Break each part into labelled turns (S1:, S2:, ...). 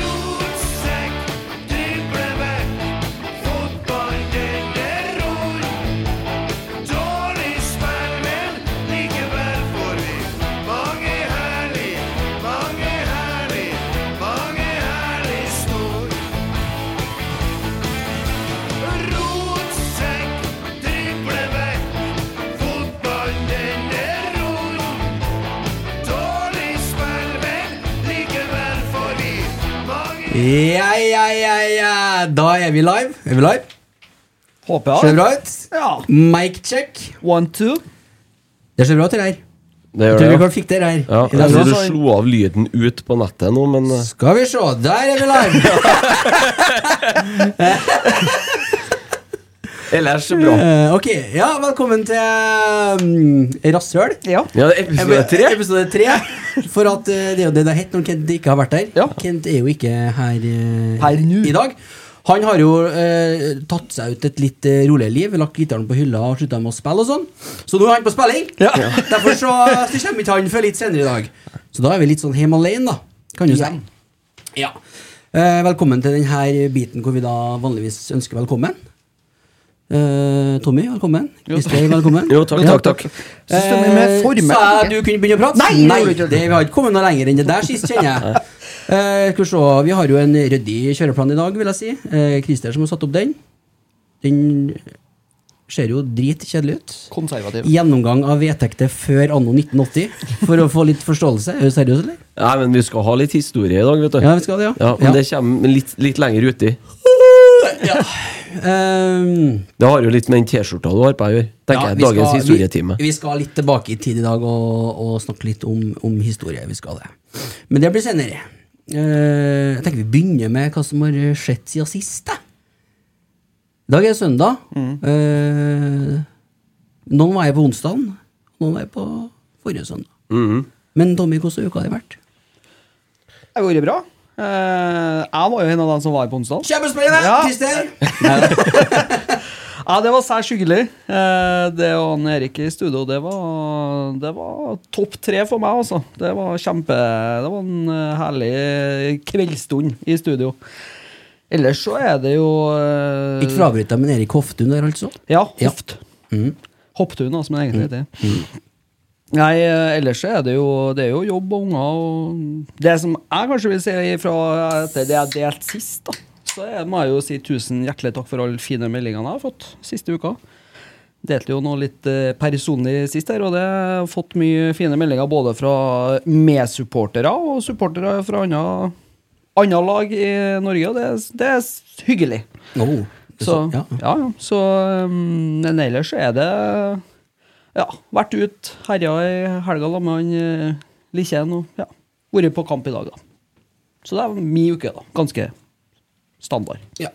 S1: Rotsekk, driblevekk, fotball deler ord. Dårlig spill, men likevel får vi mange herlig, mange herlig, mange herlig snor. Rotsekk, driblevekk, fotball deler ord. Dårlig spill, men likevel får vi mange
S2: Ja, ja, ja, ja. Da er vi live. Er vi live?
S3: Håper
S2: Ser
S3: jeg.
S2: det bra ut?
S3: Ja.
S2: Mic check.
S3: One, two.
S2: Det ser bra ut, det her.
S4: Det
S2: Jeg tror
S4: gjør det,
S2: vi
S4: ja.
S2: kan fikse det her.
S4: ja.
S2: I dag
S4: Jeg tror du
S2: også.
S4: slo av lyden ut på nettet nå, men eh,
S2: Skal vi se. Der er vi live.
S4: ellers bra.
S2: Eh, ok, ja, velkommen til um, Rasshøl.
S3: Ja.
S4: Ja, det er episode tre.
S2: Episode tre. For at eh, det er jo det det har hett når Kent ikke har vært der.
S3: Ja.
S2: Kent er jo ikke her eh,
S3: Her nå.
S2: i dag. Han har jo eh, tatt seg ut et litt eh, roligere liv, lagt gitaren på hylla og slutta med å spille og sånn. Så nå er han på spilling.
S3: Ja.
S2: Derfor så, så kommer ikke han før litt senere i dag. Så da er vi litt sånn hjem alene, da. Kan du si.
S3: Igjen.
S2: Ja. Eh, velkommen til denne biten hvor vi da vanligvis ønsker velkommen. Eh, Tommy, velkommen. Christer, velkommen.
S4: Jo, takk, takk, takk.
S3: Syns du med
S2: Eh,
S3: formen?
S2: Sa jeg du kunne begynne å prate?
S3: Nei, det gjorde du ikke.
S2: det, vi har ikke kommet noe lenger enn det der sist, kjenner jeg. Eh, skal vi, se, vi har jo en ryddig kjøreplan i dag, vil jeg si. Eh, Christer som har satt opp den. Den ser jo dritkjedelig ut.
S3: Konservativ.
S2: Gjennomgang av vedtekter før anno 1980, for å få litt forståelse. Er du seriøs, eller?
S4: Nei, men vi skal ha litt historie i dag, vet du.
S2: Ja, vi skal det, ja.
S4: Ja, men
S2: Ja.
S4: det kommer litt, litt lenger uti.
S2: Ehm,
S4: Det har jo litt med den T-skjorta du har på å gjøre, tenker
S2: ja,
S4: jeg.
S2: vi
S4: Dagens
S2: skal-
S4: historietime.
S2: Vi, vi skal litt tilbake i tid i dag og, og snakke litt om, om historie. Vi skal det. Men det blir senere. Eh, jeg tenker vi begynner med hva som har skjedd siden sist. da. I dag er det søndag.
S3: Mm.
S2: Eh, noen var her på onsdagen, noen var her på forrige søndag.
S4: Mhm.
S2: Men Tommy, hvordan har uka har det vært?
S3: Det går jo bra. Eh, jeg var jo en av dem som var på onsdag.
S2: Kjempespennende!
S3: Ja.
S2: Christer!
S3: Ja, det var særs hyggelig. Eh, det og han Erik i studio, det var, det var topp tre for meg, altså. Det var kjempe Det var en eh, herlig kveldsstund i studio. Ellers så er det jo eh,
S2: Ikke for å avbryte, deg, men Erik Hoftun der, altså?
S3: Ja,
S2: Ja. Mm.
S3: hoft. Hopptun, da, som det egentlig heter. Nei, eh, ellers så er det jo, det er jo jobb og unger og Det som jeg kanskje vil si fra etter det jeg delte sist, da, så er- må jeg jo si tusen hjertelig takk for alle fine meldingene jeg har fått siste uka. Delte jo noe litt eh, personlig sist her, og det har jeg fått mye fine meldinger både fra medsupportere og supportere fra andre, andre lag i Norge, og det, er- det er s- hyggelig.
S2: Oh, det
S3: Så,
S2: ja.
S3: ja. ja, så um, Men ellers er det Ja, vært ut herja i helga sammen med han eh, Likjen og ja, vært på kamp i dag, da.
S5: Så det er min uke, da. Ganske standard.
S2: Ja.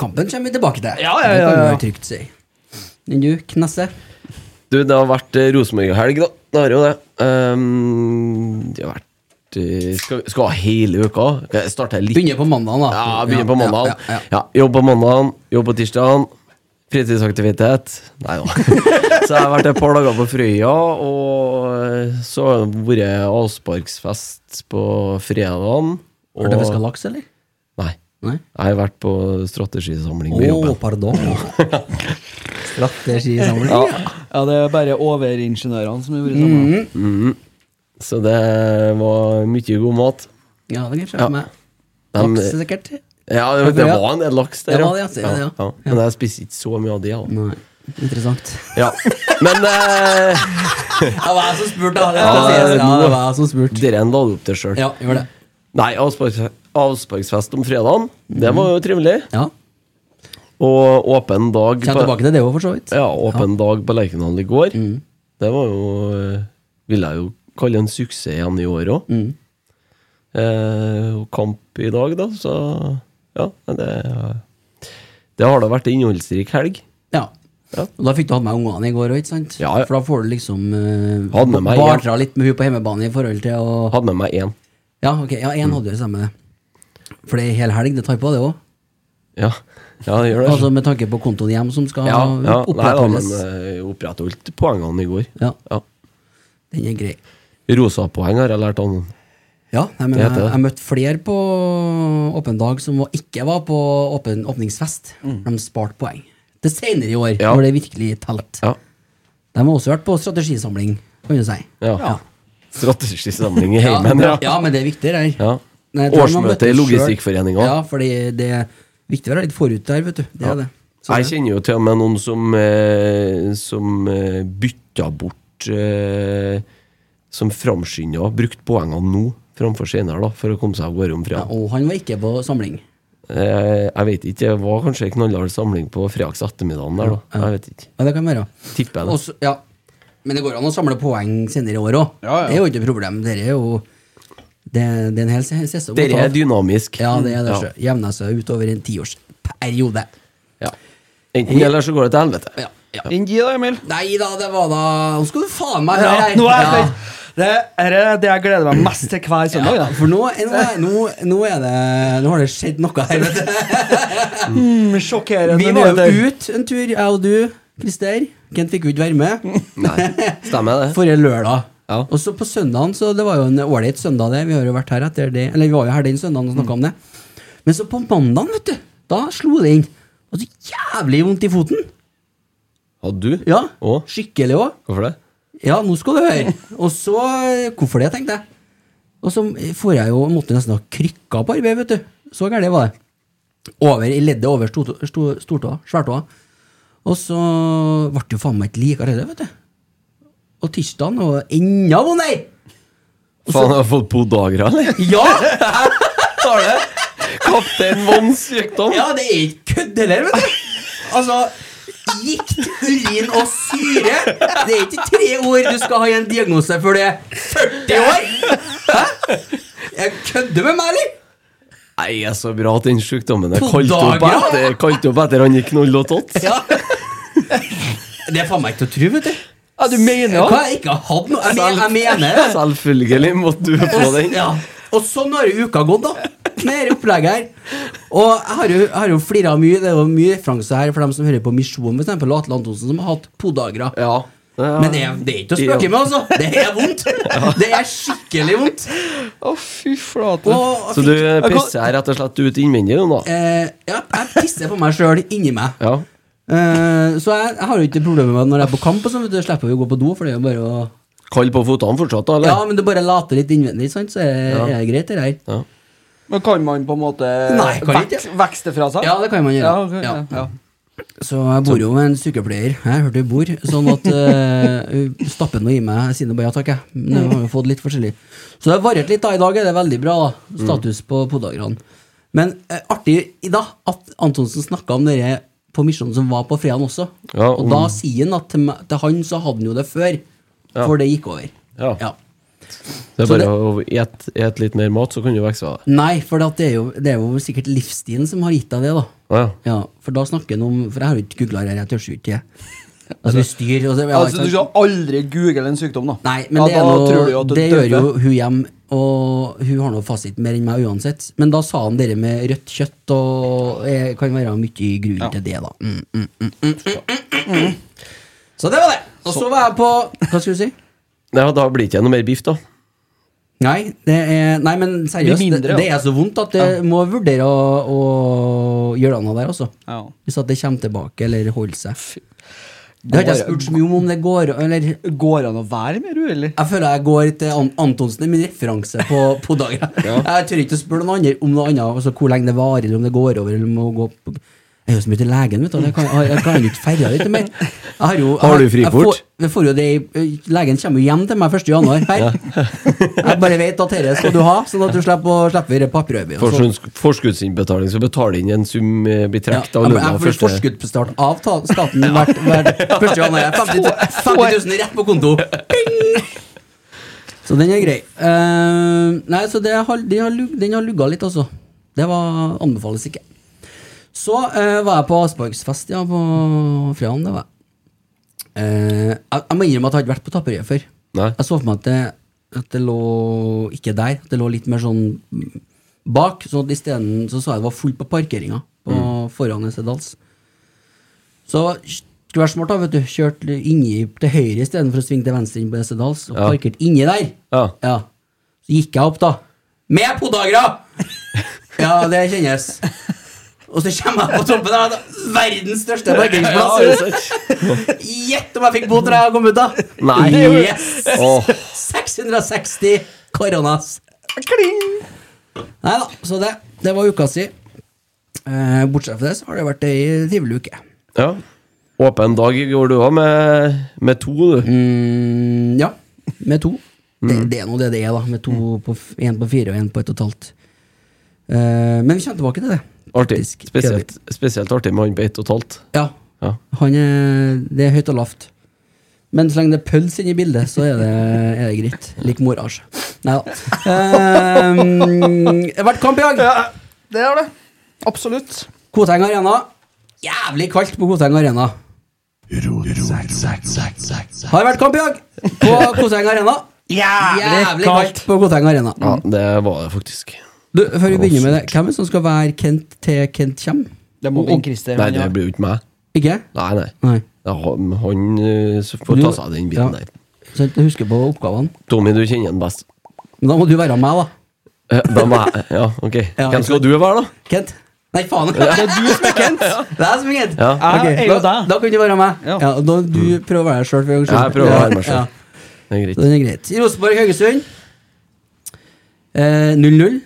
S2: Kampen kommer vi tilbake til.
S5: Ja, ja, ja,
S2: Det kan
S5: ja.
S2: vi trygt si. Men du, Knesse?
S4: Du, det har vært eh, Rosenborg-helg, da. Det har jo det. Ehm, det har vært eh, Skal vi skal vi ha hele uka? Skal jeg starte litt
S2: Begynner på mandagen, da.
S4: Ja, begynner på mandagen.
S2: Ja, ja, ja.
S4: Ja, jobb på mandagen, jobb på tirsdagen. Fritidsaktivitet Nei da. så jeg har vært et par dager på Frøya, og eh, så har det vært avsparksfest på fredagen.
S2: Hørte vi skal ha laks, eller?
S4: Nei.
S2: Nei?
S4: Jeg har vært på
S2: Å,
S4: strategisamling på jobben.
S2: pardon. Strategisamling.
S5: Ja, det er bare overingeniørene som har vært sammen.
S2: Mm.
S4: Mm. Så det var mye god mat.
S2: Ja, det kan jeg
S4: Ja.
S2: skjønne meg.
S4: De-
S2: Laks, sikkert.
S4: Ja, det, det var en del laks der,
S2: Det var det, altså, ja, ja.
S4: Men jeg spiste ikke så mye av det. da.
S2: Nei. Interessant.
S4: Ja. Men eh,
S2: Det var jeg som spurte, da. Ja,
S4: Ja, det er god,
S2: det
S4: da.
S2: var jeg som spurte.
S4: dere la det opp til sjøl.
S2: Ja, gjør det.
S4: Nei, avsparks, avsparksfest om fredagen. Det var jo trivelig.
S2: Mm. Ja.
S4: Og åpen dag
S2: Kommer tilbake til det òg, for så vidt. Mm.
S4: ja, åpen dag på Lerkendal i går. Det var jo eh, Vil jeg jo kalle en suksess igjen i år òg.
S2: Mm.
S4: Eh, og kamp i dag, da, så Ja, det Det har da vært en innholdsrik helg.
S2: Ja.
S4: Ja.
S2: Og da fikk du hatt med ungene i går òg, ikke sant?
S4: Ja, ja.
S2: For da får du liksom uh,
S4: Hadde med meg, ja.
S2: bartra litt med hun på hjemmebane i forhold til å
S4: Hadde med meg én.
S2: Ja, ok, ja, én hadde jo det samme. For det er hel helg, det tar på, det òg.
S4: Ja, ja det gjør det.
S2: Altså med tanke på kontoen hjem som skal
S4: ja, ja, nei, da,
S2: opprettholdes.
S4: men eh, opprettholdt poengene i går.
S2: Ja,
S4: Ja.
S2: den er grei.
S4: Rosapoeng har jeg lært av noen.
S2: Ja, nei, men
S4: Det
S2: jeg,
S4: heter det.
S2: jeg møtte flere på åpen dag som var- ikke var på åpen, åpningsfest. De sparte poeng. Til senere i år,
S4: Mm. Ja.
S2: når det virkelig telte.
S4: Ja.
S2: De har også vært på strategisamling, kan du si.
S4: Ja. Strategisamling i
S2: Ja,
S4: heimen, ja.
S2: ja, men det er viktig, det her.
S4: Ja.
S2: Nei, jeg tror de har
S4: Årsmøte
S2: møtt
S4: i
S2: oss
S4: Logistikkforeningen.
S2: selv. Ja, fordi det er viktig å være litt forut der, vet du. Det er det. Så
S4: Jeg
S2: det-
S4: kjenner jo til og med noen som, eh, som eh, bytta bort eh, Som framskynda og brukte poengene nå framfor senere, da, for å komme seg av gårde om
S2: Ja,
S4: fredag.
S2: og han var ikke på samling.
S4: Eh, jeg vet ikke, det var kanskje en knallhard samling på fredags ettermiddagen der, da. Jeg vet ikke.
S2: Ja, det kan være.
S4: Tipper jeg det.
S2: Også, ja. Men det går an å samle poeng senere i år òg.
S5: Ja, ja.
S2: Det er jo ikke et problem. Dere er jo det, det er en hel se- sesong. å ta
S4: Dette
S2: av.
S4: er dynamisk.
S2: Ja, det er det.
S4: Ja.
S2: sjø. Jevner seg ut over en tiårsperiode.
S4: Ja. Enten eller så går det til helvete.
S2: Ja, ja.
S5: Gi deg, Emil.
S2: Nei da, det var da Nå skal du faen meg
S5: Ja,
S2: høre her!
S5: nå er jeg
S2: Ja.
S5: spent. Det er det jeg gleder meg mest til hver søndag.
S2: Ja,
S5: da.
S2: for nå, nå, er- nå, nå er det Nå har det skjedd noe her, vet du.
S5: Mm, sjokkerende
S2: Vi var
S5: nyheter.
S2: jo ute en tur, jeg og du, Christer. Kent fikk jo ikke være med
S4: Nei, stemmer det?
S2: forrige lørdag.
S4: Ja.
S2: Og så på søndagen, så det var jo en ålreit søndag, det. Vi har jo vært her etter det Eller vi var jo her den søndagen og snakka om det. Men så på mandagen, vet du, da slo det inn. Og så jævlig vondt i foten.
S4: Hadde du?
S2: Ja,
S4: Å?
S2: Skikkelig òg.
S4: Hvorfor det?
S2: Ja, nå skal du høre. Og så Hvorfor det, tenkte jeg. Og så får jeg jo måtte nesten ha krykka på arbeid, vet du. Så gærent var det. Over i leddet over stortå- sto- stortåa, sværtåa. Og så ble det jo faen meg ikke likere heller, vet du. Og tirsdagen var enda vondere!
S4: Faen, jeg har fått podagra, eller?
S2: Ja!
S4: Har det? Kaptein Von Sjøkdom?
S2: ja! Det er ikke kødd heller, vet du. Altså Gikt, urin og syre. Det er ikke tre ord du skal ha i en diagnose før du er 40 år! Hæ? Jeg kødder med meg, eller?
S4: Nei, det er så bra at den sjukdommen er kalt opp
S2: Podagra?
S4: etter, kalt opp etter han gikk null og tott.
S2: Ja. Det er faen meg ikke til å tro, vet du.
S5: Ja, du mener
S2: Hva
S5: det?
S2: har jeg ikke har hatt noe? Jeg, men, jeg mener det.
S4: Selvfølgelig måtte du få den.
S2: Ja. Og sånn har jo uka gått, da. Med dette opplegget her. Og jeg har jo, jeg har jo flira mye. Det er jo mye referanser her for dem som hører på Misjon, for eksempel, og Atle Antonsen, som har hatt podagra.
S4: Ja.
S2: Men det er, det er ikke å spøke med, altså. Det er vondt. Det er skikkelig vondt.
S5: Å, fy flate.
S2: Og
S4: Så du eh, pisser rett og slett ut innvendig nå, da?
S2: eh, ja, jeg pisser på meg sjøl inni meg.
S4: Ja.
S2: Eh, så jeg, jeg har jo ikke problemer med at når jeg er på kamp, og sånn, vet du, slipper vi å gå på do, for det er jo bare å
S4: Kald på føttene fortsatt, da?
S2: Ja,
S4: eller?
S2: men du bare later litt innvendig, sant? så er,
S4: Ja.
S2: er det greit, det der.
S4: Ja.
S5: Men kan man på en måte
S2: Nei, kan
S5: vek-
S2: ikke.
S5: vekste fra seg?
S2: Ja, det kan man gjøre.
S5: Ja, ok, ja,
S2: Ja.
S5: ja.
S2: Så jeg bor jo med en sykepleier. Jeg hørte hun bor, sånn at eh, hun stapper noe i meg. Jeg sier nå bare ja takk, jeg. Men jeg har jo fått litt forskjellig. Så det har variert litt, da. I dag er det veldig bra da. status på podagrene. Men eh, artig i dag at Antonsen snakka om dere på misjonen som var på fredagen også.
S4: Ja,
S2: og
S4: om-
S2: da sier han at til, meg- til han så hadde han jo det før, for det gikk over.
S4: Ja.
S2: Ja.
S4: Det er
S2: Så
S4: bare
S2: det-
S4: å gjette et litt mer mat, så kan du vokse av det.
S2: Nei, for at det, er jo, det er jo sikkert livsstilen som har gitt deg det, da.
S4: Ja, ja.
S2: Ja, For da snakker han om For jeg har jo ikke googla det, her, jeg tør jo ikke det. Altså, styr og så, ja,
S5: Altså,
S2: ikke
S5: du
S2: sant?
S5: skal aldri google en sykdom, da.
S2: Nei, men
S5: Ja,
S2: det, er
S5: da
S2: noe,
S5: tror du jo at du
S2: det
S5: døper.
S2: gjør jo hun hjem, og hun har nå fasiten mer enn meg uansett. Men da sa han dere med rødt kjøtt, og det kan være mye grunn til det, da. Mm, mm, mm, mm, mm, mm. Så det var det! Og så var jeg på Hva skulle du si?
S4: Nei, da blir det ikke noe mer biff, da.
S2: Nei, det er, nei men seriøst,
S5: mindre,
S2: det,
S5: ja.
S2: det er så vondt at jeg må vurdere å, å gjøre noe der, altså.
S5: Ja.
S2: Hvis at det kommer tilbake eller holder seg. Det har ikke jeg spurt så mye om, om det går eller
S5: Går det an å være mer uheldig?
S2: Jeg føler jeg går til An Antonsen i min referanse på, på dagen. Jeg tør ikke å spørre noen andre om noe annet, altså hvor lenge det varer, eller om det går over, eller må gå på jeg er jo så mye til legen, vet du. og Jeg kan, jeg jeg kan jo ikke ferja litt mer. Jeg har, jo, jeg,
S4: Har du
S2: jeg
S4: frikort?
S2: får- Jeg får jo det, i- legen kommer jo hjem til meg 1. januar. Her. Jeg bare vet at dette skal du ha, sånn at du slipper å slipper papirøyet.
S4: Forskudd- Forskuddsinnbetaling, så betaler inn en sum eh, blir
S2: Ja,
S4: trukket av
S2: jeg,
S4: lønna
S2: jeg får
S4: første
S2: forskudd på start av ta- staten hvert, hvert første gang. jeg er 50, tu- 50 000 rett på konto! Ping! Så den er grei. Eh, nei, så det har, den, har, lug- den har lugga litt, altså. Det var, anbefales ikke. Så eh, var jeg på Aspargsfest ja, på fredagen. Det var jeg. Eh, jeg, jeg må innrømme at jeg har ikke vært på Tapperiet før.
S4: Nei.
S2: Jeg så for meg at det, at det lå ikke der, at det lå litt mer sånn mm, bak. Så at isteden så sa jeg det var fullt på parkeringa på
S4: Mm.
S2: foran Esedals. Så skulle være smart, da, vet du. Kjørt li- inni til høyre istedenfor å svinge til venstre inn på Esedals. Og
S4: Ja.
S2: parkert inni der.
S4: Ja.
S2: Så gikk jeg opp, da. Med podagra! ja, det kjennes. Og så kommer jeg på toppen av verdens største parkeringsplass. Gjett om jeg fikk bot når jeg kom ut, da!
S4: Nei.
S2: Yes!
S4: Åh.
S2: 660 koronas. Nei da, så det, det var uka si. Eh, bortsett fra det, så har det vært ei trivelig uke.
S4: Ja. Åpen dag i går, du òg, med, med to, du.
S2: Mm, ja, med to. Det,
S4: Mm.
S2: det er nå det det er, da. Med to på, f- en på fire og en på ett og et halvt. Eh, men vi kommer tilbake til det.
S4: Artig.
S2: faktisk.
S4: Spesielt, spesielt artig med han på ett og et halvt.
S2: Ja.
S4: Ja.
S2: Han er, det er høyt og lavt. Men så lenge det er pøls inne i bildet, så er det, er det greit. Lik morasj. Nei da. Ehm, det har vært kamp i dag!
S5: det er det. Absolutt.
S2: Koteng Arena. Jævlig kaldt på Koteng Arena. Har vært kamp i dag på Koteng Arena. Jævlig kaldt på Koteng Arena.
S4: Ja, det var det faktisk.
S2: Du, før vi begynner med det, hvem er det som skal være Kent til Kent kjem?
S5: Det må bli en Christer.
S4: Nei,
S5: han,
S4: det
S5: ja.
S4: blir jo ikke meg.
S2: Ikke?
S4: Nei, nei.
S2: Nei.
S4: Det er han, han eh, som får ta seg av den biten
S2: Ja.
S4: der.
S2: Så jeg husker på oppgavene.
S4: Tommy, du kjenner han best.
S2: Men da må du være meg, da.
S4: Eh, Da må jeg Ja, ok.
S2: Ja.
S4: Hvem skal du være, da?
S2: Kent. Nei, faen. Det er du som er Kent. Det er jeg som er Kent.
S4: Ja.
S5: Jeg
S2: Ok,
S5: er jo
S2: da,
S5: deg.
S2: da kan du være meg. Ja.
S5: Ja.
S2: da, du prøver å være deg sjøl.
S4: Jeg prøver å være meg selv. Det er greit.
S2: Så den er greit. Rosenborg-Haugesund. Eh, 0-0.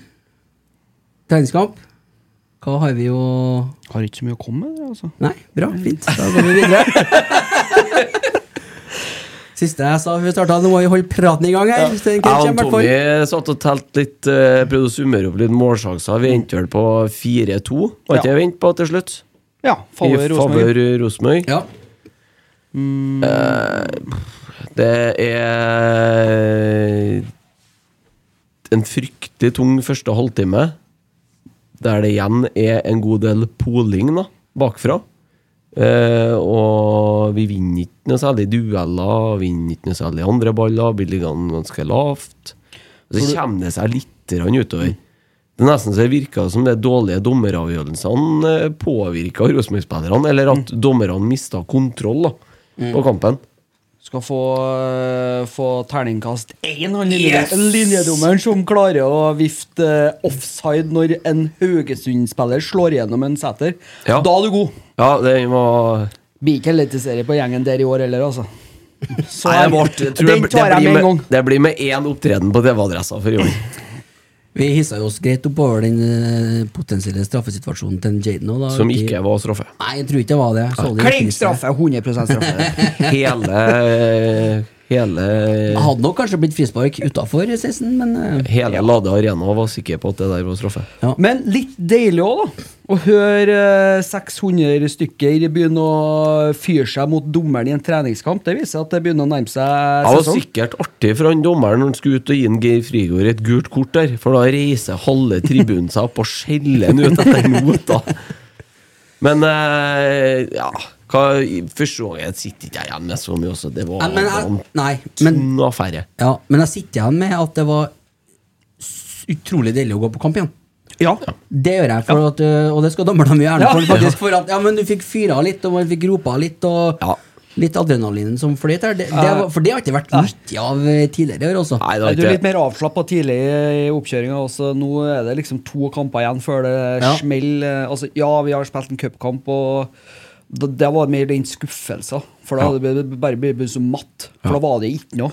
S2: Treningskamp. Hva har vi å
S5: Har ikke så mye å komme med, altså.
S2: Nei, bra. Fint. Da går vi videre. Siste jeg sa før vi starta, nå må vi holde praten i gang her. hvis det er en
S4: Jeg
S2: catch, i
S4: og
S2: hvert fall.
S4: Tommy satt og telte litt, eh, prøvde å summere opp litt målsjanser. Vi endte vel på 4-2, var ikke det vi endte på til slutt?
S5: Ja,
S4: I
S5: favør Rosenborg.
S4: favør Rosenborg.
S2: Ja.
S4: Det er en fryktelig tung første halvtime, der det igjen er en god del poling da, bakfra. Eh, og vi vinner ikke noe særlig dueller, vinner ikke noe særlig andre baller, blir liggende ganske lavt. Og så kommer det seg litt grann utover. Det er nesten så det virker som det dårlige dommeravgjørelsene eh, påvirka Rosenborg-spillerne, eller at dommerne mista kontroll da, på kampen.
S5: Skal få, øh, få terningkast én, han linje- linjedommeren som klarer å vifte øh, offside når en Haugesund-spiller slår gjennom en setter.
S4: Ja.
S5: Da er du god.
S4: Ja, den var
S5: Blir ikke eliteserie på gjengen der i år heller, altså. Så
S4: Nei, det var artig. Jeg tror
S5: den
S4: det- det
S5: tar jeg
S4: blir
S5: med en gang.
S4: Det blir med én opptreden på TV-adressa for i år.
S2: Vi hissa jo oss greit opp over den eh, potensielle straffesituasjonen til Jaden. nå, da.
S4: Som ikke var straffe.
S2: Nei, jeg tror ikke det var det. Så det i reprise.
S5: Klink straffe! 100 straffe.
S4: Hele, Hele,
S2: Jeg hadde nok kanskje blitt frispark utafor 16, men eh,
S4: hele Lade Arena var sikker på at det der var straffe.
S3: Men litt deilig òg, da. Å høre eh, 600 stykker begynne å fyre seg mot dommeren i en treningskamp. Det viser at det begynner å nærme seg
S4: Det var
S2: sånn.
S3: sesong.
S4: sikkert artig for han dommeren når han skulle ut og gi en Geir Frigård et gult kort der, for da reiser halve tribunen seg opp og skjeller han ut etter nota. Men eh, ja hva, i Første gangen sitter ikke jeg igjen med så mye, også. Det var
S2: Nei, men jeg,
S4: en
S2: nei, men,
S4: tung affære.
S2: ja, men jeg sitter igjen med at det var s- utrolig deilig å gå på kamp igjen.
S3: Ja.
S2: Det gjør jeg, for at, øh, og det skal dommerne mye gjerne
S3: Ja.
S2: for. faktisk for at, ja, men Du fikk fyra litt, og man fikk ropa litt, og
S4: Ja.
S2: litt adrenalin som fløyt her. Det, det, var- for det har ikke vært mye av øh, tidligere år, også.
S4: Nei,
S3: Er
S4: det var
S3: du litt
S4: ikke
S3: mer avslappa tidlig i oppkjøringa? også? Nå er det liksom to kamper igjen før det
S2: Ja.
S3: smeller. Altså, ja, vi har spilt en cupkamp, og da- det var mer den skuffelsen. For da hadde det bare blitt så matt. For da var det ikke noe.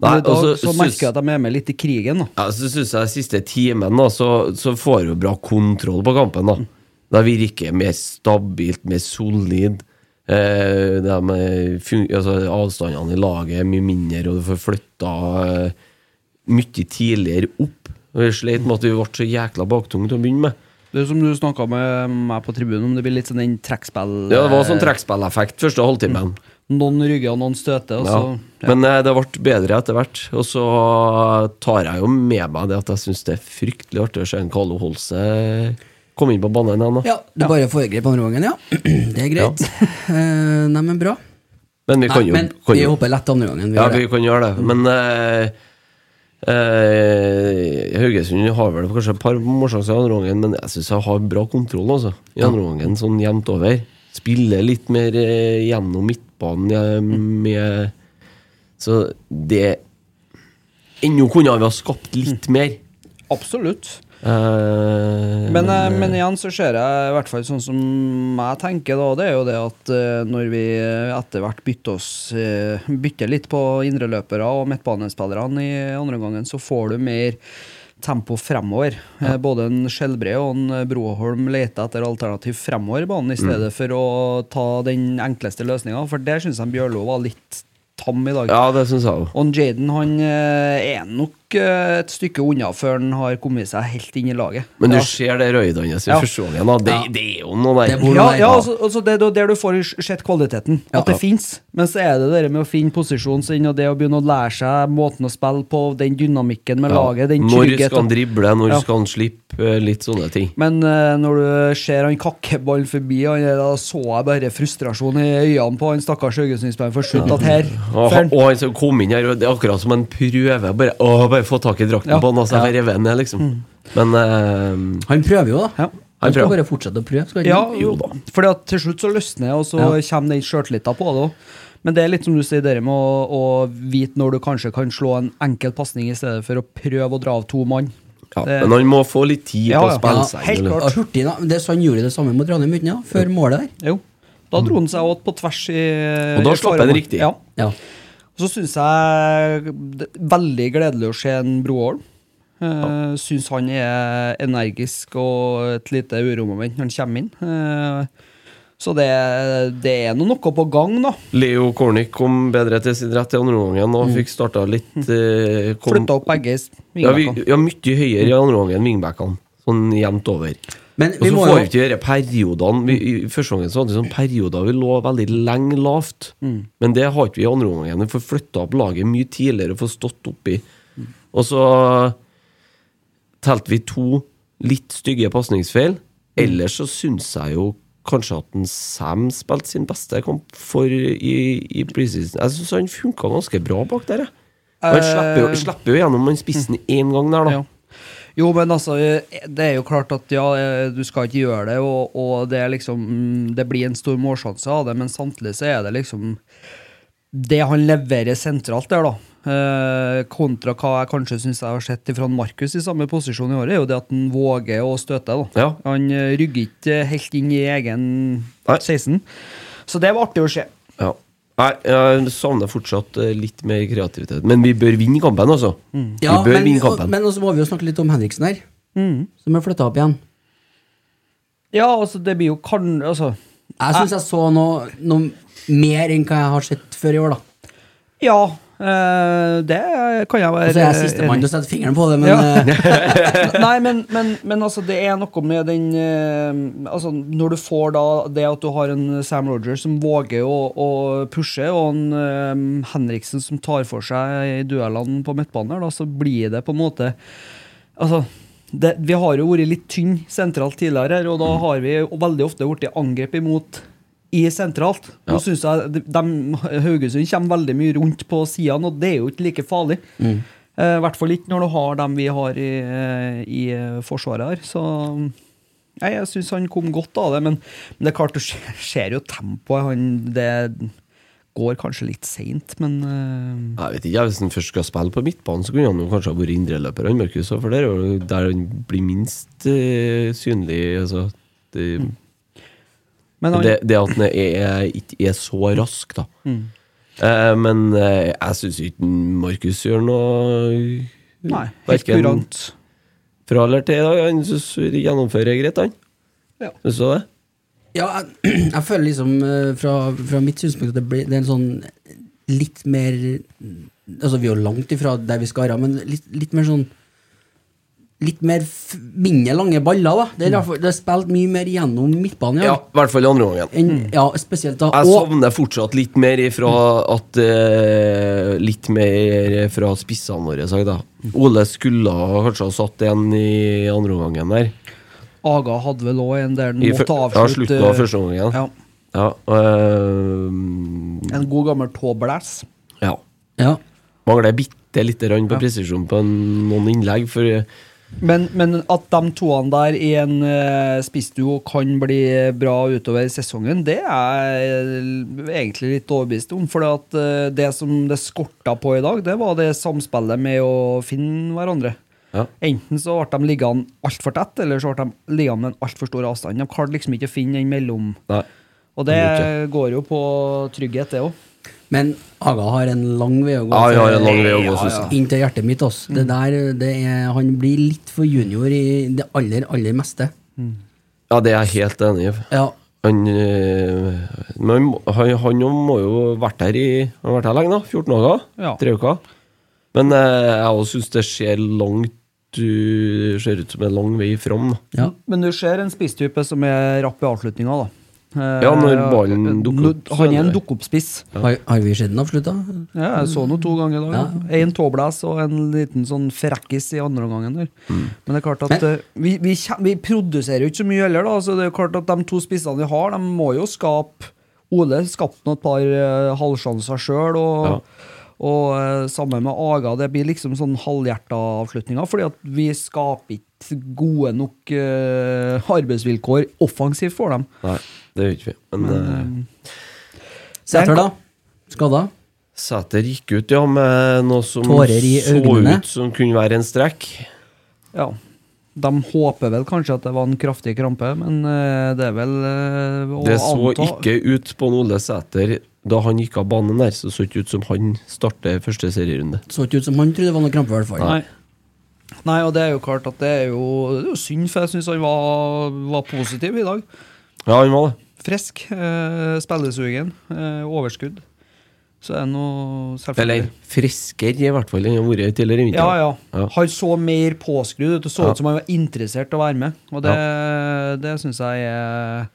S3: Men
S4: Nei,
S3: i dag
S4: altså,
S3: så
S4: syns-
S3: merker jeg at de er med litt i krigen. da
S4: ja, Så syns jeg siste timen da, så, så får vi bra kontroll på kampen. Da Da virker det mer stabilt, mer solid. Eh, det med fun altså, avstandene i laget er mye mindre, og du får flytta eh, mye tidligere opp. Og Vi sleit med at vi ble så jækla baktunge til å begynne med.
S3: Det er som du snakka med meg på tribunen om, det blir litt sånn den trekkspill
S4: Ja, Det var sånn trekkspilleffekt første halvtimen.
S3: Noen rygger og noen støter, Mm. altså. og så
S4: Ja. Men eh, det ble bedre etter hvert. Og så tar jeg jo med meg det at jeg syns det er fryktelig artig å se en Carlo Holse eh, komme inn på banen igjen. da.
S2: Ja, Du bare foregrep andre gangen, ja. Det er greit. Eh, nei, men bra.
S4: Men vi
S2: Nei,
S4: kan jo,
S2: men
S4: kan
S2: vi
S4: jo
S2: hopper lett andre gangen. Vi
S4: Ja,
S2: gjør
S4: vi
S2: det.
S4: kan gjøre det. Men eh, eh, Haugesund har vel kanskje et par målsjanser i andre omgangen, men jeg syns jeg har bra kontroll altså, i andre omgangen, sånn jevnt over. Spiller litt mer eh, gjennom midtbanen eh, med Så det Ennå kunne vi ha skapt litt mer.
S3: absolutt.
S4: Eh,
S3: Men, eh, men igjen så ser jeg i hvert fall sånn som jeg tenker, da, det er jo det at eh, når vi etter hvert bytter oss eh, Bytter litt på indreløpere og midtbanespillerne i andre gangen, så får du mer tempo fremover. Eh, Både en Skjelbre og en eh, Broholm leter etter alternativ fremover i banen, i
S4: Mm.
S3: stedet for å ta den enkleste løsninga, for der syns jeg Bjørlo var litt tam i dag.
S4: Ja, det syns jeg òg.
S3: Og Jaden han eh, er nok eh, et stykke unna før han har kommet seg helt inn i laget.
S4: Men du
S3: Ja.
S4: ser det røyet hans i
S3: Ja.
S4: første gangen. da. Det,
S2: Ja.
S4: det er jo noe
S2: Det
S4: der.
S2: bor
S3: Ja,
S2: der,
S3: ja
S2: da.
S3: altså, altså det er da der du får sett kvaliteten.
S2: Ja.
S3: At det fins. Men så er det det med å finne posisjonen sin og det å begynne å lære seg måten å spille på, den dynamikken med laget, den
S4: Når skal han
S3: tryggheten.
S4: drible, når
S3: Ja.
S4: skal han slippe, eh, litt sånne ting.
S3: Men eh, når du ser han kakkeball forbi, han, er- da så jeg bare frustrasjon i øynene på han stakkars Haugesundspilleren. For slutt at her
S4: Og,
S3: for han-
S4: og han som kom inn her, og det er akkurat som en prøve. Bare, å, bare få tak i drakten
S3: Ja.
S4: på han, altså.
S3: Ja. Mm.
S4: Jeg rever den ned, liksom. Men eh,
S2: Han prøver jo, da.
S3: Ja.
S4: Han
S2: Han skal
S4: prøver.
S2: bare fortsette å prøve. Skal han
S3: Ja,
S2: ikke?
S4: Jo da.
S3: Fordi at til slutt så løsner det, og så
S2: Ja.
S3: kommer den sjøltilliten på det òg. Men det er litt som du sier, det med å, å vite når du kanskje kan slå en enkel pasning i stedet for å prøve å dra av to mann.
S4: ja,
S3: Det-
S4: men han må få litt tid
S3: Ja,
S4: på å
S3: ja.
S4: spille
S2: Ja,
S4: seg.
S3: helt
S4: eller-
S3: klart.
S2: Ja, hurtig, da. Det, så han gjorde det samme mot Ranheim uten, ja, før målet der.
S3: Jo. Da dro han seg åt på tvers i
S4: Og da
S3: i
S4: slapp han
S3: slåramma.
S4: riktig.
S3: Ja.
S2: Ja.
S3: Så syns jeg det er veldig gledelig å se en Broholm. Uh, Syns han er energisk og et lite uromoment når han kommer inn. Eh, så det, det er nå noe på gang, da.
S4: Leo Cornic kom bedre til sin rett i andre omgang
S3: Mm.
S4: og fikk starta litt eh, kom,
S3: Flytta opp begge
S4: ja, vi,
S3: vingebekkene.
S4: ja, mye høyere i andre omgang enn wingbackene. Sånn jevnt over.
S2: Men
S4: Og
S2: vi
S4: så
S2: må
S4: får vi
S2: jo
S4: ikke de periodene vi, I første gangen så hadde vi sånn perioder vi lå veldig lenge lavt. Men det har ikke vi i andre omgangen. Vi får flytta opp laget mye tidligere og får stått oppi. Og så telte vi to litt stygge pasningsfeil. Ellers så syns jeg jo kanskje at en Sam spilte sin beste kamp for i, i preseason. Jeg syns han funka ganske bra bak der, jeg.
S2: Eh,
S4: Han slipper jo, slipper jo gjennom han spissen én gang der, da.
S3: Ja. Jo, men altså, det er jo klart at ja, eh, du skal ikke gjøre det, og, og det er liksom mm, Det blir en stor målsjanse av det, men samtidig så er det liksom Det han leverer sentralt der, da, eh, kontra hva jeg kanskje syns jeg har sett fra Markus i samme posisjon i året, er jo det at han våger å støte, da.
S4: Ja.
S3: Han eh, rygger ikke helt inn i egen
S4: Nei.
S3: 16. Så det var artig å se.
S4: Ja. Nei, jeg savner fortsatt eh, litt mer kreativitet. Men vi bør vinne kampen, altså.
S2: ja,
S4: vi bør
S2: men,
S4: vinne
S2: og,
S4: kampen.
S2: men også må vi jo snakke litt om Henriksen her, som er flytta opp igjen.
S3: Ja, altså, det blir jo kan... Altså,
S2: Jeg syns jeg så noe, noe mer enn hva jeg har sett før i år, da.
S3: Ja, Eh, det kan jeg være
S2: Altså, jeg er sistemann til å sette fingeren på det, men
S3: Ja.
S2: eh,
S3: Nei, men, men, men altså, det er noe med den eh, altså, Når du får da det at du har en Sam Rogers som våger å, å pushe, og en eh, Henriksen som tar for seg i duellene på midtbanen, her, da, så blir det på en måte Altså, det, vi har jo vært litt tynne sentralt tidligere, her, og
S4: Mm.
S3: da har vi jo veldig ofte blitt angrepet imot i sentralt. Nå
S4: Ja.
S3: synes jeg de, de, Haugesund kommer veldig mye rundt på sidene, og det er jo ikke like farlig.
S4: Mm.
S3: Eh, I hvert fall ikke når du har dem vi har i, eh, i eh, forsvaret her. Så Nei, jeg syns han kom godt av det, men, men det er klart, du ser- ser jo tempoet. Han, det går kanskje litt seint, men eh,
S4: Jeg vet ikke, jeg, Hvis han først skal spille på midtbanen, så kunne han jo kanskje ha vært indreløper, han Markus. For det er jo der han blir minst eh, synlig. Altså, det,
S3: men han,
S4: det, det at han er- ikke er så rask, da. Eh, men eh, jeg syns ikke Markus gjør noe
S3: Nei, helt
S4: hverken-
S3: kurant.
S4: fra eller til i dag. Han syns vi gjennomfører greit, han.
S3: Ja.
S4: Syns du det?
S2: ja, jeg, jeg føler liksom eh, fra, fra mitt synspunkt at det, blir, det er en sånn litt mer Altså, vi er jo langt ifra der vi skal være, men litt, litt mer sånn Litt mer f mindre lange baller, da. Det er, derfor- det er spilt mye mer gjennom midtbanen.
S4: Ja,
S2: Ja.
S4: i hvert fall i andre gangen.
S2: Enn, ja, spesielt da.
S4: Jeg
S2: Og
S4: savner fortsatt litt mer ifra at eh, Litt mer fra spissene våre, sagt, da. Ole skulle ha kanskje ha satt en i andre omgangen der.
S3: Aga hadde vel òg en der han
S4: I fø-
S3: måtte
S4: ja,
S3: avslutte.
S4: slutten
S2: eh,
S4: av første omgangen.
S3: Ja.
S4: Ja, eh,
S3: En god gammel tåblæs.
S4: ja.
S2: ja.
S4: Mangler bitte lite grann på presisjon på en, noen innlegg, for eh,
S3: Men, men at de toene der i en uh, spissduo kan bli bra utover sesongen, det er jeg egentlig litt overbevist om. For eh, det som det skorta på i dag, det var det samspillet med å finne hverandre.
S4: Ja.
S3: Enten så ble de liggende altfor tett, eller så ble de liggende med en altfor stor avstand. De klarte liksom ikke å finne den mellom.
S4: Nei.
S3: Og det
S4: Kan
S3: går jo på trygghet, det òg.
S2: Men Aga har en lang vei å gå.
S4: Ja, vi har en lang
S2: til-
S4: vei å gå, synes jeg.
S2: Inn til hjertet mitt. Ass. Det der, det er, han blir litt for junior i det aller, aller meste.
S4: Ja, det er jeg helt enig i.
S2: Ja,
S4: Han øh, men han må- han- han jo må jo ha vært her i Han har vært her lenge, da. 14 dager?
S3: Ja.
S4: Tre uker? Men øh, jeg også syns det ser langt øh, Ser ut som en lang vei fram. da.
S2: ja.
S3: Men du ser en spisstype som er rapp i avslutninga, da. Eh,
S4: Ja, når ballen dukker opp, så
S3: Han er
S4: er
S3: en
S4: det-
S3: dukkoppspiss.
S2: Har, har vi sett den avslutta?
S3: Ja, jeg så noe to ganger i dag. Ja. En tåblæs og en liten sånn frekkis i andre omgangen. der. Men det er klart at
S2: Mm. Men-
S3: eh, vi, vi, kjem- vi produserer jo ikke så mye heller, da. Så det er jo klart at de to spissene vi har, de må jo skape Ole skapte nå et par eh, halvsjanser sjøl, og, og eh, sammen med Aga. Det blir liksom sånn halvhjerta avslutninger, fordi at vi skaper ikke gode nok eh, arbeidsvilkår offensivt for dem.
S4: Nei, det gjør ikke vi. Men,
S2: eh,
S4: øh,
S2: Sæter, da? Skada?
S4: Sæter gikk ut, ja, med noe som
S2: Tårer i
S4: så
S2: øynene.
S4: ut som kunne være en strekk.
S3: Ja. De håper vel kanskje at det var en kraftig krampe, men eh, det er vel eh, å
S4: Det så
S3: anta
S4: ikke ut på en Ole Sæter da han gikk av banen der, så det så ikke ut som han starter første serierunde.
S2: Så ikke ut som han trodde det var noe krampe, i hvert fall.
S3: Nei. Nei, og det er jo klart at det er jo, det er jo synd, for jeg syns han var, var positiv i dag.
S4: Ja, han var det.
S3: Frisk, eh, spillesugen, eh, overskudd. Så er det noe selvfølgelig
S4: Eller friskere, i hvert fall, enn han har vært tidligere i vinter.
S3: Ja, ja.
S4: Ja.
S3: Han så mer påskrudd ut. Det så
S4: Ja.
S3: ut som han var interessert i å være med, og det, det syns jeg er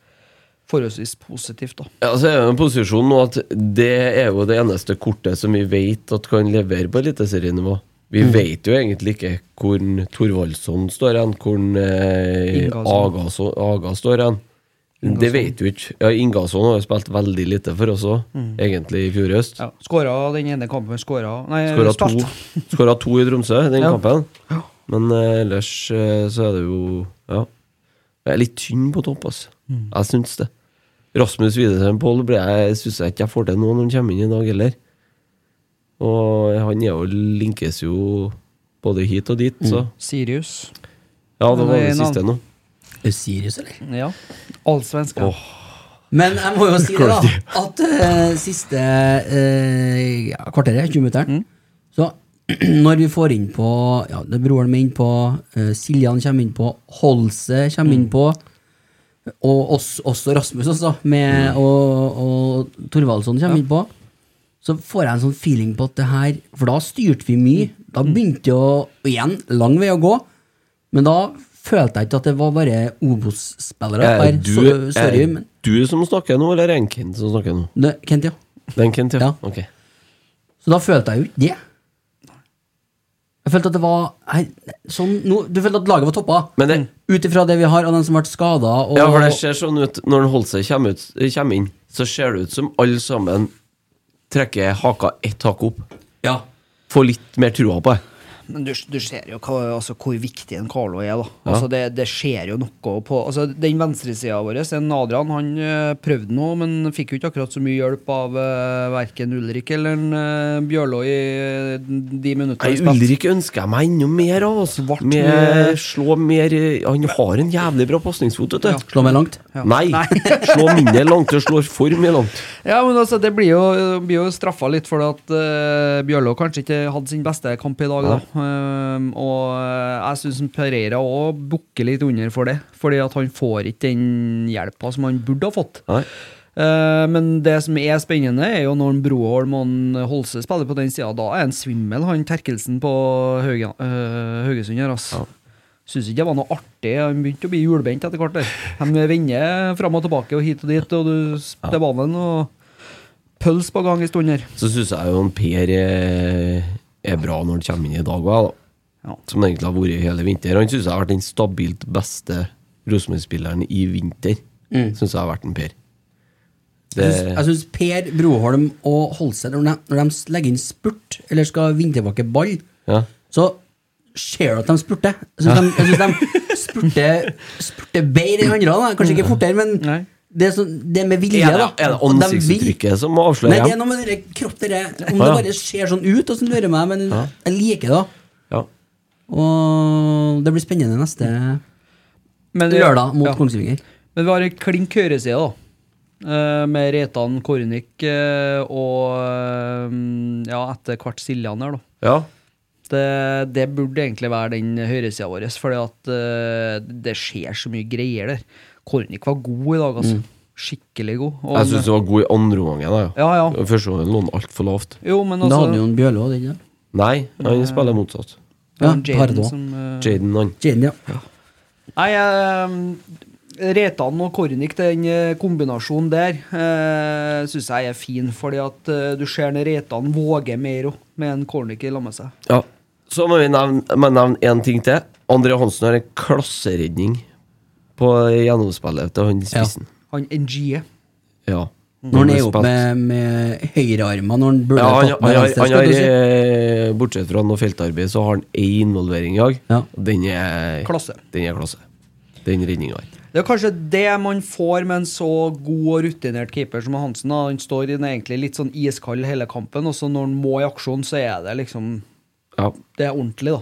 S3: forholdsvis positivt, da.
S4: Ja, så er jo en posisjon nå at det er jo det eneste kortet som vi vet at kan levere på eliteserienivå. Vi
S3: Mm.
S4: vet jo egentlig ikke hvor en Thorvaldsson står hen, hvor en, eh,
S3: Ingasson.
S4: Agasson- Aga står hen. Det vet vi ikke. Ja, Ingasson har jo spilt veldig lite for oss òg, egentlig, i fjor høst.
S3: Mm. Ja. Skåra den ene kampen, skåra Nei,
S4: Skåra
S3: spilte.
S4: to, skåra to i Tromsø i den
S3: Ja.
S4: kampen. Men eh, ellers eh, så er det jo Ja. Jeg er litt tynn på topp, altså.
S3: Mm.
S4: Jeg syns det. Rasmus Widersen Pål syns jeg ikke jeg får til nå når han kommer inn i dag heller. Og han er jo, linkes jo både hit og dit, så
S3: Sirius.
S4: Ja, det
S3: Mm. Men
S4: var
S3: det er
S4: det
S3: en
S4: siste nå.
S2: Sirius, eller?
S3: Ja. Allsvensk. ja.
S2: Men jeg må jo si det, da. At eh, siste eh, ja, kvarteret, 20 minutteren, så når vi får inn på ja, det er Broren min på, eh, Siljan kommer inn på, Holse kommer inn på, og oss, også Rasmus, også, med, og, og Thorvaldsson kommer inn på. så får jeg en sånn feeling på at det her For da styrte vi mye. Da begynte jeg å Og igjen, lang vei å gå. Men da følte jeg ikke at det var bare Obos-spillere.
S4: Er
S2: der.
S4: du,
S2: Så- Sorry,
S4: er
S2: men
S4: du som snakker nå, eller er det Kent som snakker nå?
S2: det, Kent, ja.
S4: Det er en Kent, ja.
S2: Ja.
S4: Ok.
S2: Så da følte jeg jo ikke det. Jeg følte at det var nei, sånn, nå- Du følte at laget var toppa?
S4: Men det-
S2: Mm. Ut ifra det vi har av den som ble skada og
S4: Ja, for det ser sånn ut Når han holder seg kommer, ut, kommer inn, så ser det ut som alle sammen trekker haka ett hake opp.
S2: Ja.
S4: Får litt mer trua på det.
S3: Men du, du ser jo hva, altså, hvor viktig en Carlo er, da. Altså, det, det skjer jo noe på altså, Den venstresida vår, en Adrian, han eh, prøvde nå, men fikk jo ikke akkurat så mye hjelp av uh, verken Ulrik eller en, eh, Bjørlo i eh, de minuttene
S4: Nei,
S3: vi spilte.
S4: Ulrik ønsker jeg meg enda mer av. Altså.
S3: Svart
S4: Med-
S3: med-
S4: slå mer eh, Han har en jævlig bra pasningsfot, vet du.
S2: Slå meg langt?
S4: Nei! slå mindre langt, du slår for mye langt.
S3: Ja, men altså, det blir jo, blir jo straffa litt fordi at eh, Bjørlo kanskje ikke hadde sin beste kamp i dag, da. Ehm, og eh, jeg syns Pereira òg bukker litt under for det. Fordi at han får ikke den hjelpa som han burde ha fått.
S4: Nei.
S3: Eh, men det som er spennende, er jo når en Broholm og en Holse spiller på den sida. Da er han svimmel, han Terkelsen på Hauge, eh, Haugesund her, ass. Syns ikke det var noe artig. Han begynte å bli hjulbeint etter hvert. der. De vender fram og tilbake og hit og dit, og du spiller ballen og pøls på gang en stund her.
S4: Så syns jeg jo en Per er, er bra når han kommer inn i dag òg, da.
S3: Ja.
S4: Som han egentlig har vært i hele vinter. Han syns jeg har vært den stabilt beste Rosenborg-spilleren i vinter. Syns jeg har vært en Per. Det,
S2: Mm. Jeg altså, syns- Jeg syns Per Broholm og Holseth, når, de- når de legger inn spurt, eller skal vinne tilbake ball,
S4: Ja.
S2: så ser du at de spurter. Jeg syns de, jeg synes de spurter, spurter bedre enn andre. Da. Kanskje ikke fortere, men
S3: Nei.
S2: det er, sånn, det er med vilje.
S4: er det,
S2: da
S4: er det
S2: Og de vil.
S4: ansiktsuttrykket som
S2: Nei,
S4: avslører
S2: det er
S4: ham?
S2: noe med det kroppen der. Om
S4: Ja,
S2: det
S4: ja.
S2: bare ser sånn ut, og så lurer jeg meg, men jeg liker det. da.
S4: Ja.
S2: Og det blir spennende neste
S3: Men,
S2: lørdag mot
S3: Ja.
S2: Kongsvinger.
S3: Men vi har en klink høyreside, da. Eh, med Reitan, Kornik eh, og eh, ja, etter hvert Siljan her, da.
S4: ja.
S3: Det, det burde egentlig være den høyresida vår, fordi at eh, det skjer så mye greier der. Kornik var god i dag, altså.
S2: Mm.
S3: Skikkelig god. Og-
S4: Jeg syns du var god i andre omgang.
S3: Ja, ja.
S4: Første gangen lå han altfor lavt.
S3: Jo, men
S2: da
S3: altså
S2: hadde jo en Bjørlo hadde ikke det?
S4: Nei, han spiller motsatt.
S3: det var
S2: Ja,
S3: Jaden
S2: Pardo.
S3: som, eh,
S4: Jaden, han.
S2: Jaden, ja.
S3: Nei, eh, Reitan og Kornik, den eh, kombinasjonen der, uh, syns jeg er fin. Fordi at eh, du ser når Reitan våger mer òg, med en Kornik i lag med seg.
S4: Ja. Så må vi nevne, må jeg nevne en ting til. André Hansen har en klasseredning på gjennomspillet til han i spissen.
S3: Han NG-er.
S4: Ja.
S2: Når han er opp med, med høyrearmer når han burde
S4: ja,
S2: ha
S4: han,
S2: tatt
S4: han,
S2: med
S4: har-
S2: venstre.
S4: han
S2: skal
S4: har,
S2: du si.
S4: eh, Bortsett fra noe feltarbeid, så har han én involvering i dag.
S2: Ja.
S4: Den er
S3: Klasse.
S4: Den er klasse. Den redninga her.
S3: Det er kanskje det man får med en så god og rutinert keeper som Hansen. da. Han står i den egentlig litt sånn iskald hele kampen, og så når han må i aksjon, så er det liksom
S4: Ja.
S3: Det er ordentlig, da.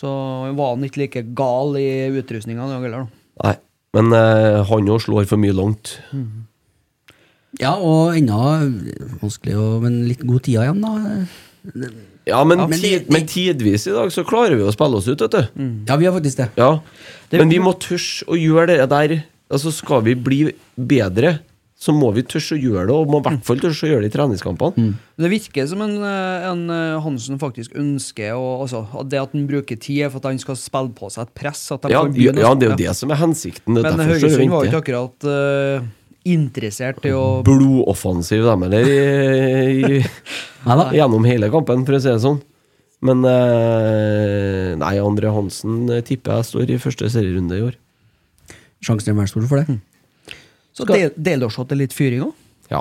S3: Så var han ikke like gal i utrustninga den gangen, da.
S4: Nei. Men eh, han òg slår for mye langt.
S2: Ja, og ennå vanskelig, å, men litt god tid igjen, da.
S4: Ja, men,
S2: men
S4: tid,
S2: det-
S4: men tidvis i dag så klarer vi å spille oss ut, vet du.
S2: Ja, vi har faktisk det.
S4: Ja, men vi må tørre å gjøre det der. Altså Skal vi bli bedre, så må vi tørre å gjøre det, og må i hvert fall tørre å gjøre det i treningskampene.
S2: Mm.
S3: Det virker som en, eh, en eh, Hansen faktisk ønsker å altså, at Det at han bruker tid, er for at han skal spille på seg et press. At de
S4: Ja,
S3: kan
S4: ja,
S3: begynne å-
S4: det er jo det som er hensikten. Det er
S3: Men
S4: derfor så
S3: Haugesund var jo
S4: venter.
S3: ikke akkurat eh, interessert i å
S4: blodoffensiv, dem, eller i, i,
S2: Nei da.
S4: gjennom hele kampen, for å si det sånn. Men eh, nei, Andre Hansen eh, tipper jeg står i første serierunde i år.
S2: Sjansen er veldig stor for det.
S3: Så
S2: Skal-
S3: del- Delårshatt er litt fyring òg?
S4: Ja.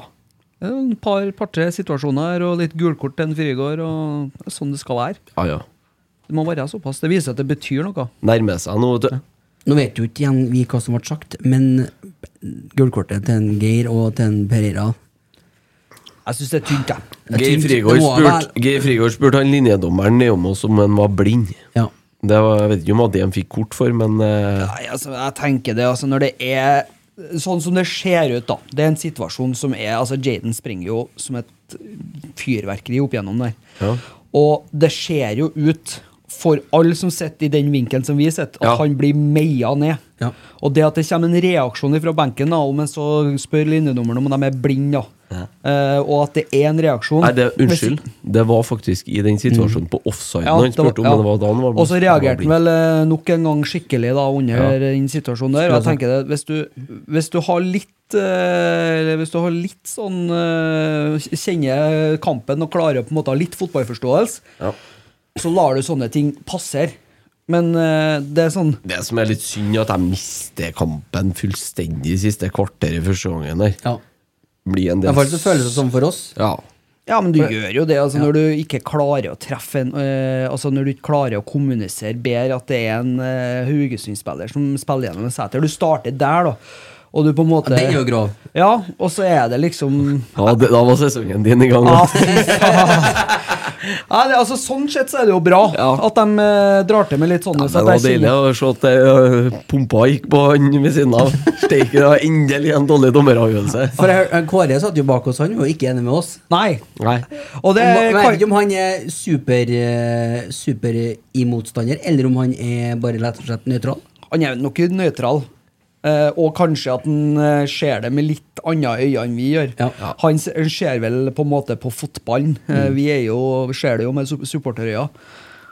S3: Det er En par, par-tre situasjoner her, og litt gulkort til en Frigård. og det er Sånn det skal være.
S4: ja, ja.
S3: Det må være såpass. Det viser at det betyr noe.
S4: Nærmer seg nå, vet du.
S2: Nå vet jo ikke igjen vi hva som ble sagt, men gullkortet til en Geir og til en Pereira
S3: Jeg syns det er tynt, jeg.
S2: det er
S4: Geir
S2: tynt. Det
S4: Frigård
S2: må
S4: spurte
S2: være-
S4: Geir Frigård spurte han linjedommeren nedom oss om han var blind.
S2: Ja.
S4: Det var, jeg vet ikke om det de fikk kort for, men eh,
S3: Nei, altså, jeg tenker det, altså, når det er sånn som det ser ut, da. Det er en situasjon som er altså, Jaden springer jo som et fyrverkeri opp gjennom der.
S4: Ja.
S3: Og det ser jo ut, for alle som sitter i den vinkelen som vi sitter, at
S4: Ja.
S3: han blir meia ned.
S2: Ja.
S3: Og det at det kommer en reaksjon fra benken, da, om en så spør linjedommeren om de er blinde, da. Eh, og at det er en reaksjon.
S4: Nei, det, unnskyld. Det var faktisk i den situasjonen på offsiden han spurte om. men det var da han var
S3: Og så reagerte han vel eh, nok en gang skikkelig da under
S4: Ja.
S3: den situasjonen der. Og jeg tenker det, hvis du, hvis du har litt eh, eller Hvis du har litt sånn eh, Kjenner kampen og klarer på en måte å ha litt fotballforståelse,
S4: Ja.
S3: så lar du sånne ting passere. Men eh, det er sånn
S4: Det som er litt synd, er at jeg mister kampen fullstendig siste kvarteret første gangen. Der.
S2: Ja.
S4: Blir en
S2: I
S4: del
S2: hvert fall så føles det sånn for oss.
S4: Ja.
S3: Ja, men du gjør jo det. Altså, Når du ikke klarer å treffe en eh, Altså når du ikke klarer å kommunisere bedre at det er en eh, Haugesund-spiller som spiller gjennom en seter. Du starter der, da. Og du på en måte
S2: Ja, den er jo grov.
S3: Ja, og så er det liksom
S4: Ja, det, da var sesongen din i gang.
S3: Ja,
S4: da.
S3: fy faen. Nei, det, altså, sånn sett så er det jo bra
S4: Ja.
S3: at de eh, drar til med litt sånne.
S4: Men
S3: så
S4: det
S3: at
S4: var
S3: jeg
S4: deilig
S3: kjenner-
S4: å se at det, øh, pumpa gikk på han ved siden av. Steike, det var endelig en dårlig dommeravgjørelse.
S2: For jeg, jeg- Kåre satt jo bak oss, han var jo ikke enig med oss.
S3: Nei.
S4: Nei.
S3: Og det
S2: Jeg vet ikke
S3: kan,
S2: om han er super, eh, super eh, imotstander, eller om han er bare rett og slett nøytral.
S3: Han er nok nøytral. Eh, og kanskje at han eh, ser det med litt andre øyne enn vi gjør.
S2: Ja. Mm.
S3: Han s- han ser vel på en måte på fotballen. Eh, vi er jo, ser det jo med sup- supporterøyne.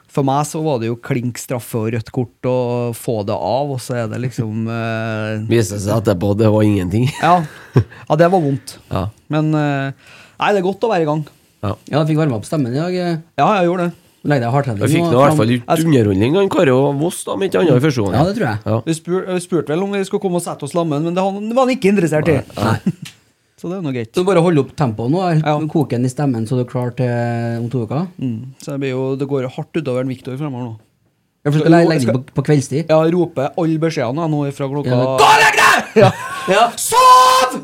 S3: For meg så var det jo klink straffe og rødt kort og få det av, og så er det liksom eh,
S4: Viste seg etterpå at det var ingenting.
S3: Ja, ja det var vondt.
S4: Ja.
S3: Men eh, nei, det er godt å være i gang.
S2: Ja, jeg fikk varma opp stemmen i dag. eh.
S3: Ja, jeg gjorde det.
S2: Legg deg hardtrening.
S4: Jeg fikk
S2: og
S4: nå i hvert
S2: fram-
S4: fall ut underholdning, han Kari og Voss, da, om ikke annet i første gangen.
S2: Ja, det tror jeg.
S4: Ja.
S3: Vi spur, eh, vi spurte vel om vi skulle komme og sette oss sammen, men det, han, det var han ikke interessert i. Så det er nå greit.
S2: Så bare hold opp tempoet nå. Jeg
S3: Ja.
S2: koker den i stemmen så du er klar til om to uker.
S3: Mm. Så det, blir jo, det går jo hardt utover en Viktor fremover nå.
S2: Jeg
S3: Skal-
S2: skal legge legge
S3: skal-
S2: den på, på kveldstid.
S3: Ja, jeg roper alle beskjedene jeg nå fra klokka Gå
S2: Ja.
S3: og
S2: Sov!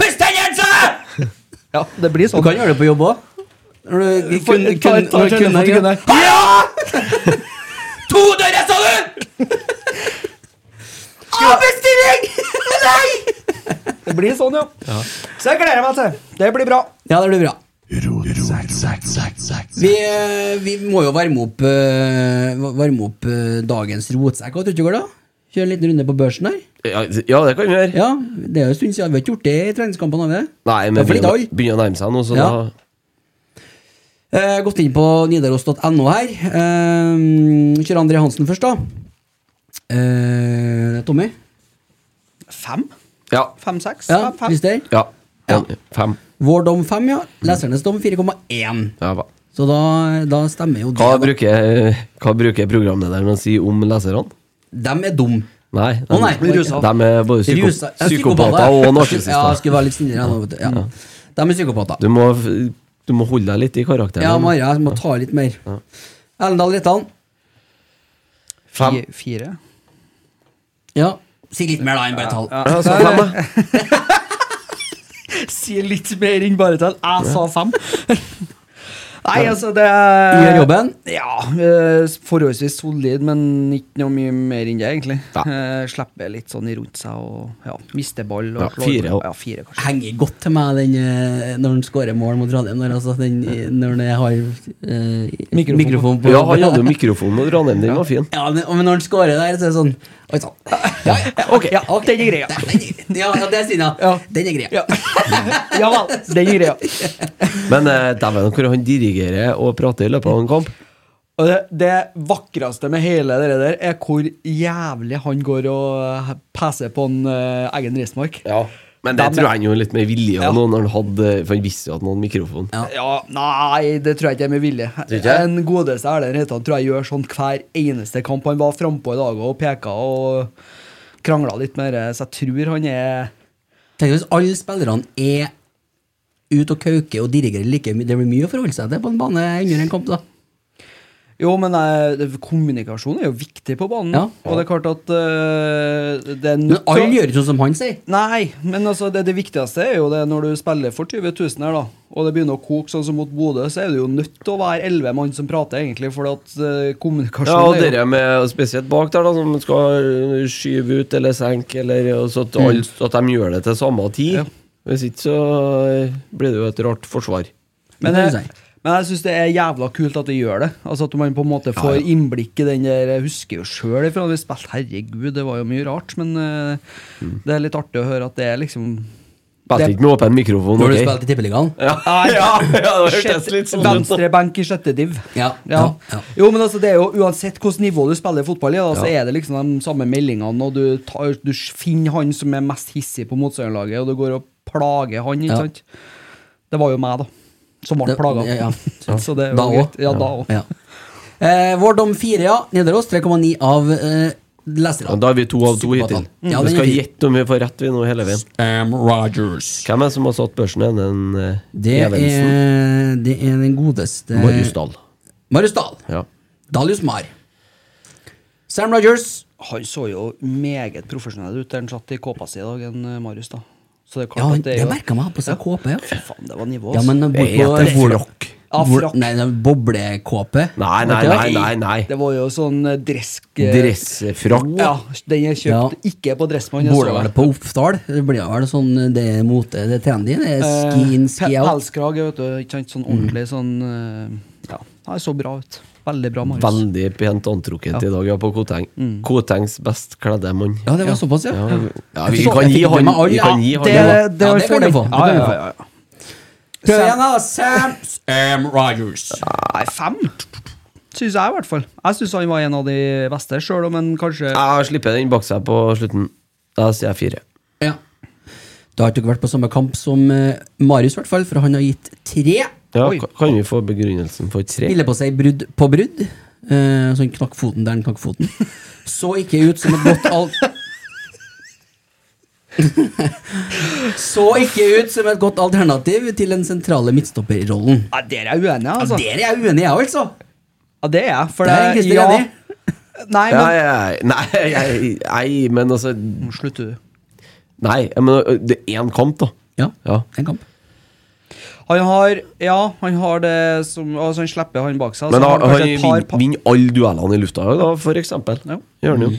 S2: Puss tennene, sa
S3: Ja, det blir
S2: Du
S3: sånn.
S2: kan gjøre det på jobb òg.
S3: For- ta- ta telefonen til Gunnar.
S2: Ja! To dører, sa du! Avbestilling! Nei!
S3: Det blir sånn, ja. Så jeg gleder meg til. Det blir bra.
S2: Ja, det blir bra. Vi, eh, vi må jo varme opp, eh, varme opp eh, dagens rotsekk. Hva tror du ikke går da? Kjøre en liten runde på børsen der?
S4: Ja, ja, det kan vi gjøre.
S2: Ja, Det er jo en stund siden. Vi har ikke gjort det i treningskampene. har vi det?
S4: Nei,
S2: Det
S4: men
S2: er for litt
S4: begynner,
S2: høy.
S4: begynner å nærme seg nå, så
S2: Ja.
S4: da
S2: Eh, gått inn på nidaros.no her. Eh, kjører André Hansen først, da. Eh, Tommy?
S3: Fem?
S4: Ja.
S3: Fem-seks?
S2: Ja, Christer?
S4: ja.
S2: Ja.
S4: En- Fem.
S2: Vår dom 5, ja. Lesernes dom 4,1.
S4: Ja, hva.
S2: Så da, da stemmer jo det. da.
S4: Hva bruker, eh, hva bruker programlederen å si om leserne?
S2: Dem er dum.
S4: Nei, de,
S2: Å, nei. Rusa.
S4: de er både psyko,
S2: Rusa- ja,
S4: psykopater og
S2: Ja, jeg
S4: narsissister.
S2: skulle være litt snillere. nå, vet du. Ja. De er psykopater.
S4: Du, må f- du må holde deg litt i karakteren.
S2: Ja, Maria, jeg må ta litt mer. Ellendal Rettan.
S4: Fem.
S3: Fi- Fire?
S2: Ja. Si litt mer, da, enn bare tall.
S4: Ja, Altså, så fem, da.
S3: Si litt mer enn bare til. Jeg sa fem. Nei, altså, det
S2: Gjør jobben.
S3: Ja, eh, forholdsvis solid, men ikke noe mye mer enn det, egentlig.
S4: Ja.
S3: Eh, Slipper litt sånn i rundt seg og ja, mister ball. Og
S4: Ja,
S3: slår-
S4: fire, ja.
S3: ja, fire kanskje.
S2: Henger godt til meg den, eh, når han skårer mål mot Trondheim. Når, altså, den, når han har eh,
S3: Mikrofon.
S2: mikrofon på
S4: Ja, han hadde jo mikrofon og Ranheim, den var fin.
S2: Ja, men, men når han skårer der, så er det sånn Oi sann. Ja, ja, ok.
S3: Ja, den er greia.
S2: Den- Ja, ja, det er Stina.
S3: Ja.
S2: Den er greia.
S3: Ja. ja vel, den er greia.
S4: Men eh, dæven, hvor han dirigerer og prater i løpet av en kamp.
S3: Og det, det vakreste med hele det der, er hvor jævlig han går og peser på en eh, egen Rismark.
S4: Ja, men det
S3: Dem-
S4: tror jeg han gjorde litt med vilje
S3: Ja.
S4: nå, når han hadde, for han visste jo at han hadde mikrofon.
S2: Ja.
S3: Ja, nei, det tror jeg ikke er med vilje.
S4: ikke jeg?
S3: En godeste Erlend Reitan tror jeg gjør sånn hver eneste kamp. Han var frampå i dag og peka og krangla litt med det, så jeg tror han er
S2: Tenk hvis alle spillerne er ute og kauker og dirigerer like mye. Det blir mye å forholde seg til på en bane under en kamp, da.
S3: Jo, men eh, det- kommunikasjon er jo viktig på banen.
S2: Ja.
S3: Og det er klart at eh, det er
S2: Men
S3: nødt
S2: alle
S3: til å-
S2: gjør ikke sånn som han sier.
S3: Nei, men altså det, det viktigste er jo det når du spiller for 20 000 her, da, og det begynner å koke sånn som mot Bodø, så er du jo nødt til å være elleve mann som prater, egentlig, for at eh, kommunikasjon
S4: Ja, og
S3: er jo
S4: dere med spesielt bak der, da, som skal øh, skyve ut eller senke, eller og så at,
S2: Mm.
S4: alle, at de gjør det til samme tid.
S3: Ja.
S4: Hvis ikke så øh, blir det jo et rart forsvar.
S3: Men
S2: Det kan du
S3: jeg,
S2: si.
S3: men jeg syns det er jævla kult at de gjør det. Altså At man på en måte får innblikk i den der Jeg husker jo sjøl ifra da vi
S2: Mm.
S3: spilte, herregud, det var jo mye rart, men eh, det er litt artig å høre at det er liksom
S4: Spilte ikke med åpen mikrofon,
S2: Når du
S4: ok?
S2: spilte i Tippeligaen? Ah,
S4: Ja, ja, ja, det hørtes
S3: Sjette-
S4: litt sånn ut.
S3: Venstre benk i sjette div.
S2: Ja,
S3: Ja.
S2: ja, ja.
S3: Jo, men altså, det er jo Uansett hvilket nivå du spiller fotball i, da, så er det liksom de samme meldingene, og du, tar, du finner han som er mest hissig på motstanderlaget, og du går og plager han. Ikke
S2: Ja.
S3: sant? Det var jo meg, da, som ble
S2: Det-
S3: plaga.
S2: ja, ja.
S3: Så det er
S2: Da
S3: jo greit.
S2: også.
S3: Ja, da òg.
S2: Ja. Eh, vår dom fire, ja. Nidaros 3,9 av eh, lesere.
S4: Ja, Da er vi to av to hittil.
S2: Ja, den
S4: vi
S2: er
S4: skal
S2: fin.
S4: gjette om vi får rett vi nå hele veien.
S2: Sam Rogers.
S4: Hvem er det som har satt børsen igjen? Den eh,
S2: Det
S4: Evensen?
S2: er, det er den godeste
S4: Marius Dahl.
S2: Marius Dahl.
S4: Ja.
S2: Dalius Mar. Sam Rogers.
S3: Han så jo meget profesjonell ut der han satt i kåpa si i dag, en eh, Marius, da. Så det er
S2: Ja,
S3: klart
S2: han-
S3: at det er
S2: det
S3: jo
S2: merka meg. Han På seg kåpe, ja.
S3: Fy faen, det var nivå,
S2: ja
S3: altså.
S2: men han bor på
S4: Heter det frakk?
S3: Ja,
S2: Hvor-
S3: frakk.
S2: Nei, det er boblekåpe.
S4: Nei,
S2: Vet
S4: nei,
S2: du hva?
S4: nei, nei, nei.
S3: Det var jo sånn eh, dresk... eh,
S4: Dressfrakk.
S3: Ja, den er kjøpt ikke på Dressmann. jeg
S2: Bor det
S3: så
S2: vel
S3: det.
S2: på Oppdal? Det blir vel sånn det er mote, det er trendy? Det er ski in, ski
S3: Eh, Pe-
S2: out?
S3: Pelskrage, vet du. Ikke sant? Sånn ordentlig sånn eh, Ja, han så bra ut. Veldig bra, Marius.
S4: Veldig pent antrukket i dag, ja, på Koteng. Kotengs best kledde mann.
S2: Mm. Ja, det var såpass, ja.
S4: Ja, ja,
S2: Jeg
S4: vi
S2: forstår-
S4: kan
S2: jeg
S4: gi
S2: fikk det
S4: han
S2: med alle,
S4: Vi kan
S2: ja.
S4: gi
S3: Det,
S4: han
S3: det,
S4: ja.
S2: det
S3: får
S2: var- ja, det
S3: den.
S2: får den.
S3: Ja, ja, ja, ja.
S2: Prøv igjen, da! Sam, Sam Rogers.
S3: Nei, fem syns jeg, i hvert fall. Jeg syns han var en av de beste, sjøl om han kanskje
S4: Jeg slipper den bak seg på slutten. Da sier jeg fire.
S2: Ja. Da har ikke dere vært på samme kamp som eh, Marius, i hvert fall, for han har gitt tre.
S4: Ja,
S3: Oi.
S4: ka- Kan vi få begrunnelsen for tre?
S2: Ville på seg brudd på brudd. Eh, så han knakk foten der han knakk foten. Så ikke ut som et godt al... så ikke ut som et godt alternativ til den sentrale midtstopperrollen.
S3: Nei, Der er jeg uenig,
S2: Ja,
S3: altså.
S2: der er jeg uenig, jeg òg, altså.
S3: Ja, det er jeg. For
S2: Der
S3: det
S2: er Christer
S3: ja.
S2: enig.
S3: Nei,
S4: Ja,
S3: men
S4: ja, ja. Nei, jeg- nei, men altså
S3: Nå slutter du.
S4: Nei, jeg mener, det er én kamp, da.
S2: Ja,
S4: Ja.
S2: en kamp.
S3: Han har Ja, han har det som Altså, han slipper han bak seg.
S4: Men
S3: så
S4: da,
S3: har
S4: han
S3: kanskje et par
S4: vinner
S3: pa-
S4: vinner alle duellene i lufta, da, for eksempel.
S3: Ja.
S4: Gjør han jo.
S2: Mm.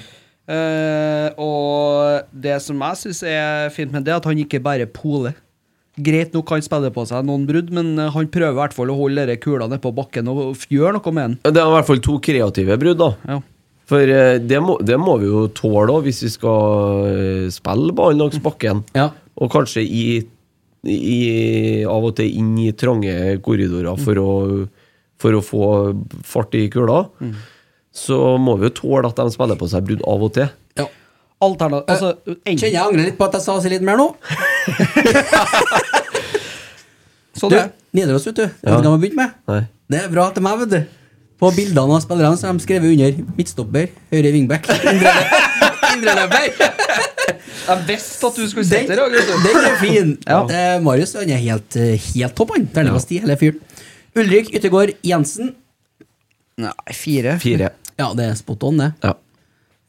S3: Eh, og det som jeg syns er fint med det, er at han ikke bare poler. Greit nok han spiller på seg noen brudd, men eh, han prøver i hvert fall å holde dere kula nede på bakken og f- gjøre noe med den.
S4: Det er i hvert fall to kreative brudd, da.
S3: Ja.
S4: For eh, det må, det må vi jo tåle da, hvis vi skal eh, spille ballen langs bakken.
S2: Ja.
S4: Og kanskje i, i Av og til inn i trange korridorer
S2: Mm.
S4: for, å, for å få fart i kula.
S2: Mm.
S4: Så må vi jo tåle at de spiller på seg brudd av og til.
S2: ja.
S3: Alterna- altså,
S2: Eh, Kjenner
S3: enten-
S2: jeg angrer litt på at jeg sa seg litt mer nå.
S3: Så Sånn
S2: Du,
S3: det.
S2: Nidaros, vet du. Jeg vet ikke hva vi begynte med.
S4: Nei.
S2: Det er bra til meg, vet du. På bildene av spillerne så har de skrevet under midtstopper, høyre wingback, indre indreløper.
S3: Jeg visste at du skulle
S2: Den,
S3: sitte her.
S2: den er fin. Eh, Marius han er helt, eh, helt topp, han. Terningkast ti, hele fyren. Ulrik Yttergård Jensen.
S3: Nei, fire.
S4: Fire.
S2: Ja, det er spot on, det.
S4: Ja.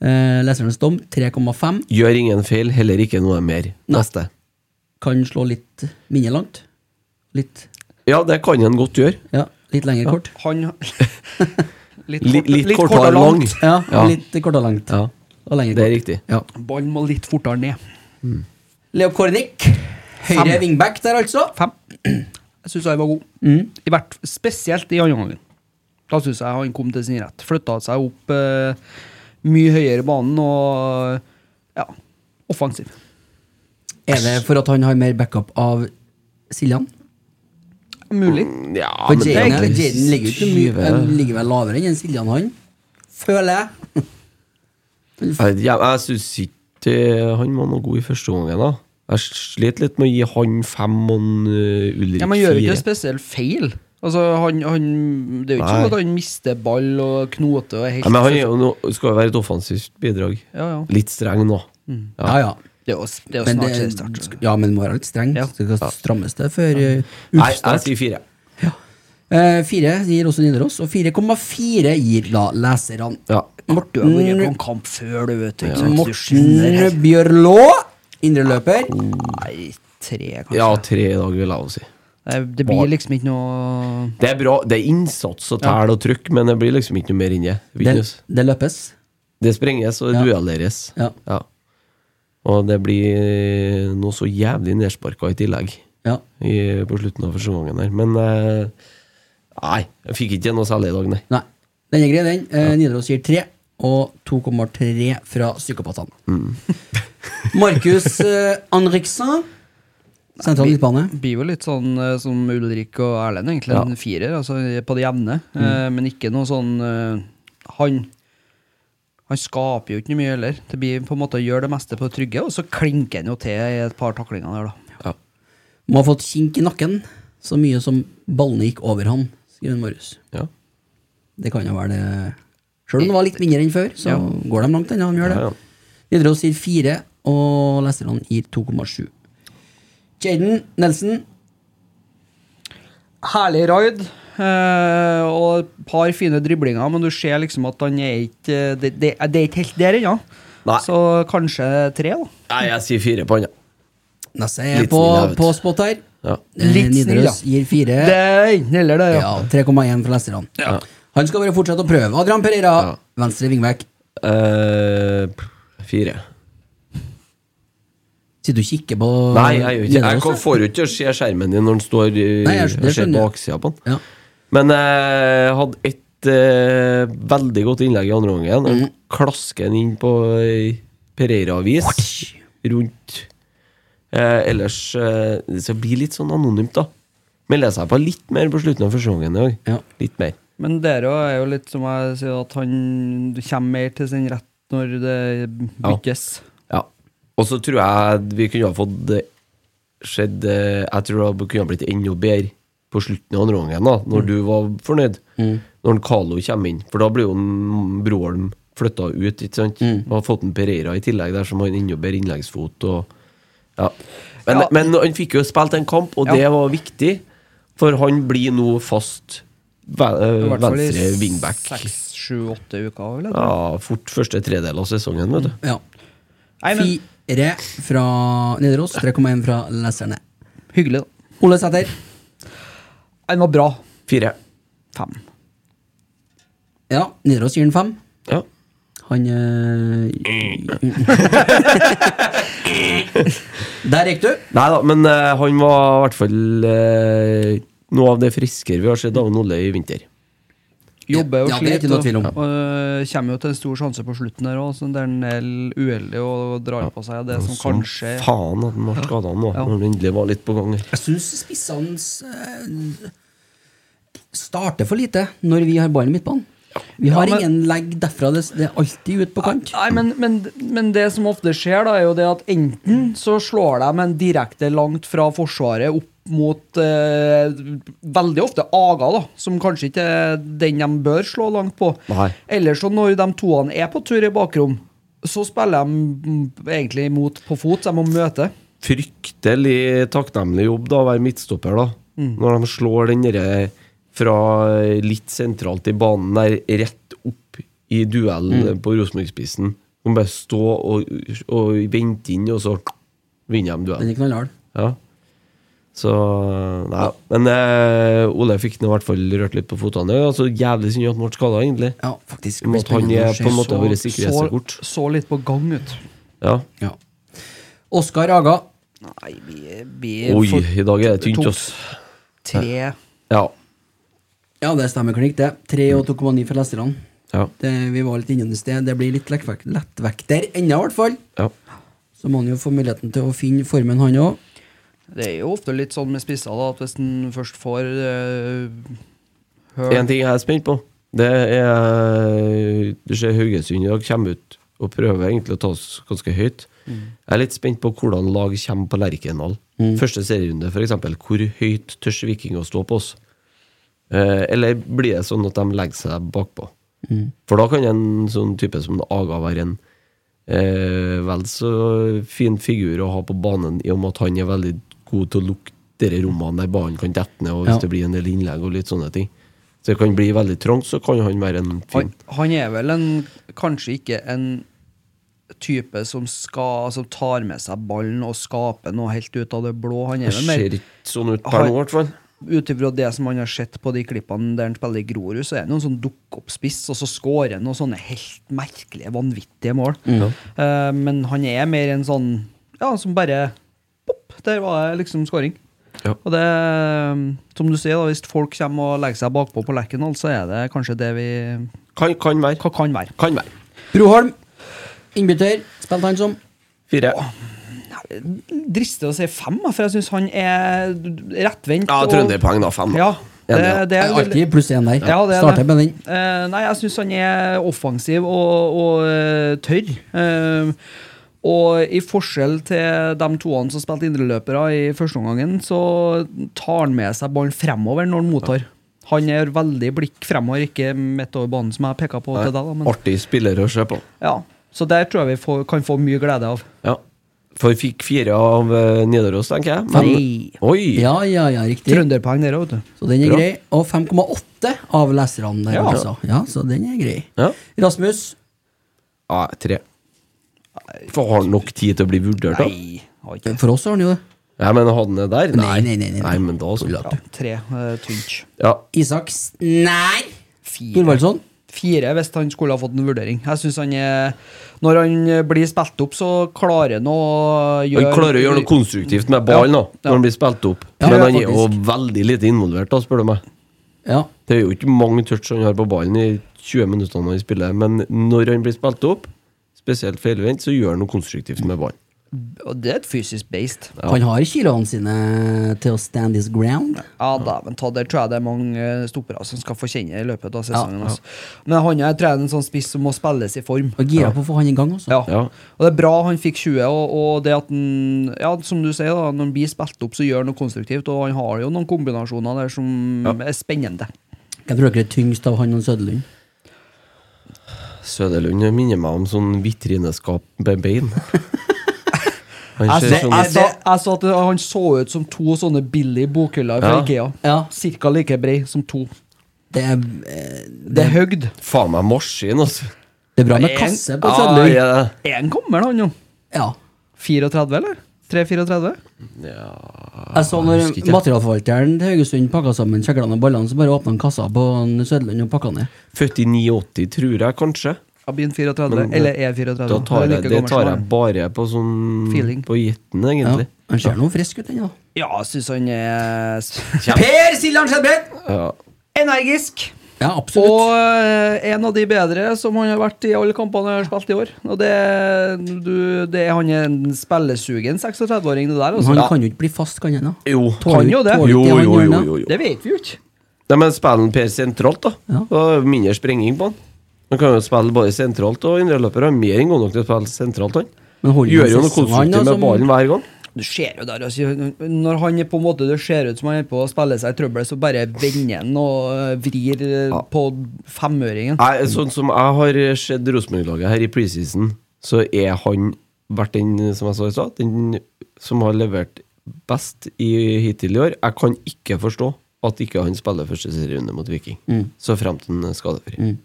S2: Eh, lesernes dom 3,5.
S4: Gjør ingen feil, heller ikke noe mer. Neste.
S2: Kan slå litt mindre langt. Litt,
S4: Ja, det kan en godt gjøre.
S2: ja, litt lengre kort.
S3: Han Litt,
S4: Li-
S3: kort,
S4: litt
S3: litt
S4: kortere
S3: kortere
S4: lang.
S3: langt.
S2: Ja,
S4: Ja.
S2: Litt kort og langt.
S4: Ja.
S2: Og lengre
S4: Det er
S2: kort.
S4: riktig.
S2: Ja.
S3: Ballen må litt fortere ned.
S2: Leo Kornic. Høyre wingback der, altså.
S3: Fem. Jeg syns han var god.
S2: Mm.
S3: I hvert, spesielt i andre gangen. Da syns jeg han kom til sin rett. Flytta seg opp eh, mye høyere i banen og eh, ja, offensiv.
S2: Er det for at han har mer backup av Siljan?
S3: Mulig.
S4: Ja,
S2: For
S4: men det er
S2: Jaden er-
S4: egentlig
S2: Jaden ligger, jo ikke mye-
S4: syve.
S2: han ligger vel lavere enn Siljan, han. Føler jeg.
S4: Jeg, jeg, jeg syns ikke eh, han var noe god i første gangen, da. Jeg sliter litt med å gi han fem og en, uh, Ulrik
S3: Ja, man gjør jo ikke
S4: fire.
S3: spesielt feil. Altså, han, han, det er jo ikke
S4: Nei.
S3: sånn at han mister ball og knoter og er helt
S4: Ja, men han er jo noe- skal jo være et offensivt bidrag.
S3: Ja, ja.
S4: Litt streng nå.
S2: Ja, ja.
S3: Det er jo, det er jo snart
S2: Men
S3: altså.
S2: det,
S3: seriestart. så.
S2: ja, men må være litt streng.
S3: Ja.
S2: så Det skal strammes det før eh,
S4: Nei, jeg
S2: utstart.
S4: sier fire.
S2: Eh, Fire gir også Nidaros, og 4,4 gir da leserne.
S4: Ja.
S3: Du har vært på
S2: Morten,
S3: en kamp før, du vet. Ikke, sant? Du skjønner.
S2: Morten Bjørlå, indreløper.
S3: Nei, tre, kanskje.
S4: ja, tre i dag, vil jeg også si.
S3: Det, det blir liksom ikke noe
S4: Det er bra, det er innsats og tæl og trykk, men det blir liksom ikke noe mer enn det.
S2: Det,
S4: Vinnes.
S2: det løpes.
S4: Det sprenges og
S2: Ja.
S4: duelleres.
S2: Ja.
S4: Og det blir noe så jævlig nedsparka i tillegg.
S2: Ja.
S4: i, på slutten av første gangen her. Men eh, nei, jeg fikk ikke noe særlig i dag, nei.
S2: Nei. Den er grei, den. Eh, Nidaros gir tre, og 2,3 fra psykopatene. Markus eh, Henriksen. Sentral midtbane.
S3: Blir jo litt sånn eh, som Ulrik og Erlend, egentlig.
S4: Ja.
S3: En firer, altså på det jevne.
S2: Mm.
S3: Eh, men ikke noe sånn eh, Han Han skaper jo ikke noe mye heller. Det blir på en måte å gjøre det meste på det trygge, og så klinker han jo til i et par taklinger der, da.
S4: Ja.
S2: Må ha fått kink i nakken så mye som ballene gikk over han, skriver Marius.
S4: Ja.
S2: Det kan jo være det. Sjøl om det var litt mindre enn før, så går de langt ennå. De gjør det.
S4: Ja, ja.
S2: Nidaros gir fire, og leserne gir 2,7. Jaden Nelson.
S3: Herlig raid. eh, og et par fine driblinger, men du ser liksom at han er ikke eh, Det, det, det er ikke helt der ennå.
S4: Nei.
S3: Så kanskje tre, da.
S4: Nei, jeg sier fire på han, ja.
S2: Nesse er
S4: Litt
S2: på,
S4: snill, jeg vet.
S2: på spot her.
S4: ja.
S2: Eh,
S3: Litt snill,
S2: Nidaros gir fire.
S3: Det er enten eller, det.
S2: Ja, 3,1 fra leserne.
S4: Ja.
S2: Han skal bare fortsette å prøve. Adrian Pereira, venstre wingback.
S4: Eh, fire.
S2: Sitter du og kikker på
S4: Nei, jeg, gjør ikke. jeg
S2: Nidaros,
S4: kan-
S2: da?
S4: får jo ikke se skjermen din når den står
S2: Nei,
S4: i-
S2: jeg skjønner-
S4: jeg ser
S2: skjønner.
S4: baksida på den.
S2: Ja.
S4: Men eh, jeg hadde et eh, veldig godt innlegg i andre omgang. Mm. Klasker den inn på eh, Pereira-avis rundt eh, Ellers eh, Det skal bli litt sånn anonymt, da. Melder seg på litt mer på slutten av første gangen i dag.
S2: Ja.
S4: Litt mer.
S3: Men dere er jo litt som jeg sier, at han kommer mer til sin rett når det byttes.
S4: Ja. Og så tror jeg vi kunne ha fått eh, skjedd eh, Jeg tror det kunne ha blitt enda bedre på slutten av andre omgangen, da,
S3: Mm.
S4: når du var fornøyd. Når en Carlo kommer inn. For da blir jo en Broholm flytta ut, ikke sant?
S3: Mm.
S4: Og har fått en Pereira i tillegg, der som har en enda bedre innleggsfot. Og, ja. Men,
S3: Ja.
S4: men han fikk jo spilt en kamp, og det var viktig, for han blir nå fast ve- eh,
S3: I hvert fall i
S4: venstre wingback.
S3: Seks, sju, åtte uker, vel? eller?
S4: Ja, fort første tredel av sesongen, vet du.
S2: Ja.
S3: Nei, men
S2: Fire fra Nidaros, 3,1 fra leserne.
S3: hyggelig, da.
S2: Ole Sæter.
S3: Han var bra.
S4: Fire.
S3: Fem.
S2: Ja, Nidaros gir den fem.
S4: Ja.
S2: Han øh, Der gikk du.
S4: Nei da, men eh, han var i hvert fall eh, noe av det friskere vi har sett av en Olle i vinter.
S3: Jobber og
S2: Ja, det er ikke
S3: sliter.
S2: noe tvil om.
S3: og, øh, kommer jo til en stor sjanse på slutten der òg, så det er en del uheldig og drar på seg det som
S4: Som
S3: kanskje
S4: faen at han ble skada nå,
S3: Ja.
S4: når han endelig var litt på gang. her.
S2: Jeg syns spissene eh, starter for lite når vi har ballen i midtbanen. Vi har
S3: Ja, men-
S2: ingen legg derfra. Det, det er alltid ut på kant.
S3: Nei, men, men, men det som ofte skjer, da, er jo det at enten så slår de en direkte langt fra Forsvaret opp mot eh, veldig ofte Aga, da, som kanskje ikke er den de bør slå langt på.
S4: Nei.
S3: Eller så når de toene er på tur i bakrom, så spiller de mm, egentlig mot på fot, så de må møte.
S4: Fryktelig takknemlig jobb da, å være midtstopper, da.
S3: Mm.
S4: Når de slår den derre fra eh, litt sentralt i banen der, rett opp i
S3: Mm.
S4: duellen på Rosenborg-spissen. De bare stå og, og vente inn, og så vinner de duellen.
S2: Den er knallhard.
S4: Ja. Så Nei. Men eh, Ole fikk den i hvert fall rørt litt på fotene. Ja, så altså jævlig synd at han ble skada, egentlig.
S2: Ja, faktisk.
S4: Om
S2: blir
S4: at han
S2: spennende å
S4: er
S2: se.
S4: på en måte
S2: Så-
S4: vår
S3: Så,
S4: sikkerhetskort.
S3: så litt på gang, ut.
S4: Ja.
S2: ja. Oskar Aga.
S3: Nei, vi, vi
S4: Oi,
S3: får
S4: i dag er det tynt,
S3: to-
S4: ass.
S3: tre
S4: Ja.
S2: Ja, det stemmer klikk, det. 3
S4: Mm.
S2: og 2,9 for leserne.
S4: Ja.
S2: Det, vi var litt innom det i sted. Det blir litt lettvek- lettvekter ennå, i hvert fall.
S4: ja.
S2: Så må han jo få muligheten til å finne formen, han òg.
S3: Det er jo ofte litt sånn med spisser da, at hvis en først får uh,
S4: En ting jeg er spent på, det er Du ser Haugesund i dag kommer ut og prøver egentlig å ta oss ganske høyt. Jeg er litt spent på hvordan lag kommer på Lerkendal. Første serierunde, f.eks. Hvor høyt tør Viking å stå på oss? Eh, eller blir det sånn at de legger seg bakpå?
S3: Mm.
S4: For da kan en sånn type som Aga være en eh, vel så fin figur å ha på banen, i og med at han er veldig god til å lukte de rommene der ballen kan dette ned, og hvis
S2: Ja.
S4: det blir en del innlegg og litt sånne ting. Så det kan bli veldig trangt, så kan han være en fin
S3: han, han er vel en, kanskje ikke en type som, skal, som tar med seg ballen og skaper noe helt ut av det blå. Han
S4: Det
S3: er vel mer
S4: ser ikke sånn ut per nå, i hvert fall.
S3: ut ifra det som han har sett på de klippene der han spiller i Grorud, så er han jo en sånn dukk-opp-spiss, og så scorer han noen sånne helt merkelige, vanvittige mål. Eh, men han er mer en sånn ja, som bare pop, Der var det liksom scoring.
S4: Ja.
S3: Og det, eh, som du sier, da, hvis folk kommer og legger seg bakpå på Lerkendal, så er det kanskje det vi
S4: Kan, kan være.
S3: hva kan være.
S4: Kan være.
S2: Broholm, innbytter, spilte han som.
S4: Fire.
S3: Ja, dristig å si fem, da, for jeg syns han er rettvendt.
S4: Ja,
S3: og-
S4: Trønderpoeng, da. Fem. da.
S3: Ja, det,
S4: Enig,
S3: det er
S2: Alltid pluss én der.
S3: Ja, det er
S2: Starter
S3: det.
S2: med den.
S3: Eh, nei, jeg syns han er offensiv og, og eh, tørr. Eh, og i forskjell til de toene som spilte indreløpere i første omgangen, så tar han med seg ballen fremover når han mottar. Han er veldig blikk fremover, ikke midt over banen, som jeg peka på til deg. Da, men,
S4: Artig spiller å se på.
S3: ja. Så der tror jeg vi får, kan få mye glede av.
S4: Ja. For fikk fire av eh, Nidaros, tenker jeg. Men
S3: Nei.
S4: oi!
S2: Ja, ja, ja, riktig.
S3: Trønderpoeng der òg, vet du.
S2: Så den er
S4: Bra.
S2: grei. Og 5,8 av leserne der,
S3: Ja.
S2: altså. Ja, så den er grei.
S4: Ja.
S2: Rasmus,
S4: Ja, tre. For har han nok tid til å bli vurdert, da? Nei,
S3: Har ikke
S2: for oss har han jo det.
S4: men hadde han det der?
S2: Nei, nei, nei, nei.
S4: men da så. Ja.
S3: tre. eh, tynt.
S2: Isak Snær
S3: Fire.
S2: Thorvaldsson.
S3: fire hvis han skulle ha fått en vurdering. Jeg synes han er, Når han eh, blir spilt opp, så klarer han å gjøre
S4: Han klarer å gjøre noe konstruktivt med ballen da,
S3: Ja.
S4: når han blir spilt opp.
S2: Ja,
S4: men
S2: ja,
S4: han er jo
S2: faktisk.
S4: veldig lite involvert, da, spør du meg.
S2: Ja.
S4: Det er jo ikke mange touch han har på ballen i 20 minutter han spiller, men når han blir spilt opp, spesielt feilvendt, så gjør han noe konstruktivt med ballen.
S3: Og Det er et fysisk beist.
S2: Han har kiloene sine til å stand his ground.
S3: Ja, da, men ta Der tror jeg det er mange eh, stoppere som skal få kjenne i løpet av sesongen. altså. Men han er, tror jeg er en sånn spiss som må spilles i form.
S2: Og gira på å få han i gang også.
S3: Ja.
S4: Ja.
S3: Og det er bra han fikk 20, og, og det at han ja, som du sier da, når han blir spilt opp, så gjør han noe konstruktivt. Og han har jo noen kombinasjoner der som er spennende.
S2: Jeg tror dere er tyngst av han og Søderlund.
S4: Søderlund minner meg om sånn vitrineskap med bein. Han
S3: Jeg
S4: ser
S3: så,
S4: sånn
S3: jeg, så, jeg så at han så ut som to sånne billige bokhyller fra
S4: Ja.
S3: Ikea.
S2: Ja.
S3: Cirka like brei som to.
S2: Det er, eh,
S3: Det er høgd.
S4: faen meg maskin, altså.
S2: det er bra med
S3: En-
S2: kasse på
S4: Ah,
S2: Søderlund.
S4: ja.
S3: Er han gammel, han jo?
S2: Ja.
S3: 34, eller? 3-34?
S2: Jeg så når
S4: husker ikke.
S2: materialforvalteren til Haugesund pakka sammen kjeglene og ballene, så bare åpna han kassa på han Søderlund og pakka ned.
S4: Født i 89, tror jeg kanskje.
S3: Ja, blir han 34,
S4: Men det-
S3: eller er 34?
S4: Da tar
S3: Han er
S4: jeg,
S3: like
S4: det
S3: gammel som
S4: tar jeg
S3: han.
S4: bare på sånn
S3: Feeling.
S4: På gjetten,
S2: Ja.
S4: egentlig.
S2: Han ser nå frisk ut, den, da.
S3: Ja, jeg syns han er
S2: Per Siljan Skjelbred!
S4: Ja.
S3: energisk.
S2: Ja,
S3: Og
S2: absolutt.
S3: eh, en av de bedre som han har vært i alle kampene han har spilt i år. Og det, du, det Han er en spillesugen 36-åring, det der. Altså.
S2: han kan jo ikke bli fast, kan han? da?
S4: Jo.
S3: Kan jo det.
S2: Tåler
S4: Jo,
S2: ikke han
S4: jo, jo,
S2: gjør det.
S4: jo, jo.
S3: Det vet vi jo ikke.
S4: Nei, men spiller han Per sentralt, da?
S2: Ja.
S4: Da er det mindre sprenging på han. Han kan jo spille både sentralt og indreløper. Han er mer enn god nok til å spille sentralt, han.
S2: Men holder han
S4: Gjør jo noe
S2: sesongen, da,
S4: konstruktivt med
S2: som-
S4: ballen hver gang.
S3: Du ser jo der altså, Når han er på en måte Det ser ut som han er på å spille seg i trøbbel, så bare vender han og øh, vrir øh, på femøringen.
S4: Nei, sånn som jeg har sett Rosenborg-laget her i preseason, så er han vært den, som jeg sa i stad, den som har levert best i, hittil i år. Jeg kan ikke forstå at ikke han spiller første serierunde mot Viking, så fremt han er skadefri.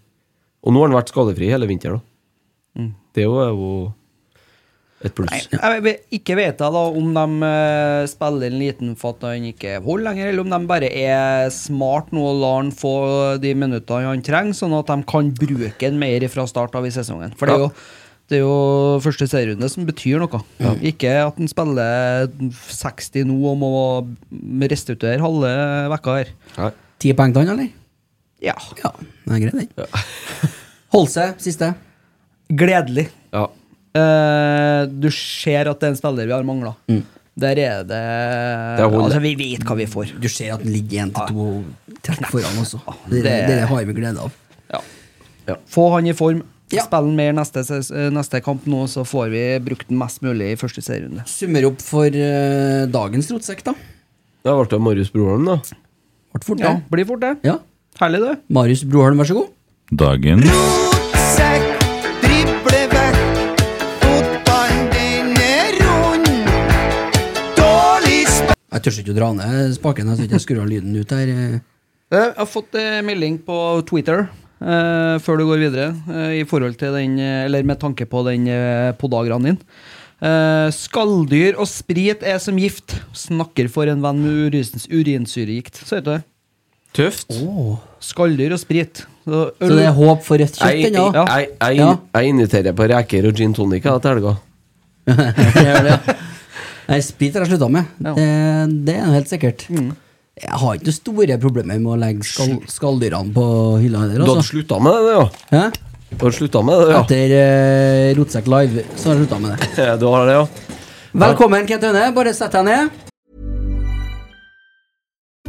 S4: Og nå har han vært skadefri hele vinteren, da. Det er jo- er jo et pluss.
S3: Jeg vet, ikke vet jeg da om de øh, spiller en liten for at han ikke holder lenger, eller om de bare er smart nå og lar han få de minuttene han trenger, sånn at de kan bruke han mer fra start av i sesongen. For det er
S4: Ja.
S3: jo, det er jo første serierunde som betyr noe. Ikke at han spiller 60 nå og må restituere halve vekka her.
S4: Nei.
S2: Ti poeng til han, eller?
S3: Ja.
S2: Ja, den er grei, den. Holse, siste.
S3: Gledelig.
S4: Ja.
S3: Eh, du ser at det er en spiller vi har mangla. Der er det
S4: Det holder.
S3: Altså, vi vet hva vi får.
S2: Du ser at den ligger én til to trekk foran også. Det,
S3: Det-
S2: det, det har vi glede av.
S3: Få han i form.
S2: Ja.
S3: Spill han mer neste, ses- eh, neste kamp nå, så får vi brukt den mest mulig i første serierunde.
S2: Summer opp for eh, dagens rotsekk, da.
S4: Da ble det Marius Broholm, da.
S2: Ble fort,
S3: Ja,
S2: det.
S3: blir fort, det.
S2: Ja.
S3: Herlig, det.
S2: Marius Broholm, vær så god.
S6: Dagen
S1: Rotsekk, drible vekk. Fotballen din er rund. Dårlig spill
S2: Jeg tør ikke å dra ned spaken. Jeg skal ikke skru av lyden ut her. eh.
S3: Jeg har fått eh, melding på Twitter eh, før du går videre, eh, i forhold til den, eh, eller med tanke på den eh, podagranen din. Eh, skalldyr og sprit er som gift. Snakker for en venn med urins- urinsyregikt. Så heter det.
S4: Tøft.
S3: Skalldyr og sprit. Så
S2: Så
S3: øl
S2: det er håp for rødt kjøtt,
S4: Jeg, jeg,
S2: den, ja.
S4: jeg,
S2: Ja.
S4: jeg, jeg inviterer på reker og gin tonic ja, til helga.
S2: Det gjør det. Nei, sprit har jeg slutta med.
S3: Ja.
S2: Det, Eh, det er helt sikkert. Jeg har ikke noe store problemer med å legge skall, skalldyrene på hylla heller,
S4: Du hadde
S2: altså.
S4: slutta med det, ja?
S2: Hæ?
S4: Du hadde slutta med det, ja?
S2: Etter eh, Rotsekk Live, så har jeg slutta med det.
S4: Du har det, ja?
S2: Velkommen, Kent Aune. Bare sett deg ned.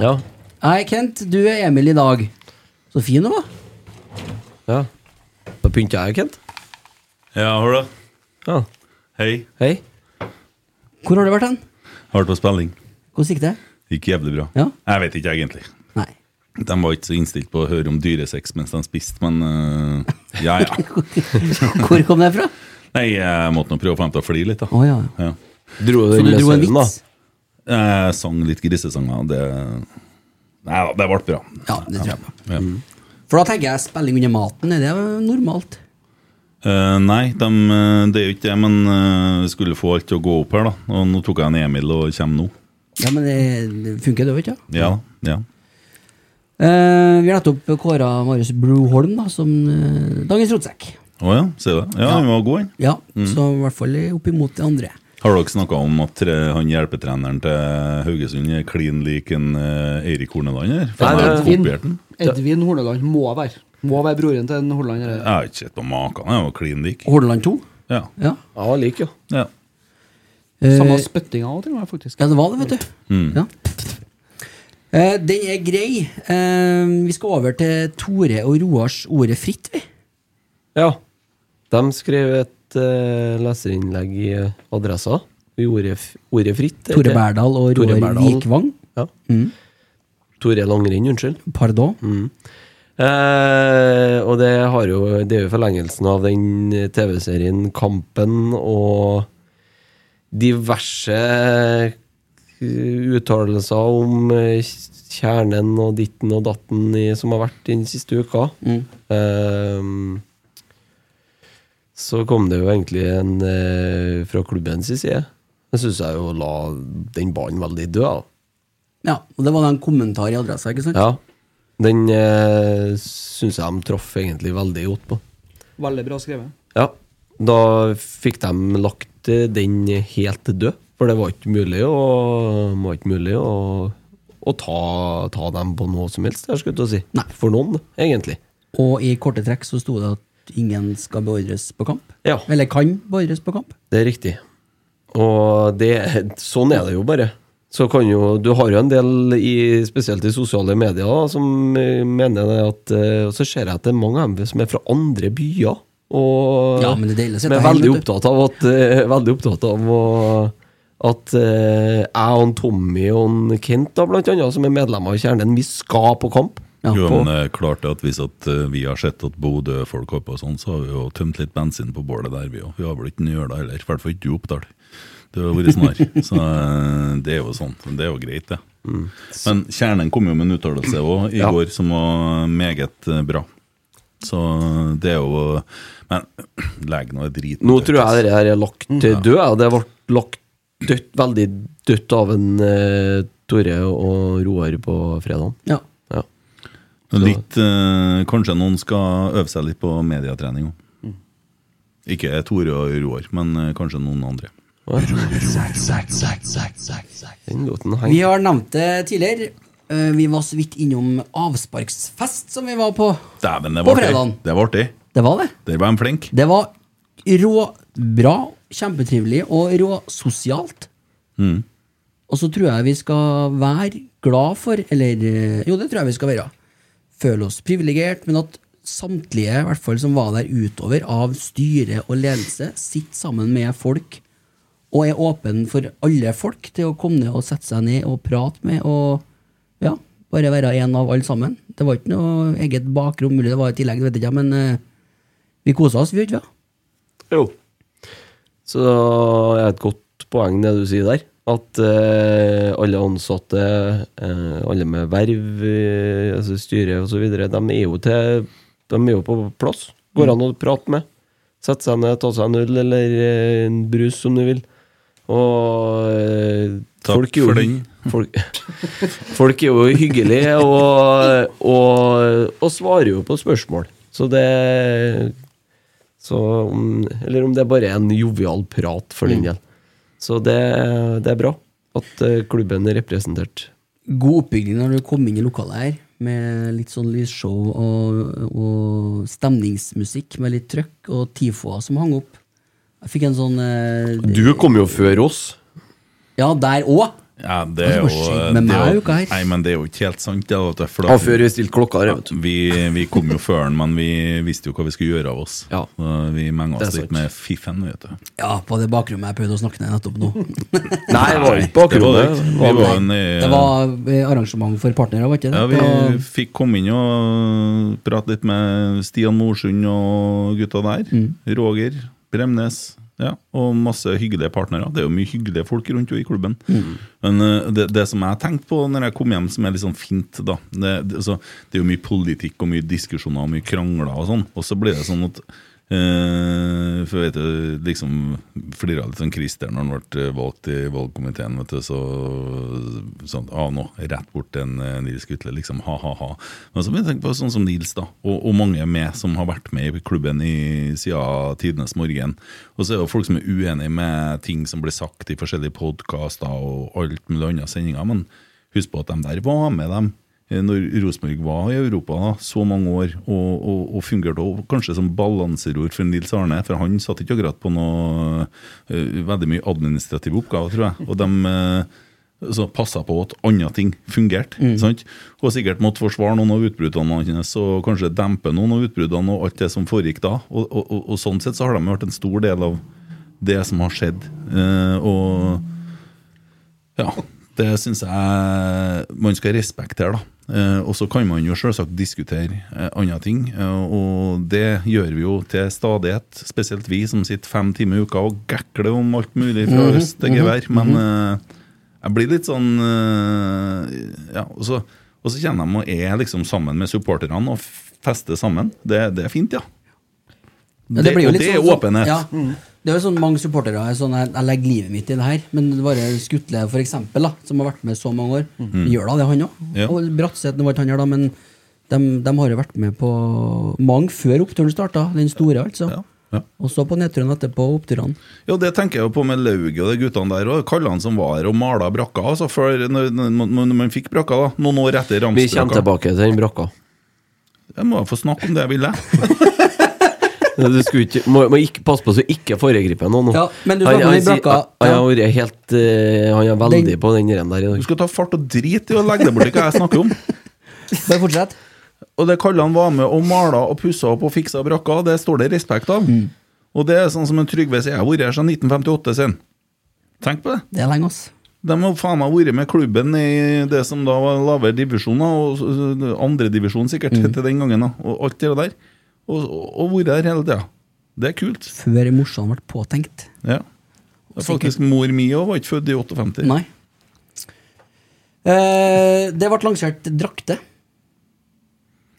S4: Ja.
S2: Hei, Kent. Du er Emil i dag. Så fin du var.
S4: ja. Da pynter jeg, Kent.
S7: Ja, hør da.
S4: Ja.
S7: Hei.
S4: Hei.
S2: Hvor har du vært hen?
S7: Har vært på spilling.
S2: Hvordan gikk det?
S7: Gikk jævlig bra.
S2: Ja.
S7: Jeg vet ikke egentlig.
S2: Nei.
S7: De var ikke så innstilt på å høre om dyresex mens de spiste, men øh, ja, ja.
S2: Hvor kom det fra?
S7: Nei, jeg måtte nå prøve å få dem til å flire litt, da.
S2: Å ja.
S7: Ja.
S4: Dro
S2: Så
S4: den
S2: du
S4: med
S2: dro en
S4: søvn, da?
S2: vits?
S7: Jeg sang litt grisesanger, og det Nei da, det ble bra.
S2: Ja, det tror jeg på.
S7: Ja.
S2: For da tenker jeg spilling under maten, er det jo normalt?
S7: Eh, nei, dem, eh, det er jo ikke det, men eh, vi skulle få alt til å gå opp her, da. Og nå tok jeg en Emil og kommer nå.
S2: Ja, men det, det funker det jo ikke? Ja.
S7: Ja, ja.
S2: Eh, vi har nettopp kåra Marius Broholm da, som eh, dagens rotsekk.
S7: Å ja, ser du det? Ja, han var god, han.
S2: Ja, Så i hvert fall opp imot de andre.
S7: Har dere snakka om at tre, han hjelpetreneren til Eh, Haugesund er klin lik en eh, Eirik Horneland her? For
S3: Nei,
S7: han har
S3: det er Finn.
S7: kopiert den.
S3: Edvin Horneland må være Må være broren til en Horneland. eller?
S7: Jeg har ikke sett på maken, han er jo klin lik.
S2: Hordaland 2?
S7: Ja.
S2: Ja.
S4: Ja, han liker jo.
S7: ja.
S2: Eh,
S3: Samme spyttinga òg, tror jeg faktisk.
S2: Ja, det var det, vet du. Ja. Eh, den er grei. Eh, vi skal over til Tore og Roars Ordet fritt, vi.
S4: Ja. De skrev et eh, leserinnlegg i eh, Adressa. I ordet, f- ordet fritt.
S3: eh,
S4: heter
S2: Tore
S4: det.
S2: Berdal og
S4: Tore
S2: Roar
S4: Berdal.
S2: Vikvang. Mm.
S4: Ja. Tore Langrenn, unnskyld.
S2: Pardon.
S4: Mm. Eh, og det, har jo, det er jo forlengelsen av den TV-serien Kampen og diverse eh, uttalelser om eh, kjernen og ditten og datten i, som har vært den siste uka. Eh, så kom det jo egentlig en eh, fra klubbens side. Det syns jeg jo la den ballen veldig død. da.
S2: Ja, og det var da en kommentar i adressa, ikke sant?
S4: Ja. Den eh, syns jeg de traff egentlig veldig godt på.
S3: Veldig bra skrevet.
S4: Ja. Da fikk de lagt eh, den helt død, for det var ikke mulig å, var ikke mulig å, å ta, ta dem på noe som helst, jeg skulle til å si.
S2: Nei.
S4: For noen, egentlig.
S2: Og i korte trekk så sto det at ingen skal beordres på kamp.
S4: Ja.
S2: Eller kan beordres på kamp.
S4: Det er riktig. Og det, sånn er det jo bare. Så kan jo, Du har jo en del, i, spesielt i sosiale medier, da, som eh, mener det at eh, Og så ser jeg at det er mange av dem som er fra andre byer. Og
S2: Ja, men det er deilig å sitte
S4: som er
S2: her, vet
S4: veldig
S2: du.
S4: opptatt av at, eh, veldig opptatt av å, at eh, jeg og en Tommy og en Kent, da, blant annet, som er medlemmer av Kjernen, vi skal på kamp.
S2: Ja,
S7: Jo,
S2: på-
S7: men eh, klart at Hvis at eh, vi har sett at Bodø-folk holder på sånn, så har vi jo tømt litt bensin på bålet der, vi òg. Vi har vel ikke nøla heller. I hvert fall ikke du, Oppdal. Det har vært snar. Så eh, det er jo sånn. Det er jo greit, det. Men Kjernen kom jo med en uttalelse òg i
S4: Ja.
S7: går som var meget eh, bra. Så det er jo Men legg nå driten
S4: Nå
S7: dødt,
S4: tror jeg
S7: altså.
S4: det her er lagt til død. ja. Det ble lagt dødt, veldig dødt av en eh, Tore og Roar på fredagen.
S2: ja.
S4: Ja.
S2: Mm.
S7: Litt, eh, kanskje noen skal øve seg litt på mediatrening òg. Ikke Tore og Roar, men eh, kanskje noen andre.
S4: Den låten
S2: Vi har nevnt det tidligere. Eh, Vi var så vidt innom avsparksfest som vi var på.
S7: Dæven, det
S2: På
S7: var artig.
S2: fredagen.
S7: Det var artig.
S2: Det var det.
S7: Der var de flinke.
S2: Det var råbra, kjempetrivelig og råsosialt.
S7: Mm.
S2: Og så tror jeg vi skal være glad for, eller eh, jo, det tror jeg vi skal være, føle oss privilegert, men at samtlige, i hvert fall som var der utover, av styre og ledelse, sitter sammen med folk og er åpen for alle folk til å komme ned og sette seg ned og prate med og ja, bare være en av alle sammen. Det var ikke noe eget bakrom, mulig det var i tillegg, det vet jeg ikke, men eh, vi kosa oss, vi gjorde ikke det?
S4: Jo. Så det er et godt poeng det du sier der. At eh, alle ansatte, eh, alle med verv, eh, altså styre osv., de, er jo til- de er jo på plass. Går
S7: Mm.
S4: an å prate med. Sette seg ned, ta seg en øl eller eh, en brus, om du vil. Og eh,
S7: Takk
S4: folk er jo-
S7: for den.
S4: Folk, folk er jo hyggelige og, og, og svarer jo på spørsmål. Så det så, om, Eller om det bare er en jovial prat for den
S2: Mm.
S4: del. Så det, det er bra at eh, klubben er representert.
S2: God oppbygging når du kom inn i lokalet her, med litt sånn lysshow og, og stemningsmusikk med litt trøkk, og tifoer som hang opp. Jeg fikk en sånn eh,
S4: Du kom jo før oss.
S2: Ja, der òg!
S7: Ja, det
S2: Hva
S7: er jo eh,
S2: som har skjedd med
S7: det er
S2: meg
S7: jo-
S2: uka her?
S7: Nei, men det er jo ikke helt sant. Det, vet du, for da-
S4: Ja, før vi stilte klokka her, vet du.
S7: Vi, vi kom jo før den, men vi visste jo hva vi skulle gjøre av oss.
S4: Ja.
S7: Så Vi menga
S4: Det er
S7: oss litt
S4: sant.
S7: med fiffen, vet du.
S2: Ja, på det bakrommet jeg prøvde å snakke ned nettopp nå.
S4: Nei, det var ikke
S7: Det var det
S4: bakrommet.
S7: ikke.
S4: Det
S7: Vi
S4: var-
S7: var en, eh,
S2: Det var eh, arrangement for partnere, var ikke det?
S7: ja, vi
S2: På-
S7: fikk komme inn og prate litt med Stian Morsund og gutta der.
S2: Mm.
S7: Roger Bremnes. Ja, og masse hyggelige partnere. Det er jo mye hyggelige folk rundt jo i klubben.
S2: Mm.
S7: Men eh, det, det som jeg tenkte på når jeg kom hjem, som er litt sånn fint da Det, det, altså, det er jo mye politikk og mye diskusjoner og mye krangler og sånn. Og så blir det sånn at Eh, for vet du, liksom flira litt sånn Christer når han ble valgt i valgkomiteen. Vet du, så sånn, ah, nå, Rett bort til en eh, Nils Gutle, liksom. Ha, ha, ha. Men så må jeg tenke på sånn som Nils, da. Og, og mange med som har vært med i klubben i siden tidenes morgen. Og så er det jo folk som er uenige med ting som blir sagt i forskjellige podkaster og alt mulig annet sendinger. Men husk på at de der var med, dem eh, når Rosenborg var i Europa da, så mange år, og, og, og fungerte også kanskje som balanserord for Nils Arne, for han satt ikke akkurat på noe eh, veldig mye administrative oppgaver, tror jeg. Og de eh, så passa på at andre ting fungerte. Sant? Og sikkert måtte forsvare noen av utbruddene hans, og kanskje dempe noen av utbruddene og alt det som foregikk da. Og, og, og, og sånn sett så har de vært en stor del av det som har skjedd. Eh, og ja, det syns jeg man skal respektere, da. Eh, og så kan man jo selvsagt diskutere eh, andre ting, eh, og det gjør vi jo til stadighet. Spesielt vi som sitter fem timer i uka og gekler om alt mulig fra
S2: Mhm,
S7: øst til
S2: mhm,
S7: gevær. Men eh, jeg blir litt sånn eh, Ja, og så, og så kjenner jeg meg og er liksom sammen med supporterne og f- fester sammen. Det, det er fint, ja.
S2: Ja, det blir jo
S7: og
S2: litt
S7: det
S2: sånn-
S7: er åpenhet.
S2: Ja. Det er jo sånn mange supportere er sånn, jeg, jeg legger livet mitt i det her, men det bare Skutle for eksempel, da, som har vært med så mange år, gjør da det, han òg.
S7: Ja.
S2: Og Bratseth nå var ikke han her, da, men de, har jo vært med på mange før oppturen starta, den store, altså.
S7: Ja, ja.
S2: Og så på nedturene etterpå, oppturene.
S7: Ja, det tenker jeg jo på med Lauget og de guttene der òg. Kalle han som var her og mala brakka. Altså, før, når, når, når man fikk brakka, da. Noen år etter
S4: Vi kommer
S7: Ramsbrakka.
S4: tilbake til den brakka.
S7: Jeg må få snakke om det jeg ville.
S4: Du skulle ikke, må, må ikke passe på så ikke foregripe noen nå.
S2: Ja, men du
S4: Han-
S2: snakker om
S4: han
S2: den
S4: sier-
S2: brakka.
S4: Han han har vært helt eh, Han er veldig
S2: Den-
S4: på den der i
S7: Du
S4: dag.
S7: skal ta fart og drit i å legge deg bort i hva jeg snakker om.
S2: Bare fortsett.
S7: Og det Kalle han var med og mala og pussa opp og fiksa brakka, det står det respekt av.
S4: Mm.
S7: Og det er sånn som en Trygve sier, jeg har vært her siden 1958 sin. Tenk på det.
S2: Det er lenge, ass.
S7: De har faen meg vært med klubben i det som da var lavere divisjoner, og andredivisjon sikkert,
S5: Mm.
S7: til den gangen, da, og alt det der. Og, og vært der hele tida. Det er kult.
S2: Før morsan ble påtenkt.
S7: Ja. Det er faktisk mor mi òg var ikke født i 58.
S2: Nei. Eh, det ble lansert drakter.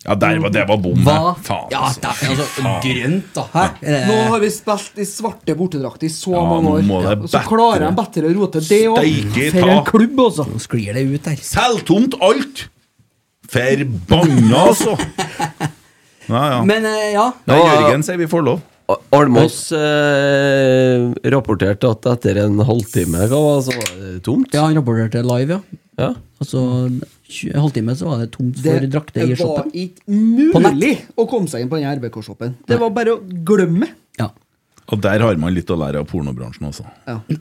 S7: Ja, der var, det var bom, det.
S2: Hva?
S7: Faen,
S2: ja,
S7: altså.
S2: det er altså
S7: Faen.
S2: grønt, da. Hæ? Er
S5: Nå
S2: det-
S5: har vi spilt i svarte bortedrakter i så
S7: Ja,
S5: mange
S7: nå
S5: år.
S7: må det
S5: Og så
S7: bedre.
S5: klarer de bedre å rote det òg.
S7: Steike
S5: For
S7: ta.
S5: en klubb, altså.
S2: Nå sklir det ut her.
S7: Selvtomt alt! Forbanna, altså! Ja, ja.
S2: Men eh, ja,
S7: Nei, Jørgen sier vi får lov.
S4: Almås eh, rapporterte at etter en halvtime hva var det, så var det tomt.
S2: Ja, han rapporterte live, ja.
S4: Ja.
S2: Altså, tjue- en halvtime så var det tomt for
S3: Det
S2: drakter i
S3: var
S2: shoppen.
S3: ikke
S2: På nett.
S3: mulig å komme seg inn på denne RBK-shoppen. Det var bare å glemme.
S2: Ja.
S7: Og der har man litt å lære av pornobransjen altså. også.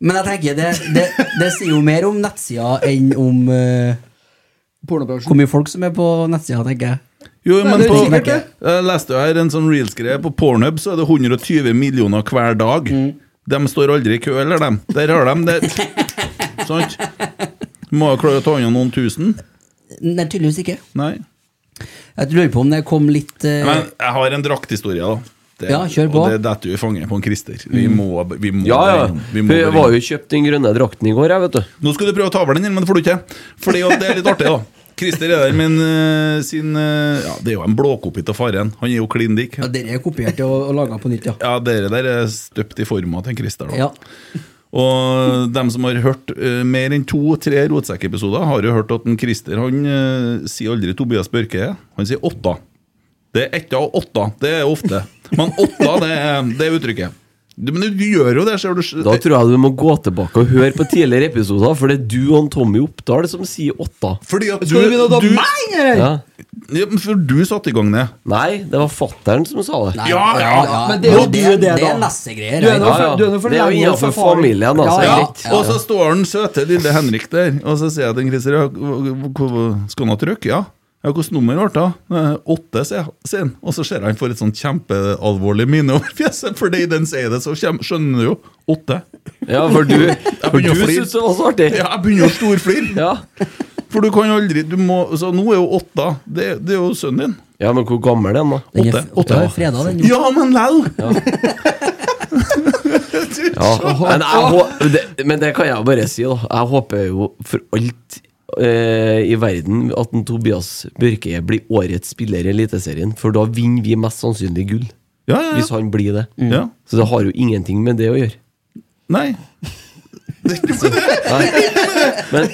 S2: Men jeg tenker, det, det, det sier jo mer om nettsida enn om eh, hvor
S3: Pornobransjen.
S2: mye folk som er på nettsida, tenker jeg.
S7: Jo,
S3: Nei,
S7: men
S3: det er
S7: på,
S3: sikkert det.
S7: jeg leste jo her en sånn reels-greie. På Pornhub så er det 120 millioner hver dag. De står aldri i kø, eller dem. Der har de det. Sant? Må jo klare å ta unna noen tusen.
S2: Nei, tydeligvis ikke.
S7: Nei.
S2: Jeg lurer på om det kom litt eh,
S7: Men jeg har en drakthistorie, da. Det,
S2: Ja, kjør på.
S7: Og det detter jo i fanget på en Christer. Vi må, vi må
S4: Ja, ja.
S7: Vi må
S4: Jeg var jo kjøpt den grønne drakten i går, jeg, vet du.
S7: Nå skal du prøve å ta over den, men det får du ikke. Fordi at det er litt artig, da. Christer er der med en, eh, sin eh, Ja, det er jo en blåkopi av faren. Han er jo klin dik.
S2: ja, Dere er kopiert og, og laga på nytt, ja.
S7: Ja, dere der er støpt i forma til en Christer, da.
S2: ja.
S7: Og dem som har hørt eh, mer enn to-tre rotsekkepisoder, har jo hørt at en Christer han eh, sier aldri Tobias Børke. Han sier åtta. Det er etta og åtta. Det er ofte. Men åtta, det er, det er uttrykket. Du, men du gjør jo det, ser du.
S4: Da tror jeg du må gå tilbake og høre på tidligere episoder, for det er du og han Tommy Oppdal som sier åtta.
S7: Fordi at
S3: Skal du begynne å ta
S7: du,
S3: meg, eller?
S4: Ja.
S7: ja, men for du satte i gang det.
S4: Nei, det var fattern som sa det.
S7: Ja, ja,
S3: men det er jo
S2: Nå,
S3: det, det
S2: det
S3: da.
S2: er nessegreier.
S3: Du er nå
S4: Ja, ja.
S3: for, du er nå for
S4: Det er jo
S3: lenge
S4: innenfor
S3: for faren.
S4: familien, altså.
S3: Ja, ja.
S4: Greit.
S7: Og så står den søte lille Henrik der, og så sier jeg til Christer «Ja, hvor- hvor- Skal han ha trykk? Ja. Ja, Hvilket nummer ble det? da?» «Eh, Åtte, sier jeg- sier han. Og så ser jeg han får et sånt kjempealvorlig minne over fjeset, for i den sier det, så kjem- skjønner du jo. Åtte.
S4: Ja, for du, for du
S7: begynner å flire.
S4: syntes det var så artig.
S7: Ja, jeg begynner å storflire!
S4: Ja.
S7: For du kan jo aldri du må, Så nå er jo åtta Det, det er jo sønnen din.
S4: ja, men hvor gammel er han, da?
S2: Den er
S7: Åtte.
S2: f-
S7: Åtte,
S2: ja,
S7: ja.
S2: fredag, den.
S7: Ja, men lell!
S4: Ja. Men, jeg, hå- det, men det kan jeg bare si, da. Jeg håper jo for alt eh, i verden at en Tobias Børke blir årets spiller i Eliteserien, for da vinner vi mest sannsynlig gull.
S7: Ja, ja,
S4: Hvis
S7: ja.
S4: han blir det.
S7: ja.
S4: Så det har jo ingenting med det å gjøre.
S7: Nei.
S4: Men,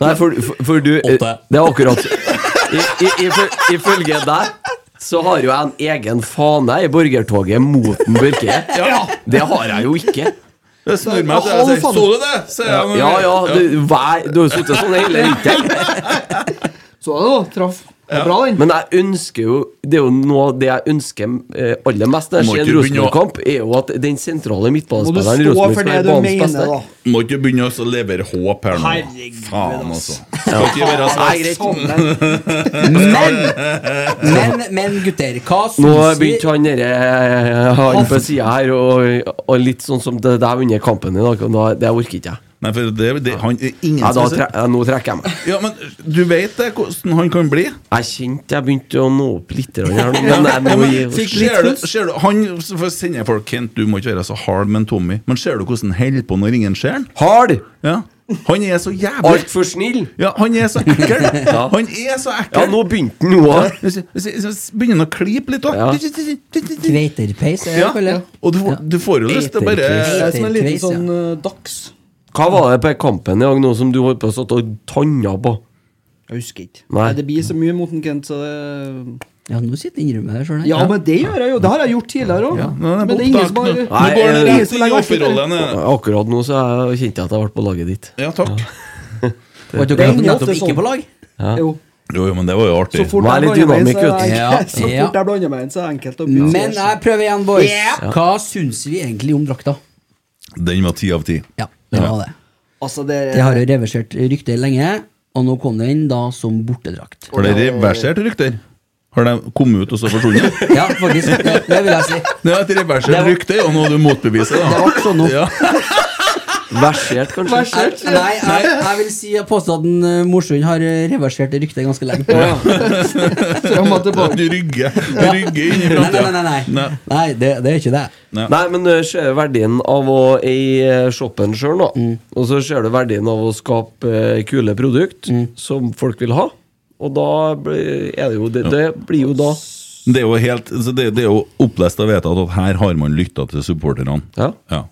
S4: nei, for, for, for du eh, Det er akkurat I, i, ifø- Ifølge deg så har jo jeg en egen fane i borgertoget mot den Børke. Det har jeg jo ikke.
S7: Det snur meg til jeg sier Så du det? Sier jeg.
S4: Ja, ja, du, hver, du har jo sittet sånn hele vinteren.
S3: Så det, da. Traff. Det er Bra, den.
S4: Men jeg ønsker jo Det er jo noe av det jeg ønsker eh, aller mest når jeg
S7: Må
S4: ser
S7: ikke
S4: en
S7: begynne å-
S4: Rosenborg-kamp, er jo at den sentrale
S3: Må du stå
S4: midtbanespilleren i Rosenborg
S3: for
S4: som
S3: det
S4: er
S3: du
S4: banens
S3: mener,
S4: beste
S3: da.
S7: Må ikke begynne å levere håp her nå.
S3: Herregud,
S7: Faen, altså.
S3: ass.
S7: Skal ikke være så
S4: Nei, greit.
S2: Sånn, Men, men, men gutter, hva
S4: Nå
S2: syns vi
S4: begynte han derre Han på sida her, og, og litt sånn som det der under kampen i dag. og da- Det orker ikke jeg.
S7: Nei, for det, det, han er ingen
S4: Ja, da
S7: som
S4: tre,
S7: ser-
S4: ja, nå trekker jeg meg.
S7: Ja, men du vet det, hvordan han kan bli?
S4: Jeg kjente jeg begynte å nå opp litt. grann Her, nå, men jeg må gi
S7: Fikk ser du, ser du, han så får jeg sende folk Kent, du må ikke være så hard med en Tommy. Men ser du hvordan han holder på når ingen ser han?
S4: Hard!
S7: Ja. Han er så jævlig
S4: Altfor snill!
S7: Ja, han er så ekkel!
S4: Ja.
S7: Han er så
S4: Ja,
S7: ekkel!
S4: nå begynte han nå òg.
S7: Så- så- så Begynner han å klype litt
S4: Ja.
S7: òg.
S2: Kveiterpeis, er det
S7: Ja.
S2: vel det?
S7: Og du, får- du får jo lyst til å
S3: Det
S7: bare
S3: er som en liten
S2: Kveis, ja.
S3: sånn eh, dags.
S4: Hva var det på kampen i dag nå som du holdt på å satt og tanna på?
S3: Jeg husker ikke.
S4: Nei.
S3: Nei, Det blir så mye mot en Kent, så det
S2: Ja, nå sitter jeg innrømmer jeg det sjøl.
S3: Ja, men det gjør jeg jo. Det har jeg gjort tidligere òg.
S7: Ja, nå er
S3: men
S7: det
S3: det er ingen som
S7: opptak
S3: har
S7: nå.
S4: Nei,
S7: Nå går han
S4: eh,
S7: rett inn i offerrollen.
S4: Akkurat nå så jeg- kjente jeg at jeg ble på laget ditt.
S7: Ja, takk.
S2: Vet dere
S3: Det er
S2: at de nettopp
S3: ofte
S2: ikke
S3: sånn.
S2: på lag?
S3: Jo,
S7: Jo, jo, men det var jo artig.
S3: så fort
S4: Vær
S3: jeg
S4: litt
S3: blander meg inn, så
S4: dynamikk,
S3: er
S2: vet
S3: jeg-
S2: du.
S3: så
S2: Ja,
S3: fort jeg blander meg inn, så er det enkelt å begynne.
S2: Men jeg prøver igjen, boys. Hva syns vi egentlig om drakta?
S7: Den var ti av ti.
S2: Ja, det var det.
S3: Altså, det,
S2: Det har jo reversert ryktet lenge, og nå kom den da som bortedrakt.
S7: Har det reversert rykter? Har de kommet ut og så forsvunnet?
S2: Ja, faktisk. Det, det vil jeg si.
S7: Det er et reversert rykte, og nå har du motbeviset.
S2: Det
S7: Da.
S2: ble sånn nå.
S7: Ja.
S4: Versert, kanskje?
S2: Jeg, nei, jeg, jeg vil si jeg påstår at en, eh, Morsund har eh, reversert det ryktet ganske lenge. Nei,
S3: Fram og tilbake.
S7: Du rygger, du rygger inn
S2: nei, nei.
S7: i framtida.
S2: nei, nei.
S7: Nei.
S2: nei det, det er ikke det.
S4: Nei, men du ser verdien av å eie shoppen sjøl, da.
S7: Mm.
S4: Og så ser du verdien av å skape eh, kule produkt
S7: Mm.
S4: som folk vil ha. Og da blir, er det jo det, det blir jo da
S7: Det er jo helt så det, det er jo opplest og vedtatt at her har man lytta til supporterne.
S4: Ja.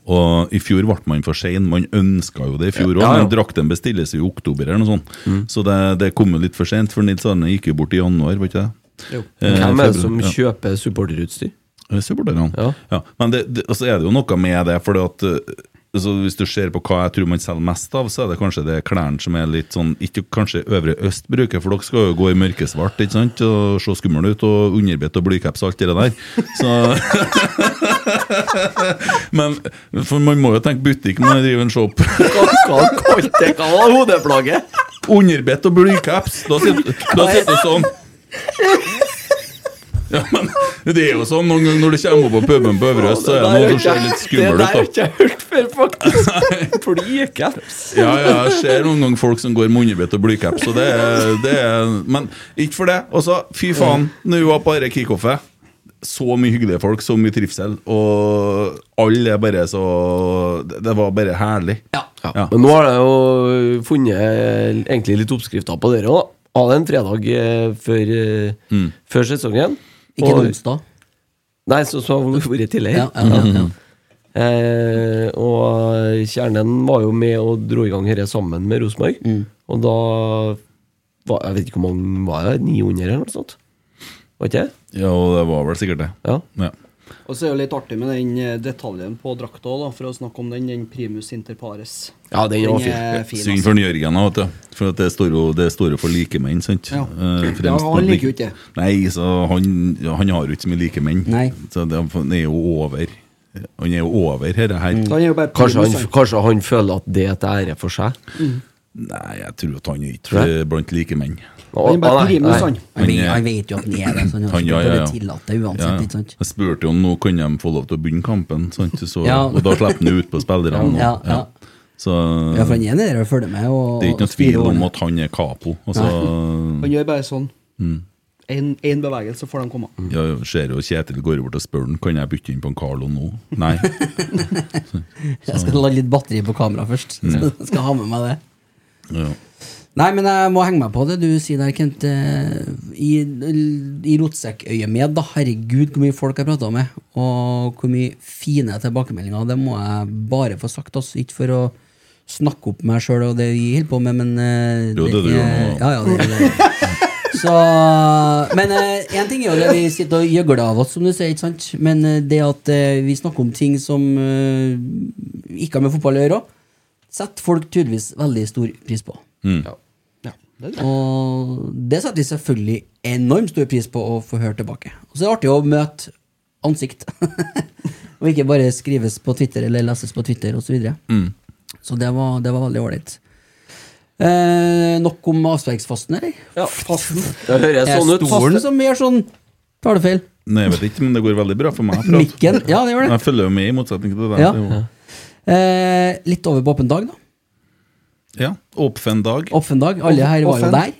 S7: Og i fjor ble man for sein. Man ønska jo det i fjor òg,
S4: Ja, Mm. ja.
S7: men drakten bestilles jo i oktober eller noe sånt. Så det, det kom jo litt for seint, for Nils Arne gikk jo bort i januar, var ikke det? Eh,
S4: Hvem er det
S7: februar,
S4: som
S7: ja.
S4: kjøper supporterutstyr?
S7: Eh, Supporterne. Ja. Men det, det, altså er det jo noe med det, for at eh, altså hvis du ser på hva jeg tror man selger mest av, så er det kanskje det klærne som er litt sånn Ikke kanskje Øvre Øst bruker, for dere skal jo gå i mørkesvart ikke sant? og se skumle ut, og underbitt og blycaps og alt det der. Så Men for man må jo tenke butikk når man driver en shop.
S4: Hva kalte det? Hva var hodeplagget?
S7: Underbitt og blycaps. Da sitter da sitter du sånn. Ja, men Det er jo sånn noen ganger når du kommer opp på puben på Øvre Øst, så er det noe som ser litt skummel
S5: Det der har
S7: ut. da
S5: ikke jeg hørt før, faktisk. Flycaps.
S7: Ja, ja, jeg ser noen ganger folk som går med underbitt og blycaps, og det er, det er Men ikke for det. Altså, fy faen, når vi var på dette kickoffet så mye hyggelige folk, så mye trivsel, og alle er bare så Det det var bare herlig. Ja.
S4: Men nå har jeg jo funnet eh, egentlig litt oppskrifter på dere òg. Ha det en fredag eh, før, eh, før sesongen.
S2: Ikke en onsdag.
S4: Nei, så- som har vært tidligere.
S2: Ja, ja, ja, ja.
S4: Eh, og Kjernen var jo med og dro i gang dette sammen med Rosenborg.
S2: Mm.
S4: Og da var Jeg vet ikke hvor mange var det? 900 eller noe sånt? Var ikke det?
S7: Ja, og det var vel sikkert det.
S4: Ja.
S7: Ja.
S5: Og så er det jo litt artig med den eh, detaljen på drakta, også, da, for å snakke om den, den primus inter pares.
S4: Ja, den var fin.
S5: er fin.
S7: Synd
S5: altså.
S7: for Jørgen òg, vet du. For at det står jo det står jo for likemenn, sant?
S5: Ja.
S7: Eh, fremst
S5: Ja, han
S7: på-
S5: liker jo ikke det.
S7: Nei, så han, ja, han har jo ikke så mye likemenn.
S2: Nei.
S7: Så det, han er jo over. Han er jo over dette her.
S5: Så Han er jo bare
S4: Kanskje
S5: primus,
S4: han, kanskje han føler at det er til ære for seg?
S7: Nei, jeg tror at han er
S4: Tror
S7: ikke blant likemenn.
S4: Å,
S5: Han er bare
S4: å, nei,
S5: primus,
S4: nei.
S5: han.
S2: Han,
S7: Han
S2: vet-
S7: er-
S2: han vet jo at han er det, så han har
S7: Han- ja,
S2: sikkert
S7: ja,
S2: bare
S7: ja.
S2: tillatt det
S7: Ja,
S2: uansett.
S7: ja.
S2: Ikke sant?
S7: Jeg spurte jo om nå kan de få lov til å begynne kampen, sant? Så,
S2: Ja.
S7: og da slipper han ut på spillerne. og-
S2: Ja, ja.
S7: Så
S2: Ja, for han er der og følger med. Og,
S7: det er ikke noe
S2: og styrer
S7: tvil om
S2: ordentlig.
S7: at han er capo. Altså,
S5: Han gjør bare sånn.
S7: Mm.
S5: Én bevegelse, så får de komme.
S7: Jeg ser jo Kjetil går bort og spør han, Kan jeg bytte inn på en Carlo nå. Nei.
S2: Jeg skal la litt batteri på kamera først.
S7: Mm.
S2: Jeg skal ha med meg det.
S7: Ja.
S2: Nei, men jeg må henge meg på det du sier der, Kent. eh, I, i rotsekkøyemed, da. Herregud, hvor mye folk jeg prata med. Og hvor mye fine tilbakemeldinger. Det må jeg bare få sagt, altså. Ikke for å snakke opp meg sjøl og det vi holder på med, men eh,
S7: Jo, det du gjør
S2: er-
S7: nå.
S2: Ja, ja, det, er det. Så, men én ting er jo det vi sitter og gjøgler av oss, som du sier, ikke sant? men eh, det at eh, vi snakker om ting som eh, ikke har med fotball å gjøre, setter folk tydeligvis veldig stor pris på.
S7: Mm.
S5: Ja, det er det.
S2: Og det setter vi selvfølgelig enormt stor pris på å få høre tilbake. Og så er det artig å møte ansikt. og ikke bare skrives på Twitter eller leses på Twitter osv. Så, videre. så det, var, det var veldig ålreit. Eh, nok om avsvergsfasten, eller? Eh,
S4: Ja, fasten. Det høres sånn ut.
S2: Fasten som gjør sånn Tar du feil?
S7: Nei, jeg vet ikke, men det går veldig bra for meg. akkurat.
S2: Mikken? Ja, det gjør det.
S7: Jeg følger jo med, i motsetning til deg.
S2: Ja.
S7: Det er jo-
S2: Eh, litt over på åpen dag, da.
S7: ja. Åpen dag.
S2: Åpen dag. Alle her var jo
S5: Åpen.
S2: der.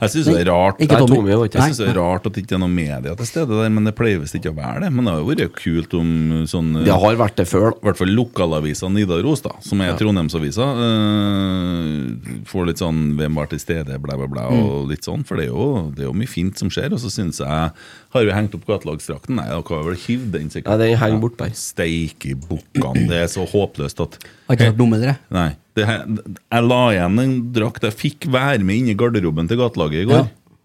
S7: Jeg syns det er rart
S2: Ikke
S4: Nei,
S2: Tommy.
S4: Tommy var ikke-
S7: Jeg
S2: Nei.
S7: synes det er rart at det ikke er noen media til stede der, men det pleier visst ikke å være det. Men det har jo vært kult om sånn
S4: Det har vært det før. da.
S7: i hvert fall lokalavisa Nidaros, da, som er Trondheimsavisa, eh, får litt sånn 'Hvem var til stede?' bla, bla, bla, og litt sånn. For det er, jo, det er jo mye fint som skjer. Og så syns jeg Har jo hengt opp gatelagsdrakten? Nei, dere har vel hivd den sikkert?
S4: Nei, den henger bort der.
S7: Steike bukkene, det er så håpløst at
S2: Har ikke vært dumme, dere.
S7: Nei. Det, her- jeg la igjen en drakt jeg fikk være med inn i garderoben til gatelaget i går.
S2: Ja.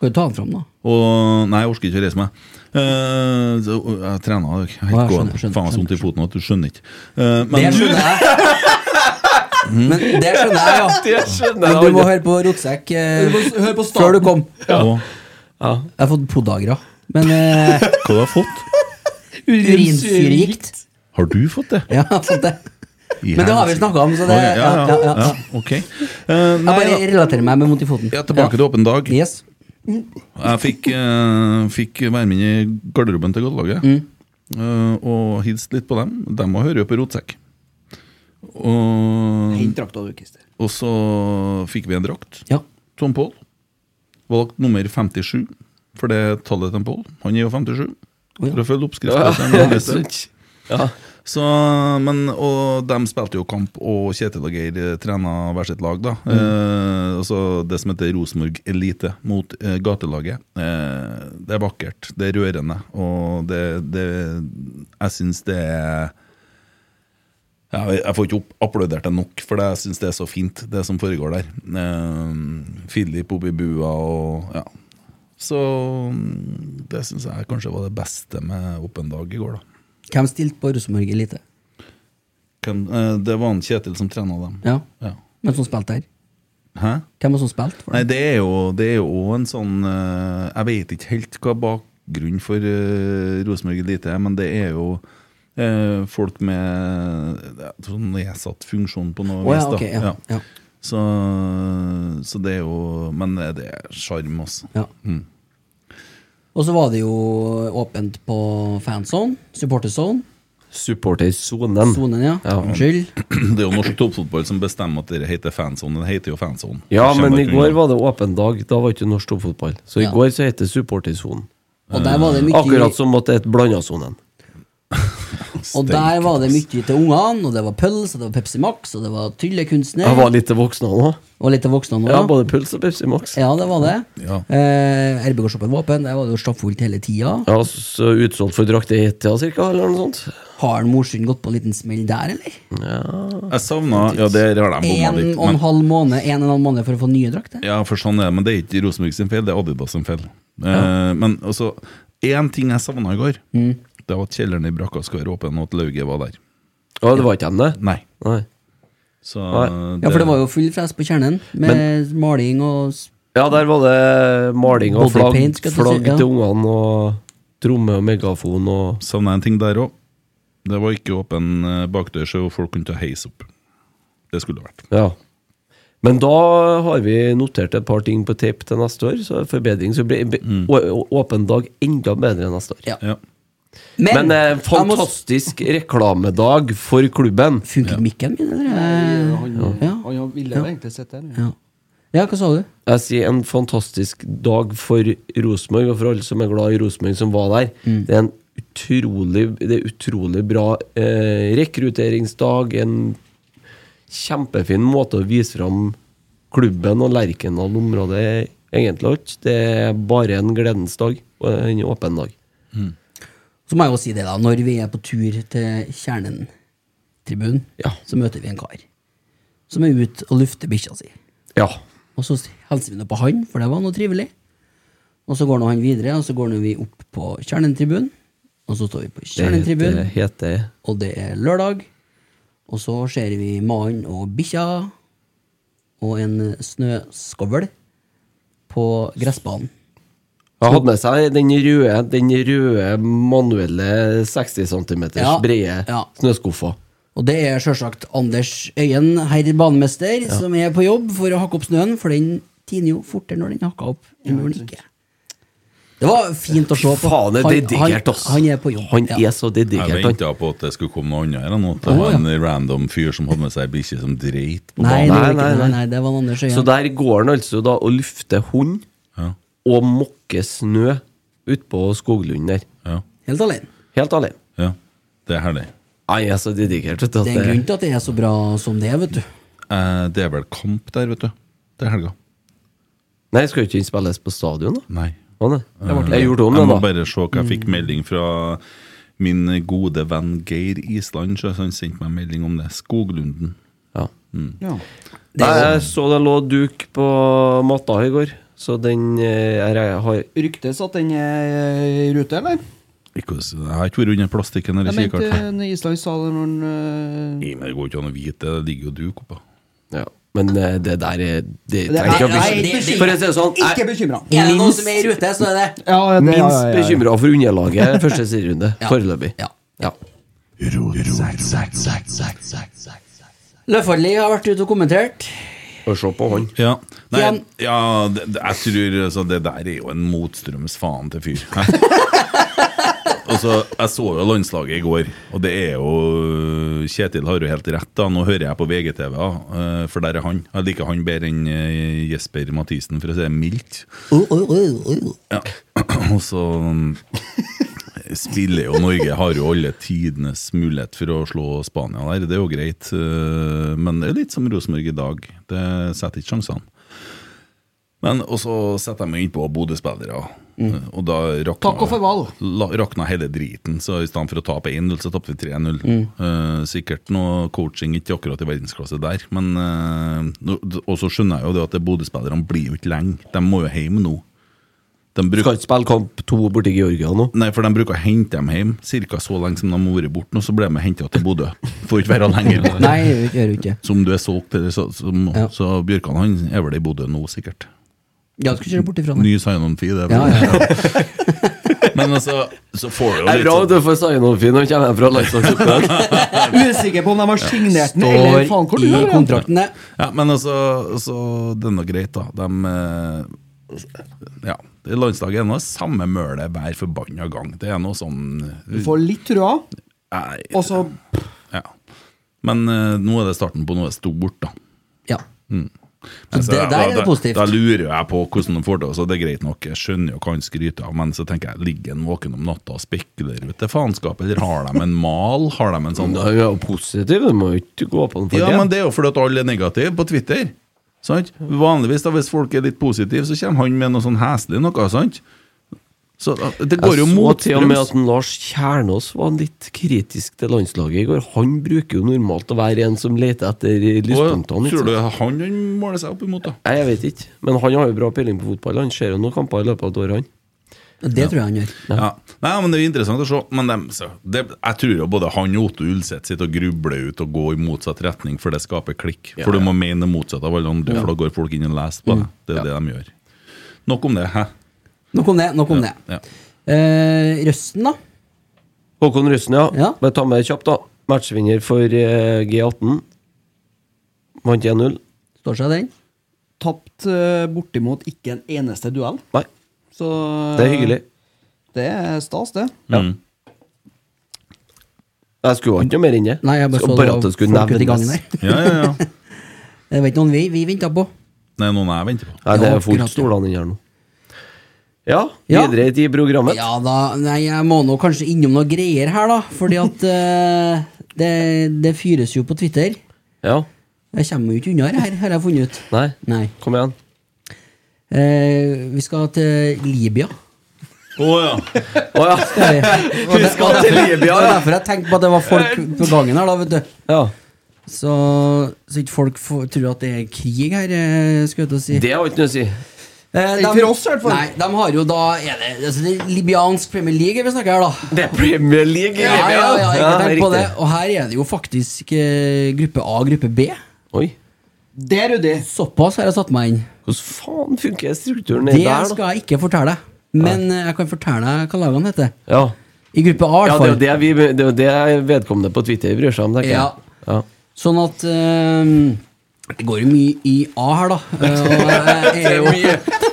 S2: Kan du ta den fram, da?
S7: Og Nei, jeg orker ikke å reise meg. Eh, så, jeg trena jeg er
S2: Å,
S7: helt
S2: jeg skjønner,
S7: gående.
S2: skjønner,
S7: Faen, jeg har vondt i foten at du skjønner ikke. Eh, men
S2: Det skjønner jeg. Men det skjønner jeg, ja.
S4: Det skjønner
S2: Men
S4: jeg
S2: du må
S4: aldri.
S2: høre på Rotsekk eh,
S5: Hør på
S2: før du kom.
S7: Og,
S2: Jeg har fått podagra. Men eh,
S7: hva du har fått?
S2: urinsyregikt
S7: Har du fått det?
S2: Ja, jeg har fått det. Men det har vi snakket om, så det-
S7: Ok, ja, ja,
S2: ja, ja, ja.
S7: ok. Eh,
S2: Jeg
S7: nei,
S2: bare
S7: da.
S2: relaterer meg med vondt i foten.
S7: ja, tilbake til åpen dag.
S2: Ja. Yes.
S7: Jeg fikk, eh, fikk være med inn i garderoben til Godtlaget
S5: Mm.
S7: eh, og hilste litt på dem. De må høre jo på rotsekk. Og,
S5: Hent drakta, du, Christer.
S7: og så fikk vi en drakt.
S2: Ja.
S7: Tom Paul valgt nummer 57, for det er tallet til Paul. Han er jo 57. For å følge oppskriften. til
S4: Ja,
S7: en
S4: sant.
S7: leser. Så, men, og de spilte jo kamp, og Kjetil og Geir eh, trena hver sitt lag. da
S4: Mm.
S7: eh, altså Det som heter Rosenborg Elite mot eh, gatelaget. Eh, det er vakkert, det er rørende, og det, det Jeg syns det er ja, jeg- jeg får ikke opp, applaudert det nok, for det- jeg syns det er Ehm, så fint, det som foregår der. Eh, Philip oppi bua og ja. Så mm, det syns jeg kanskje var det beste med Åpen dag i går, da.
S2: Hvem stilte på Rosenborg Elite?
S7: Hvem, eh, det var en Kjetil som trena dem.
S2: Ja.
S7: Ja.
S2: Hvem som spilte her?
S7: Hæ?
S2: Hvem var som spilte? for
S7: Nei, det er jo, det er jo en sånn eh, Jeg vet ikke helt hva bakgrunnen for uh, Rosenborg Elite er, men det er jo eh, folk med eh, sånn nedsatt funksjon på noe
S2: Å ja,
S7: vis, da.
S2: ok, ja, ja.
S7: Så, så det er jo Men eh, det er sjarm, altså.
S2: Ja.
S7: Mm.
S2: Og så var det jo åpent på fanzone, supporterzone.
S4: Supportersonen.
S2: Sonen, ja. Unnskyld.
S7: Det er jo norsk toppfotball som bestemmer at det heter fanzone. Den heter jo fanzone.
S4: Ja,
S7: Det kommer
S4: men i
S7: ikke
S4: går
S7: unna.
S4: var det åpen dag. Da var ikke norsk toppfotball. Så i
S2: Ja.
S4: går så het det supportersonen.
S2: Og der var det mye-
S4: Akkurat som at det het blandasonen.
S2: Og der var det mye til ungene, og det var pølse, det var Pepsi Max, og det var tryllekunstner.
S4: Jeg var litt til voksne òg.
S2: Og litt til voksne nå.
S4: Ja, både puls og Pepsi Max.
S2: Ja, det var det.
S7: Ja.
S2: Eh, RBK-shoppen var åpen, der var det jo stappfullt hele tida.
S4: Ja, så utsolgt for drakt i ett-tida, cirka, eller noe sånt.
S2: Har Morsund gått på en liten smell der, eller?
S7: Jeg savna Ja, der har de bomma
S2: En
S7: litt.
S2: og en
S7: Men,
S2: halv måned En og en halv måned for å få nye drakter?
S7: ja, for sånn er det. Men det er ikke Rosenborg sin feil, det er Adidas sin feil. Eh, men altså, én ting jeg savna i går,
S2: Mm.
S7: det var at kjelleren i brakka skulle være åpen, og at lauget var der.
S4: Ja, det var ikke dem, det?
S7: Nei.
S4: Nei.
S7: Så
S4: Nei.
S2: Ja, for det var jo full fres på kjernen, med maling og s-
S4: Ja, der var det maling og
S2: Body
S4: flagg,
S2: paint, skal jeg til å si,
S4: flagg
S2: ja.
S4: til ungene, og tromme og megafon og
S7: Savna en ting der òg. Det var ikke åpen eh, bakdør, så folk kunne ta heis opp. Det skulle det vært.
S4: Ja. Men da har vi notert et par ting på tape til neste år, så forbedring. Så blir blir å- å- åpen dag enda bedre neste år.
S2: Mm. Ja.
S7: Ja.
S4: Men, eh,
S2: jeg må s-
S4: fantastisk reklamedag for klubben.
S2: Funker mikken min, eller? Eh, Ja.
S3: Han ville jo egentlig sett den.
S2: Ja. ja, hva sa du?
S4: Jeg sier en fantastisk dag for Rosenborg, og for alle som er glad i Rosenborg som var der. Det er en utrolig, det er utrolig bra eh, rekrutteringsdag. En kjempefin måte å vise fram klubben og Lerkendal-området egentlig alt. Det er bare en gledens dag og en åpen dag.
S2: Så må jeg jo si det, da. Når vi er på tur til Kjernen-tribunen,
S4: Ja.
S2: så møter vi en kar som er ute og lufter bikkja si.
S4: Ja.
S2: Og så hilser vi nå på han, for det var noe trivelig. Og så går nå han videre, og så går nå vi opp på Kjernen-tribunen. Og så står vi på
S4: Det heter,
S2: Kjernen-tribunen,
S4: heter
S2: og det er lørdag. Og så ser vi mannen og bikkja og en snøskovl på gressbanen.
S4: Jeg hadde med seg den røde, den røde manuelle 60 cm
S2: Ja,
S4: brede
S2: ja.
S4: snøskuffa.
S2: Og det er sjølsagt Anders Øyen, herr banemester, som er på jobb for å hakke opp snøen, for den tiner jo fortere når den hakker opp enn når den ikke. Det var fint å se på.
S4: Faen, det er
S2: han,
S4: dedikert,
S2: han,
S4: ass!
S2: han er på jobb.
S4: Han
S2: ja.
S4: er så
S7: Jeg
S4: dedikert, han.
S7: venta på at det skulle komme noe annet her. nå, At det var en random fyr som hadde med seg ei bikkje som dreit på
S2: Nei, det var
S4: Nei,
S2: ikke,
S4: nei,
S2: nei,
S4: nei.
S2: nei, det var Anders Øyen.
S4: Så der går han altså da og lufter hund
S7: Ja.
S4: og mokker snø utpå skoglunden der.
S7: Ja,
S2: Helt alene.
S4: Helt alene.
S7: ja. Det er herlig.
S4: Han er så dedikert, vet du.
S2: Det er en grunn
S4: At det,
S2: til at det er så bra som det er, vet du.
S7: Eh, det er vel kamp der, vet du. Til helga.
S4: nei, skal jo ikke den spilles på stadion, da?
S7: Nei. Eh,
S4: Å, nei. Jeg gjorde om
S7: Jeg
S4: den,
S7: må
S4: da.
S7: bare se hva jeg
S3: Mm.
S7: fikk melding fra min gode venn Geir Island. Så han sendte meg melding om det. Skoglunden.
S4: Ja.
S7: Mm.
S3: Ja.
S4: Nei, jeg så det lå duk på matta i går, så den eh, jeg har
S3: Ryktes at den er
S2: eh,
S3: i rute, eller?
S7: Ikke, hos- jeg har ikke vært under plastikken eller
S3: Jeg mente
S7: kikkert.
S3: en Island sa det når han øh,
S2: eh,
S7: Nei, men Det går ikke an å vite, det ligger jo duk oppå.
S4: Ja, men eh, det der er Det
S3: Det er-
S4: trenger ikke å
S2: nei,
S4: bekymre-
S2: det- det-
S4: For å si det sånn, jeg
S3: Ikke bekymra.
S2: Er det noen
S4: Minst-
S2: som er i rute, så er det
S3: Ja, ja,
S4: er
S3: det- ja,
S4: minst
S3: ja, ja, ja.
S4: bekymra for underlaget første serierunde, foreløpig.
S2: Ja.
S4: Ja.
S2: Løfaldli har vært ute og kommentert.
S4: Og se på han.
S7: Ja, Nei,
S2: Igjen.
S7: ja det, det, jeg tror altså, det der er jo en motstrøms faen til fyr. Og så, Jeg så jo landslaget i går, og det er jo Kjetil har jo helt rett. da Nå hører jeg på VGTV, eh, for der er han. Jeg liker han bedre enn eh, Jesper Mathisen, for å si det mildt.
S2: Uh, uh, uh, uh.
S7: Og så mm, spiller jo Norge, har jo alle tidenes mulighet for å slå Spania der. Det er jo greit, eh, men det er litt som Rosenborg i dag. Det setter ikke sjansene. Men og så setter jeg meg innpå Bodø-spillere, og da rakna,
S3: Mm. Takk og farvel.
S7: la, rakna hele driten. Så i stedet for å tape 1-0, så tapte vi 3-0.
S3: Mm.
S7: Eh, sikkert noe coaching ikke akkurat i verdensklasse der, men eh, nå- Og så skjønner jeg jo det at det Bodø-spillerne blir jo ikke lenge. De må jo hjem nå.
S4: Du skal ikke spille kamp to borti Georgia nå?
S7: Nei, for de bruker å hente dem hjem cirka så lenge som de har vært borte, og så blir de henta til Bodø. Får ikke være lenger.
S2: Nei, gjør ikke- gjør ikke.
S7: Som du er solgt, eller så, som,
S2: Ja.
S7: så Bjørkan han er vel i Bodø nå, sikkert.
S2: Ja, du skal kjøre bort ifra det.
S7: Ny sign-on-fee, det. er
S2: Ja,
S7: vel-
S2: ja,
S7: Men altså, så får du jo
S4: Det er
S7: litt
S4: bra
S7: sånn
S4: at du får sign-on-fin når han kommer hjem fra landslagsoppdrag.
S3: Usikker på om de har signert den,
S2: Står
S3: eller faen hvor
S2: i
S3: de har den.
S2: kontrakten, det.
S7: Ja, men altså, så det er nå greit, da. De eh, Ja. det Landslaget er nå samme mølet hver forbanna gang. Det er noe sånn
S3: Du får litt trua,
S7: Nei,
S3: og så
S7: ja. Men eh, nå er det starten på noe stort, da.
S2: Ja.
S7: Mm.
S2: Så det- der er det positivt.
S7: Da, da lurer jeg på hvordan de får det, så det er greit nok. Jeg skjønner jo hva han skryter av, men så tenker jeg, ligger han våken om natta og spekulerer ut til faenskap, eller har de en mal? Har de en sånn
S4: Da er jo positiv, du må jo ikke gå på den for
S7: Ja, men
S4: det.
S7: det er jo fordi at alle er negative på Twitter. Sant? Vanligvis, da, hvis folk er litt positive, så kommer han med noe sånn heslig noe, sant? Så da, det går jo
S4: jeg så til og med
S7: motstrøms.
S4: at en Lars Kjernås var litt kritisk til landslaget i går. Han bruker jo normalt å være en som leter etter
S7: Og
S4: lyspunktene. ikke
S7: Tror du
S4: sant?
S7: han han måler seg opp imot, da?
S4: Nei, jeg vet ikke. Men han har jo bra peiling på fotball. Han ser jo noen kamper i løpet av et år, han.
S2: Det tror jeg han gjør.
S7: Ja. Nei, men Det er jo interessant å se. Men dem, så, det, jeg tror jo både han og Otto Ulseth sitter og grubler ut og går i motsatt retning, for det skaper klikk.
S4: Ja,
S7: For du
S4: ja.
S7: må mene det motsatte av alle andre, for da går folk inn og leser
S2: Mm.
S7: på det. Det er jo det de gjør. Nok om det. Hæ?
S2: Nok om det. nok om det
S7: Ja.
S2: Eh, Røsten, da?
S4: Håkon Russen, ja.
S2: Ja.
S4: Bare ta med det kjapt, da. Matchvinner for eh, G18. Vant 1-0.
S2: Står seg den?
S3: tapt eh, bortimot ikke en eneste duell.
S4: Nei,
S3: Så
S4: det er hyggelig.
S3: Det er stas, det.
S4: Ja.
S7: Mm.
S4: Jeg skulle ikke noe mer enn det.
S2: Nei, jeg bare så
S4: at det
S2: det
S4: skulle
S2: var folk ute i gangen
S4: nevnes.
S2: der.
S7: ja, ja, ja.
S2: Det var ikke noen vi, vi venta på.
S7: Det er noen jeg venter på.
S4: Nei, det
S2: Ja,
S4: er fullt
S2: akkurat.
S4: stolene inni her nå. Ja,
S2: Ja.
S4: videre i programmet.
S2: Ja da, nei, jeg må nå kanskje innom noe greier her, da. Fordi at eh, det, det fyres jo på Twitter.
S4: Ja.
S2: Jeg kommer jo ikke unna det her, har jeg funnet ut.
S4: Nei,
S2: Nei.
S4: kom igjen.
S2: Eh, vi skal til Libya.
S7: Å ja.
S4: Å ja.
S2: Skal vi? Og det- og derfor- Det var derfor jeg tenkte på at det var folk på gangen her, da, vet du.
S4: ja.
S2: Så, så ikke folk får- tror at det er krig her, eh, skulle jeg til å si.
S4: Det har ikke noe å si.
S2: Eh,
S3: Ikke
S2: de-
S3: for oss, i hvert fall.
S2: Nei, de har jo da er det, altså, det er Libiansk Premier League vi snakker her, da.
S4: Det er Premier League!
S2: Ja, ja, ja, jeg har ikke tenkt på
S4: riktig.
S2: det. Og her er det jo faktisk eh, gruppe A og gruppe B.
S4: Oi.
S3: Det er ryddig.
S2: Såpass har jeg satt meg inn.
S4: Hvordan faen funker strukturen nedi
S2: Det
S4: der, da?
S2: skal jeg ikke fortelle deg. Men eh, jeg kan fortelle deg hva lagene heter.
S4: Ja.
S2: I gruppe A, i
S4: ja,
S2: hvert
S4: det er jo
S2: fall.
S4: det, vi, det, er jo det vedkommende på Twitter bryr seg om, tenker
S2: Ja.
S4: jeg. Ja.
S2: Sånn at ehm, Det går jo mye i A her, da. Eh, og jeg er jo,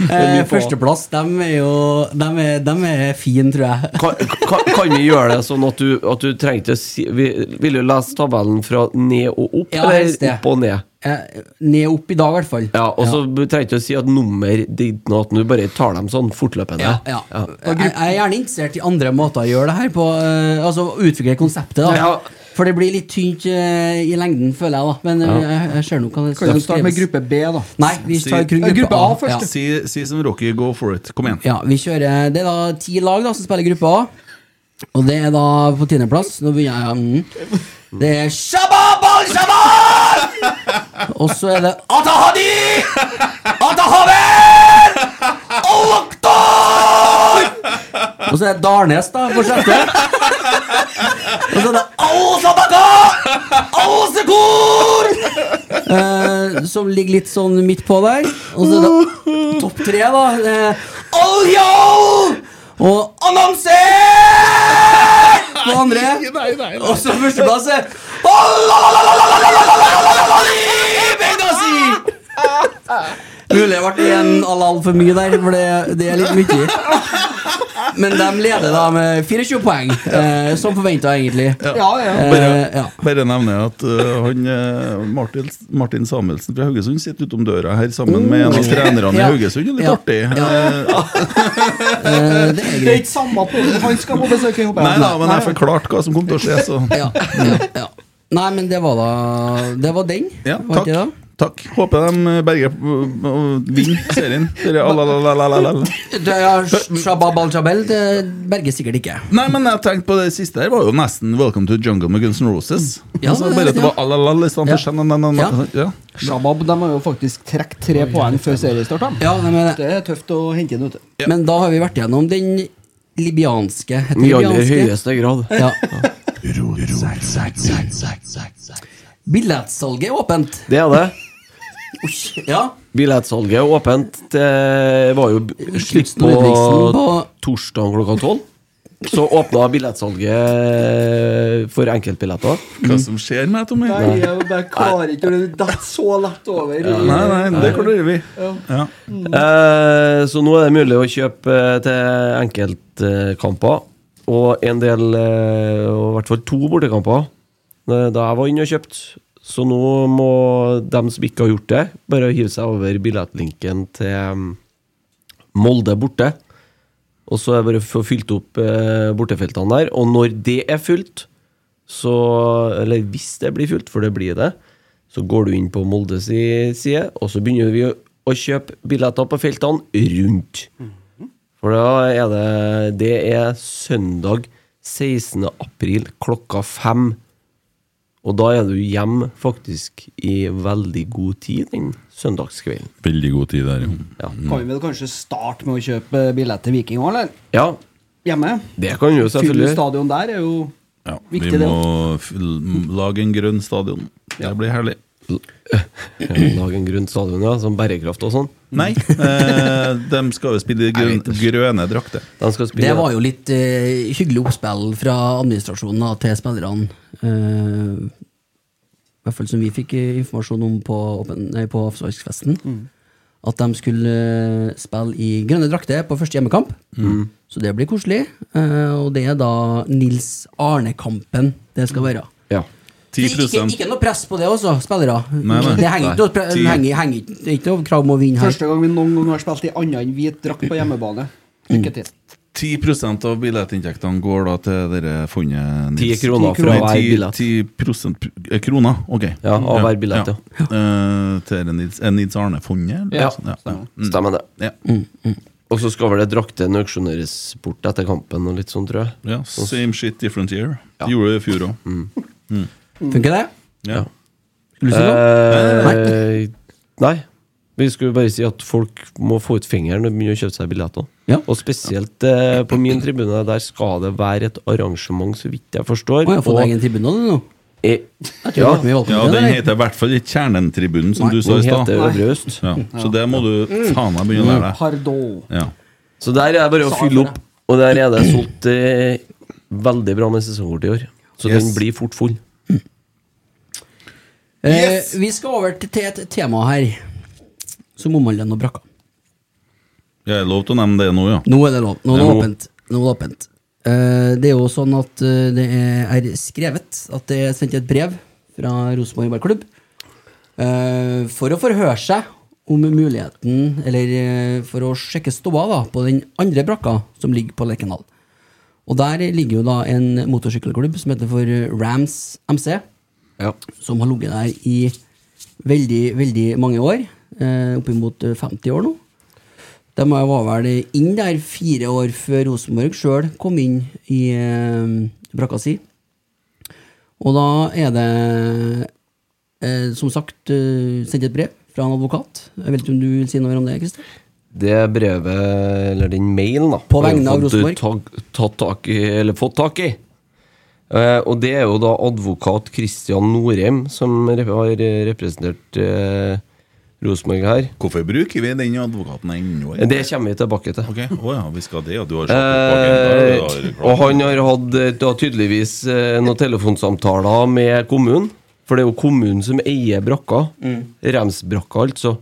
S2: Eh, Førsteplass, dem er jo dem er, dem er fin, tror jeg.
S4: Kan, kan, kan vi gjøre det sånn at du, at du trengte å si vi, Vil du lese tabellen fra ned og opp,
S2: Ja,
S4: eller
S2: helst det.
S4: opp og ned?
S2: Eh, Ned opp i dag, i hvert fall.
S4: Ja, Og så trengte du å si at nummer ditt nå, at du bare tar dem sånn fortløpende.
S2: Ja, ja. Jeg, jeg er gjerne interessert i andre måter å gjøre det her på. eh, altså utvikle konseptet, da.
S4: Ja.
S2: For det blir litt tynt eh, i lengden, føler jeg, da. Men eh, jeg, jeg ser nå hva det
S3: Kan
S2: skal
S3: du starte med
S2: skrives.
S3: gruppe B, da?
S2: Nei, vi
S7: Si-
S2: tar gruppe,
S3: Gruppe A først,
S2: Ja.
S7: Si, si som Rocky, go for it. Kom igjen.
S2: Ja, vi kjører Det er da ti lag da som spiller gruppe A. Og det er da på tiendeplass. Nå begynner jeg mm. Det er Shabab al-Shabab! Og så er det Atahadi! Atahaver! Al-Akhtar! Og så er det Darnes, da, på sjette. Og så er det Al-Sabaka! Al-Sekur! Eh, som ligger litt sånn midt på der. Og så er det topp tre, da. Eh, Al-Yal! Og Anamser! På andre. Og så førsteplass er Al-Alalalalalalalali Benghazi! Mulig det ble en alal for mye der, for det, det er litt mye. Men de leder da med 24 poeng, eh, som forventa, egentlig.
S3: Ja, ja.
S2: Eh, ja.
S7: Bare nevner jeg at øh, han, øh, Martin, Martin Samuelsen fra Haugesund sitter utom døra her sammen med en av trenerne i
S2: Oh. Ja.
S7: Haugesund. Det er Litt
S2: Ja.
S7: artig.
S2: Eh, det er
S3: Det er
S2: greit.
S3: ikke samme på Han skal på besøk, jeg håper
S7: Nei
S3: jeg.
S7: da, men jeg forklarte hva som kom til å skje, så
S2: Ja, ja, ja. Nei, men det var da Det var den.
S7: ja,
S2: var ikke
S7: takk.
S2: det da?
S7: Takk. Håper de berger og vinner serien. Dere, alalalalalalala.
S2: Det er Shabab al-Jabel det berger sikkert ikke.
S7: Nei, men jeg tenkte på det siste her var jo nesten 'Welcome to Jungle' med Guns N' Roses.
S2: Ja,
S7: altså,
S2: det er
S7: bare at det
S2: riktig,
S7: var alalal istedenfor shananana. Ja.
S5: Shabab de har jo faktisk trukket tre poeng før seriestart. da.
S2: Ja, nei, men,
S5: Det er tøft å hente inn ute.
S2: men da har vi vært gjennom den libianske heter
S4: I aller
S2: libianske?
S4: høyeste grad.
S2: Ja. Billettsalget er åpent.
S4: Det er det.
S2: Ja.
S4: Billettsalget er åpent. Det var jo b- slipp
S2: Knutsen og Ludvigsen
S4: på
S2: på-
S4: torsdag klokka tolv. Så åpna billettsalget for enkeltbilletter.
S7: Hva som skjer med Tommy?
S5: Nei, jeg bare klarer ikke å dette så lett over.
S7: Nei, nei, det klarer vi. Ja.
S4: Eh, Så nå er det mulig å kjøpe eh, til enkeltkamper. Og en del, eh, og i hvert fall to bortekamper, eh, da jeg var inne og kjøpte. Så nå må dem som ikke har gjort det, bare hive seg over billettlinken til mm, Molde borte. Og så er det bare å få fylt opp eh, bortefeltene der. Og når det er fylt, så Eller hvis det blir fylt, for det blir det, så går du inn på Moldes side, og så begynner vi å, å kjøpe billetter på feltene rundt. For da er det Det er søndag 16. april klokka fem. Og da er du hjemme faktisk i veldig god tid den søndagskvelden.
S7: Veldig god tid der, jo.
S4: Ja.
S5: Kan vi vel kanskje starte med å kjøpe billett til Viking òg, eller?
S4: ja,
S5: Hjemme?
S4: det kan du jo
S5: Fylle
S4: selvfølgelig.
S5: stadion der er jo
S7: Ja, vi
S5: Viktig det
S7: må f- l- lage en grønn stadion. Det blir herlig.
S4: Eh, Lage en grønn stadion, ja, som bærekraft og sånn.
S7: Nei, eh, de skal jo spille i grøn, grønne drakter.
S4: De skal spille
S2: Det var jo litt eh, hyggelig oppspill fra administrasjonen da, til spillerne. Eh, I hvert fall som vi fikk eh, informasjon om på, åpen- nei, på Offsvarksfesten.
S5: Mm.
S2: At de skulle eh, spille i grønne drakter på første hjemmekamp.
S7: Mm.
S5: Mm.
S2: Så det blir koselig. Eh, og det er da Nils Arne-kampen det skal
S5: Mm.
S2: være.
S4: ja.
S7: 10
S2: Så Ikke, ikke noe press på det også, spillere.
S7: Nei, nei.
S2: Det henger ikke noe pre-
S7: Ti-
S2: henger, henger, ikke- det er ikke noe krav om å vinne her.
S5: første gang vi noen gang har spilt i annet enn hvit drakt på hjemmebane. Lykke til.
S7: 10 av billettinntektene går da til dere funnet Nils.
S4: 10 kroner fra hver
S7: Nei, 10
S4: billett.
S7: 10 prosent- eh, kroner, ok.
S4: Ja, av hver billett, ja.
S7: Eh, til dere Nils, er Nils Arne-fondet? eller?
S4: Ja,
S7: ja. Mm.
S4: Stemmer det.
S7: Ja.
S4: Og så skal vel det draktene auksjoneres bort etter kampen og litt sånn, tror jeg.
S7: ja. Same shit, different year. Gjorde det i fjor òg.
S4: Mm.
S2: Funker det?
S7: Ja.
S2: Skulle du si noe?
S4: Eh, nei. Vi skulle bare si at folk må få ut fingeren og begynne å kjøpe seg billetter.
S2: Ja.
S4: Og spesielt eh, på min tribune, der skal det være et arrangement, så vidt jeg forstår.
S2: Å, jeg har fått
S4: og-
S2: egen tribune nå, du, nå.
S4: eh,
S2: Jeg tror
S4: ja,
S2: jeg ble med i valgkomiteen,
S7: ja, den
S2: eller?
S7: heter i hvert fall ikke Kjernen-tribunen, som
S2: Nei,
S7: du sa
S4: den
S7: i stad.
S4: heter Øvre Øst.
S7: Ja. Så det må du
S4: Mm.
S7: faen meg
S2: Mm.
S7: begynne å lære deg.
S5: Pardon.
S7: Ja.
S4: Så der er det bare å fylle opp, og der er det solgt eh, veldig bra med sesongkort i år. Så den
S7: Yes.
S4: blir fort full.
S2: Eh, vi skal over til til et tema her som omhandler noe brakka.
S7: Jeg er lov til å nevne det nå, ja.
S4: Mm.
S2: Nå er det lov. Nå er det
S4: Ja, nå.
S2: åpent. Nå er det åpent. Eh, det er jo sånn at eh, det er er skrevet at det er sendt et brev fra Rosenborg Ballklubb eh, for å forhøre seg om muligheten, eller eh, for å sjekke ståa da, på den andre brakka som ligger på Lerkendal. Og der ligger jo da en motorsykkelklubb som heter for Rams MC.
S4: Ja.
S2: som har ligget der i veldig, veldig mange år. Eh, Oppimot eh, 50 år nå. De var vel inn der fire år før Rosenborg sjøl kom inn i eh, brakka si. Og da er det, eh, som sagt, eh, sendt et brev fra en advokat. Jeg vet ikke om du vil si noe mer om det, Christer?
S4: Det brevet, eller den mailen, da
S2: På vegne av
S4: har jeg fått
S2: Rosenborg.
S4: tak- tatt tak i, eller fått tak i. Eh, og det er jo da advokat Christian Norheim som rep- har eh, representert eh, Rosenborg her.
S7: Hvorfor bruker vi den advokaten ennå?
S4: Eh, Det kommer vi tilbake til.
S7: Ok, Å ja, vi skal det, ja. Du har
S4: Eh,
S7: satt
S4: og han har hatt eh, da tydeligvis eh, noen telefonsamtaler med kommunen. For det er jo kommunen som eier brakka. Remsbrakka, altså.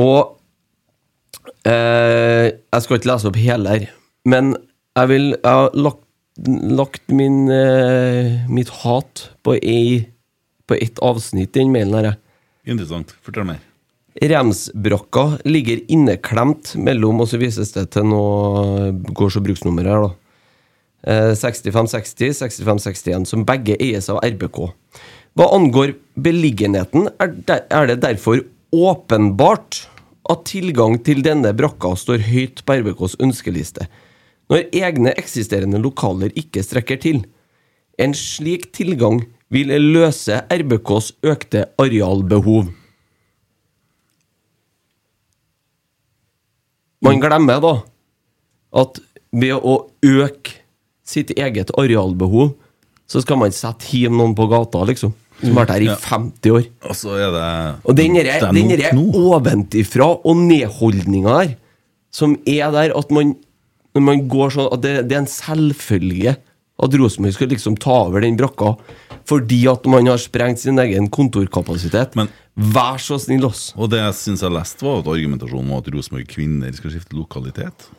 S4: Og eh, Jeg skal ikke lese opp hele her, men jeg vil Jeg har lagt, lagt min, eh, mitt hat på, ei, på ett avsnitt i den mailen her. jeg.
S7: Interessant. Fortell mer.
S4: Remsbrakka ligger inneklemt mellom, og så vises det til noe gårds- og bruksnummer her, da. eh, 65-60, 65-61, som begge eies av RBK. Hva angår beliggenheten, er, der, er det derfor åpenbart at tilgang til denne brakka står høyt på RBKs ønskeliste, når egne eksisterende lokaler ikke strekker til. En slik tilgang vil løse RBKs økte arealbehov. Man glemmer da at ved å øke sitt eget arealbehov, så skal man sette hjem noen på gata, liksom. Som har vært her i
S7: Ja.
S4: 50 år.
S7: Og så er det
S4: Og den derre
S7: Det er
S4: den
S7: nok
S4: derre
S7: nå.
S4: oventifra og nedholdninga der, som er der at man Når man går sånn At det, det er en selvfølge at Rosenborg skal liksom ta over den brakka fordi at man har sprengt sin egen kontorkapasitet. Vær så snill, oss!
S7: Og det jeg syns jeg leste, var at argumentasjonen var at Rosenborg kvinner skal skifte lokalitet.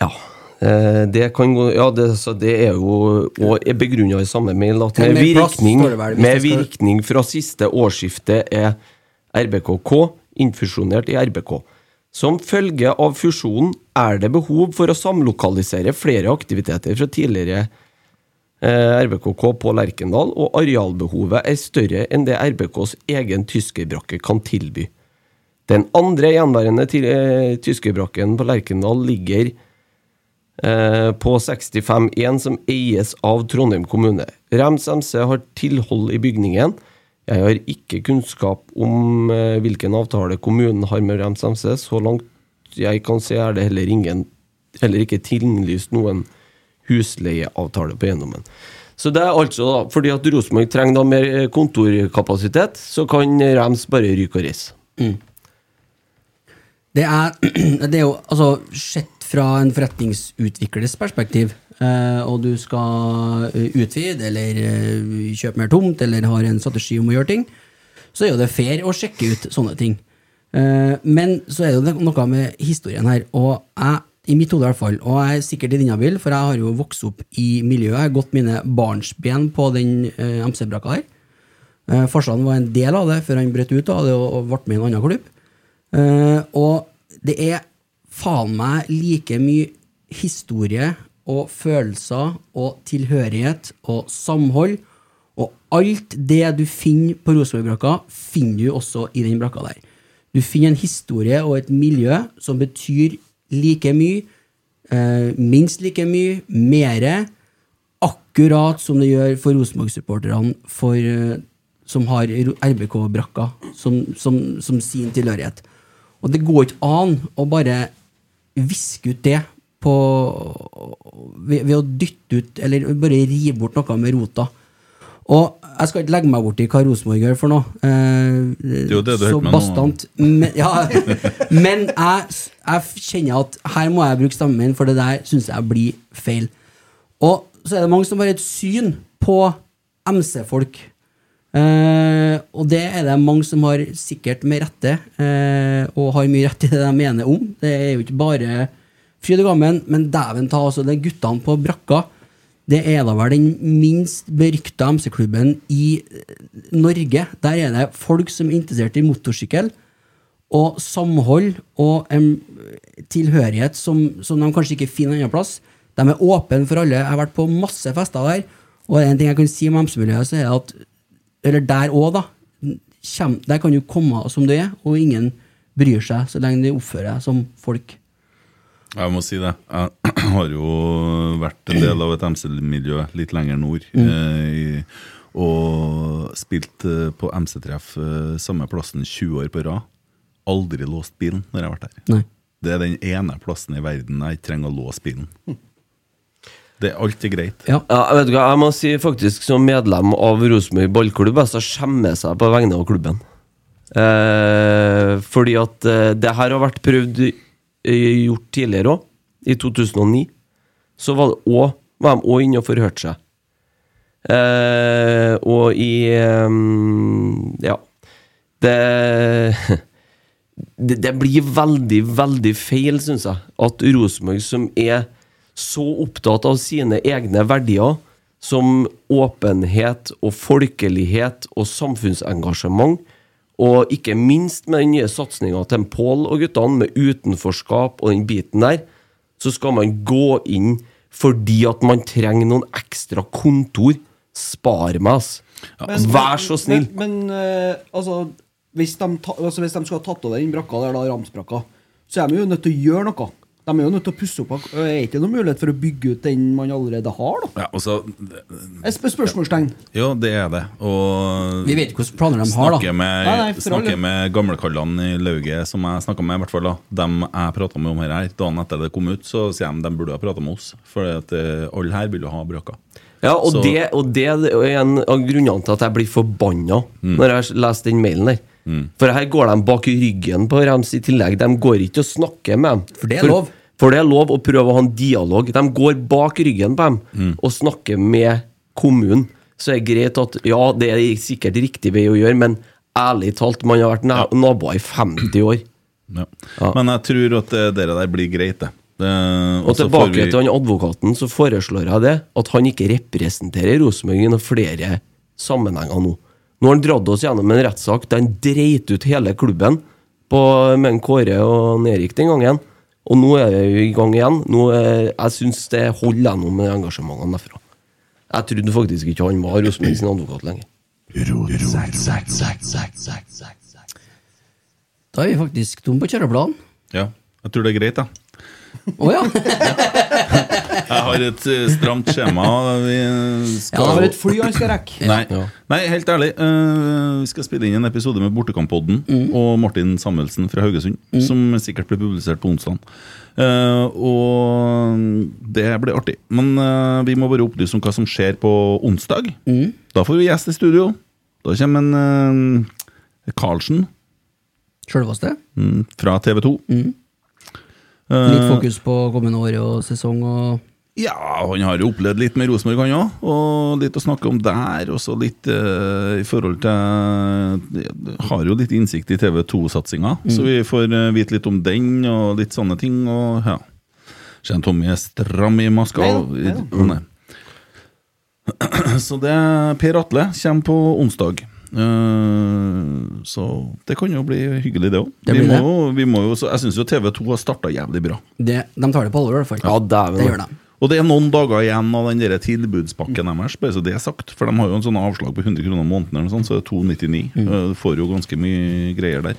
S4: Eh, Det kan gå Ja, det, så det er jo Og er begrunna i samme mail at
S2: Til
S4: med
S2: mer plass,
S4: virkning,
S2: står det vel, hvis
S4: med
S2: det skal-
S4: virkning fra siste årsskifte er RBKK infusjonert i RBK. Som følge av fusjonen er det behov for å samlokalisere flere aktiviteter fra tidligere eh, RBKK på Lerkendal, og arealbehovet er større enn det RBKs egen tyskerbrakke kan tilby. Den andre gjenværende til- eh, tyskerbrakken på Lerkendal ligger eh, på 65-1 som eies av Trondheim kommune. Rems MC har tilhold i bygningen. Jeg har ikke kunnskap om eh, hvilken avtale kommunen har med Rems MC. Så langt jeg kan se, er det heller, ingen, heller ikke tillyst noen husleieavtale på eiendommen. Så det er altså da, fordi at Rosenborg trenger da mer eh, kontorkapasitet, så kan Rems bare ryke og reise.
S2: Det er, det er jo altså, sett fra en forretningsutviklers perspektiv, eh, og du skal eh, utvide eller eh, kjøpe mer tomt eller har en strategi om å gjøre ting, så er jo det fair å sjekke ut sånne ting. Eh, men så er det jo noe med historien her, og jeg, i mitt hode i hvert fall, og jeg er sikkert i din bil, for jeg har jo vokst opp i miljøet, jeg har gått mine barnsben på den eh, MC-brakka her. Eh, Farsan var en del av det før han brøt ut av det og, og ble med i en annen klubb. Eh, og det er faen meg like mye historie og følelser og tilhørighet og samhold. Og alt det du finner på Rosenborg-brakka, finner du også i den brakka der. Du finner en historie og et miljø som betyr like mye, eh, minst like mye, mere, akkurat som det gjør for Rosenborg-supporterne for, eh, som har Ro- RBK-brakka som, som, som sin tilhørighet. Og det går ikke an å bare viske ut det på, ved, ved å dytte ut, eller bare rive bort noe med rota. Og jeg skal ikke legge meg borti hva Rosenborg gjør for noe. Eh,
S7: Det er jo det du
S2: så
S7: holder på med nå.
S2: bastant. Men, ja, men jeg, jeg kjenner at her må jeg bruke stemmen min, for det der syns jeg blir feil. Og så er det mange som har et syn på MC-folk. Eh, og det er det mange som har sikkert med rette, eh, og har mye rett i det de mener om. Det er jo ikke bare fryd og gammen, men dæven ta, altså, det er guttene på brakka. Det er da vel den minst berykta MC-klubben i eh, Norge. Der er det folk som er interessert i motorsykkel, og samhold og en tilhørighet som, som de kanskje ikke finner andre plass. De er åpne for alle. Jeg har vært på masse fester der, og en ting jeg kan si om MC-miljøet, så er det at eller der òg, da. Kjem, der kan du komme som du er, og ingen bryr seg så lenge du oppfører deg som folk.
S7: Jeg må si det. Jeg har jo vært en del av et MC-miljø litt lenger nord.
S2: Mm.
S7: Eh, i- og spilt eh, på MC-treff eh, samme plassen 20 år på rad. Aldri låst bilen når jeg har vært der.
S2: Nei.
S7: Det er den ene plassen i verden jeg ikke trenger å låse bilen. Det, alt er greit.
S2: Ja.
S4: jeg vet du hva, jeg må si faktisk som medlem av Rosenborg ballklubb, jeg skal skjemme seg på vegne av klubben. Eh, fordi at eh, det her har vært prøvd eh, gjort tidligere òg. I 2009 så var, det også, var de òg inne og forhørte seg. Eh, og i ehm, Ja. Det, det Det blir veldig, veldig feil, syns jeg, at Rosenborg, som er så opptatt av sine egne verdier, som åpenhet og folkelighet og samfunnsengasjement, og ikke minst med den nye satsinga til Pål og guttene, med utenforskap og den biten der, så skal man gå inn fordi at man trenger noen ekstra kontor. Spar meg, ass.
S3: Men-
S4: Vær så snill.
S3: altså- Men, men eh, altså, hvis de, ta, altså Hvis de skulle ha tatt over den brakka der, da, Ramsbrakka, så er de jo nødt til å gjøre noe. De er jo nødt til å pusse opp. Er det ikke noen mulighet for å bygge ut den man allerede har? da?
S7: Ja, og så
S3: Et sp- spørsmålstegn.
S7: Ja, det er det. Og
S3: Vi vet ikke hvilke planer de har, da.
S7: Snakker med,
S3: Nei, nei, for all
S7: snakker
S3: del.
S7: med gamlekallene i lauget som jeg snakka med, i hvert fall da. Dem jeg prata med om her, her, dagen etter det kom ut, så sier de de burde ha prata med oss. For at eh, alle her vil jo ha brakka.
S4: Ja, og
S7: Så-
S4: det, og det er en av grunnene til at jeg blir forbanna
S2: Mm.
S4: når jeg leser den mailen der. For her går de bak ryggen på Rems i tillegg. De går ikke og snakker med dem. For
S2: det er lov.
S4: For det er lov å prøve å ha en dialog. De går bak ryggen på dem
S2: Mm.
S4: og snakker med kommunen. Så er det greit at ja, det er sikkert riktig vei å gjøre, men ærlig talt, man har vært na naboer i 50 år.
S7: Ja. Men jeg tror at eh, dere der blir greit, det. Eh,
S4: Og
S7: så får
S4: tilbake til han advokaten, så foreslår jeg det at han ikke representerer Rosenborg i noen flere sammenhenger nå. Nå har han dratt oss gjennom en rettssak der han dreit ut hele klubben på, med en Kåre og en Erik den gangen. Og nå er vi i gang igjen. Nå er, jeg syns det holder jeg nå med engasjementene derfra. Jeg trodde faktisk ikke han var Rosenborg sin advokat lenger.
S2: Da er vi faktisk tomme på kjøreplanen.
S7: Ja, jeg tror det er greit, da.
S2: Å ja.
S7: Jeg har et eh, stramt skjema. Vi skal
S3: Ja, det var et fly han skal rekke.
S7: Nei, nei helt ærlig. eh, vi skal spille inn en episode med Bortekampodden og Martin Samuelsen fra Haugesund, som sikkert blir publisert på onsdag. Eh, og det blir artig. Men eh, vi må bare opplyse om hva som skjer på onsdag. Da får vi gjest i studio. Da kommer en eh, Karlsen
S2: Sjølveste.
S7: mm, fra TV Eh, 2.
S2: Litt fokus på kommende år og sesong og
S7: Ja, han har jo opplevd litt med Rosenborg, han òg. Og litt å snakke om der. Og så litt eh, i forhold til jeg Har jo litt innsikt i TV2-satsinga,
S2: Mm.
S7: så vi får eh, vite litt om den og litt sånne ting. Og ja Kjenner Tommy er stram i maska. og-
S3: Nei da, nei da.
S7: Å, nei. Så det Per Atle kommer på onsdag. Eh, så det kan jo bli hyggelig, det òg.
S2: Det
S7: Vi
S2: blir
S7: må
S2: det.
S7: jo- vi må jo så- Jeg syns jo TV2 har starta jævlig bra.
S2: det, De tar det på alvor, i hvert fall.
S4: Ja, dæven.
S2: det gjør de.
S7: Og det er noen dager igjen av den der tilbudspakken deres, bare så det er sagt. For de har jo en sånn avslag på 100 kroner måneden, eller noe sånt, så det er 299. Eh, Du får jo ganske mye greier der.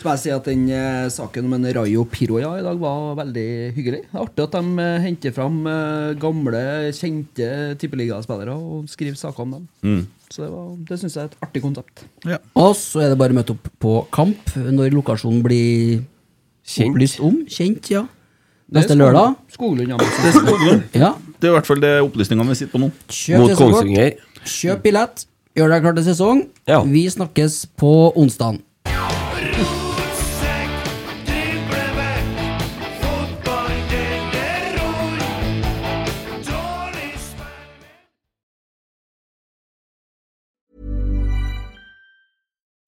S3: Så må jeg si at den eh, saken om en Rayo Piroja i dag var veldig hyggelig. Det er Artig at de eh, henter fram eh, gamle, kjente tippeligaspillere og skriver saker om dem.
S7: Mm.
S3: Så det, var- det syns jeg er et artig konsept.
S2: Og så er det bare å møte opp på kamp når lokasjonen blir opplyst om. Kjent, ja.
S3: Det er
S2: Neste
S3: Skog-
S2: lørdag.
S3: Skoglund, ja.
S7: Det er, Skoglund.
S2: Ja.
S7: det er i hvert fall det opplysningene vi sitter på nå.
S2: Kjøp
S4: Mot
S2: sesongkort.
S4: Kongsvinger.
S2: Kjøp billett. Gjør deg klar til sesong.
S4: Ja.
S2: Vi snakkes på onsdag.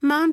S8: Mom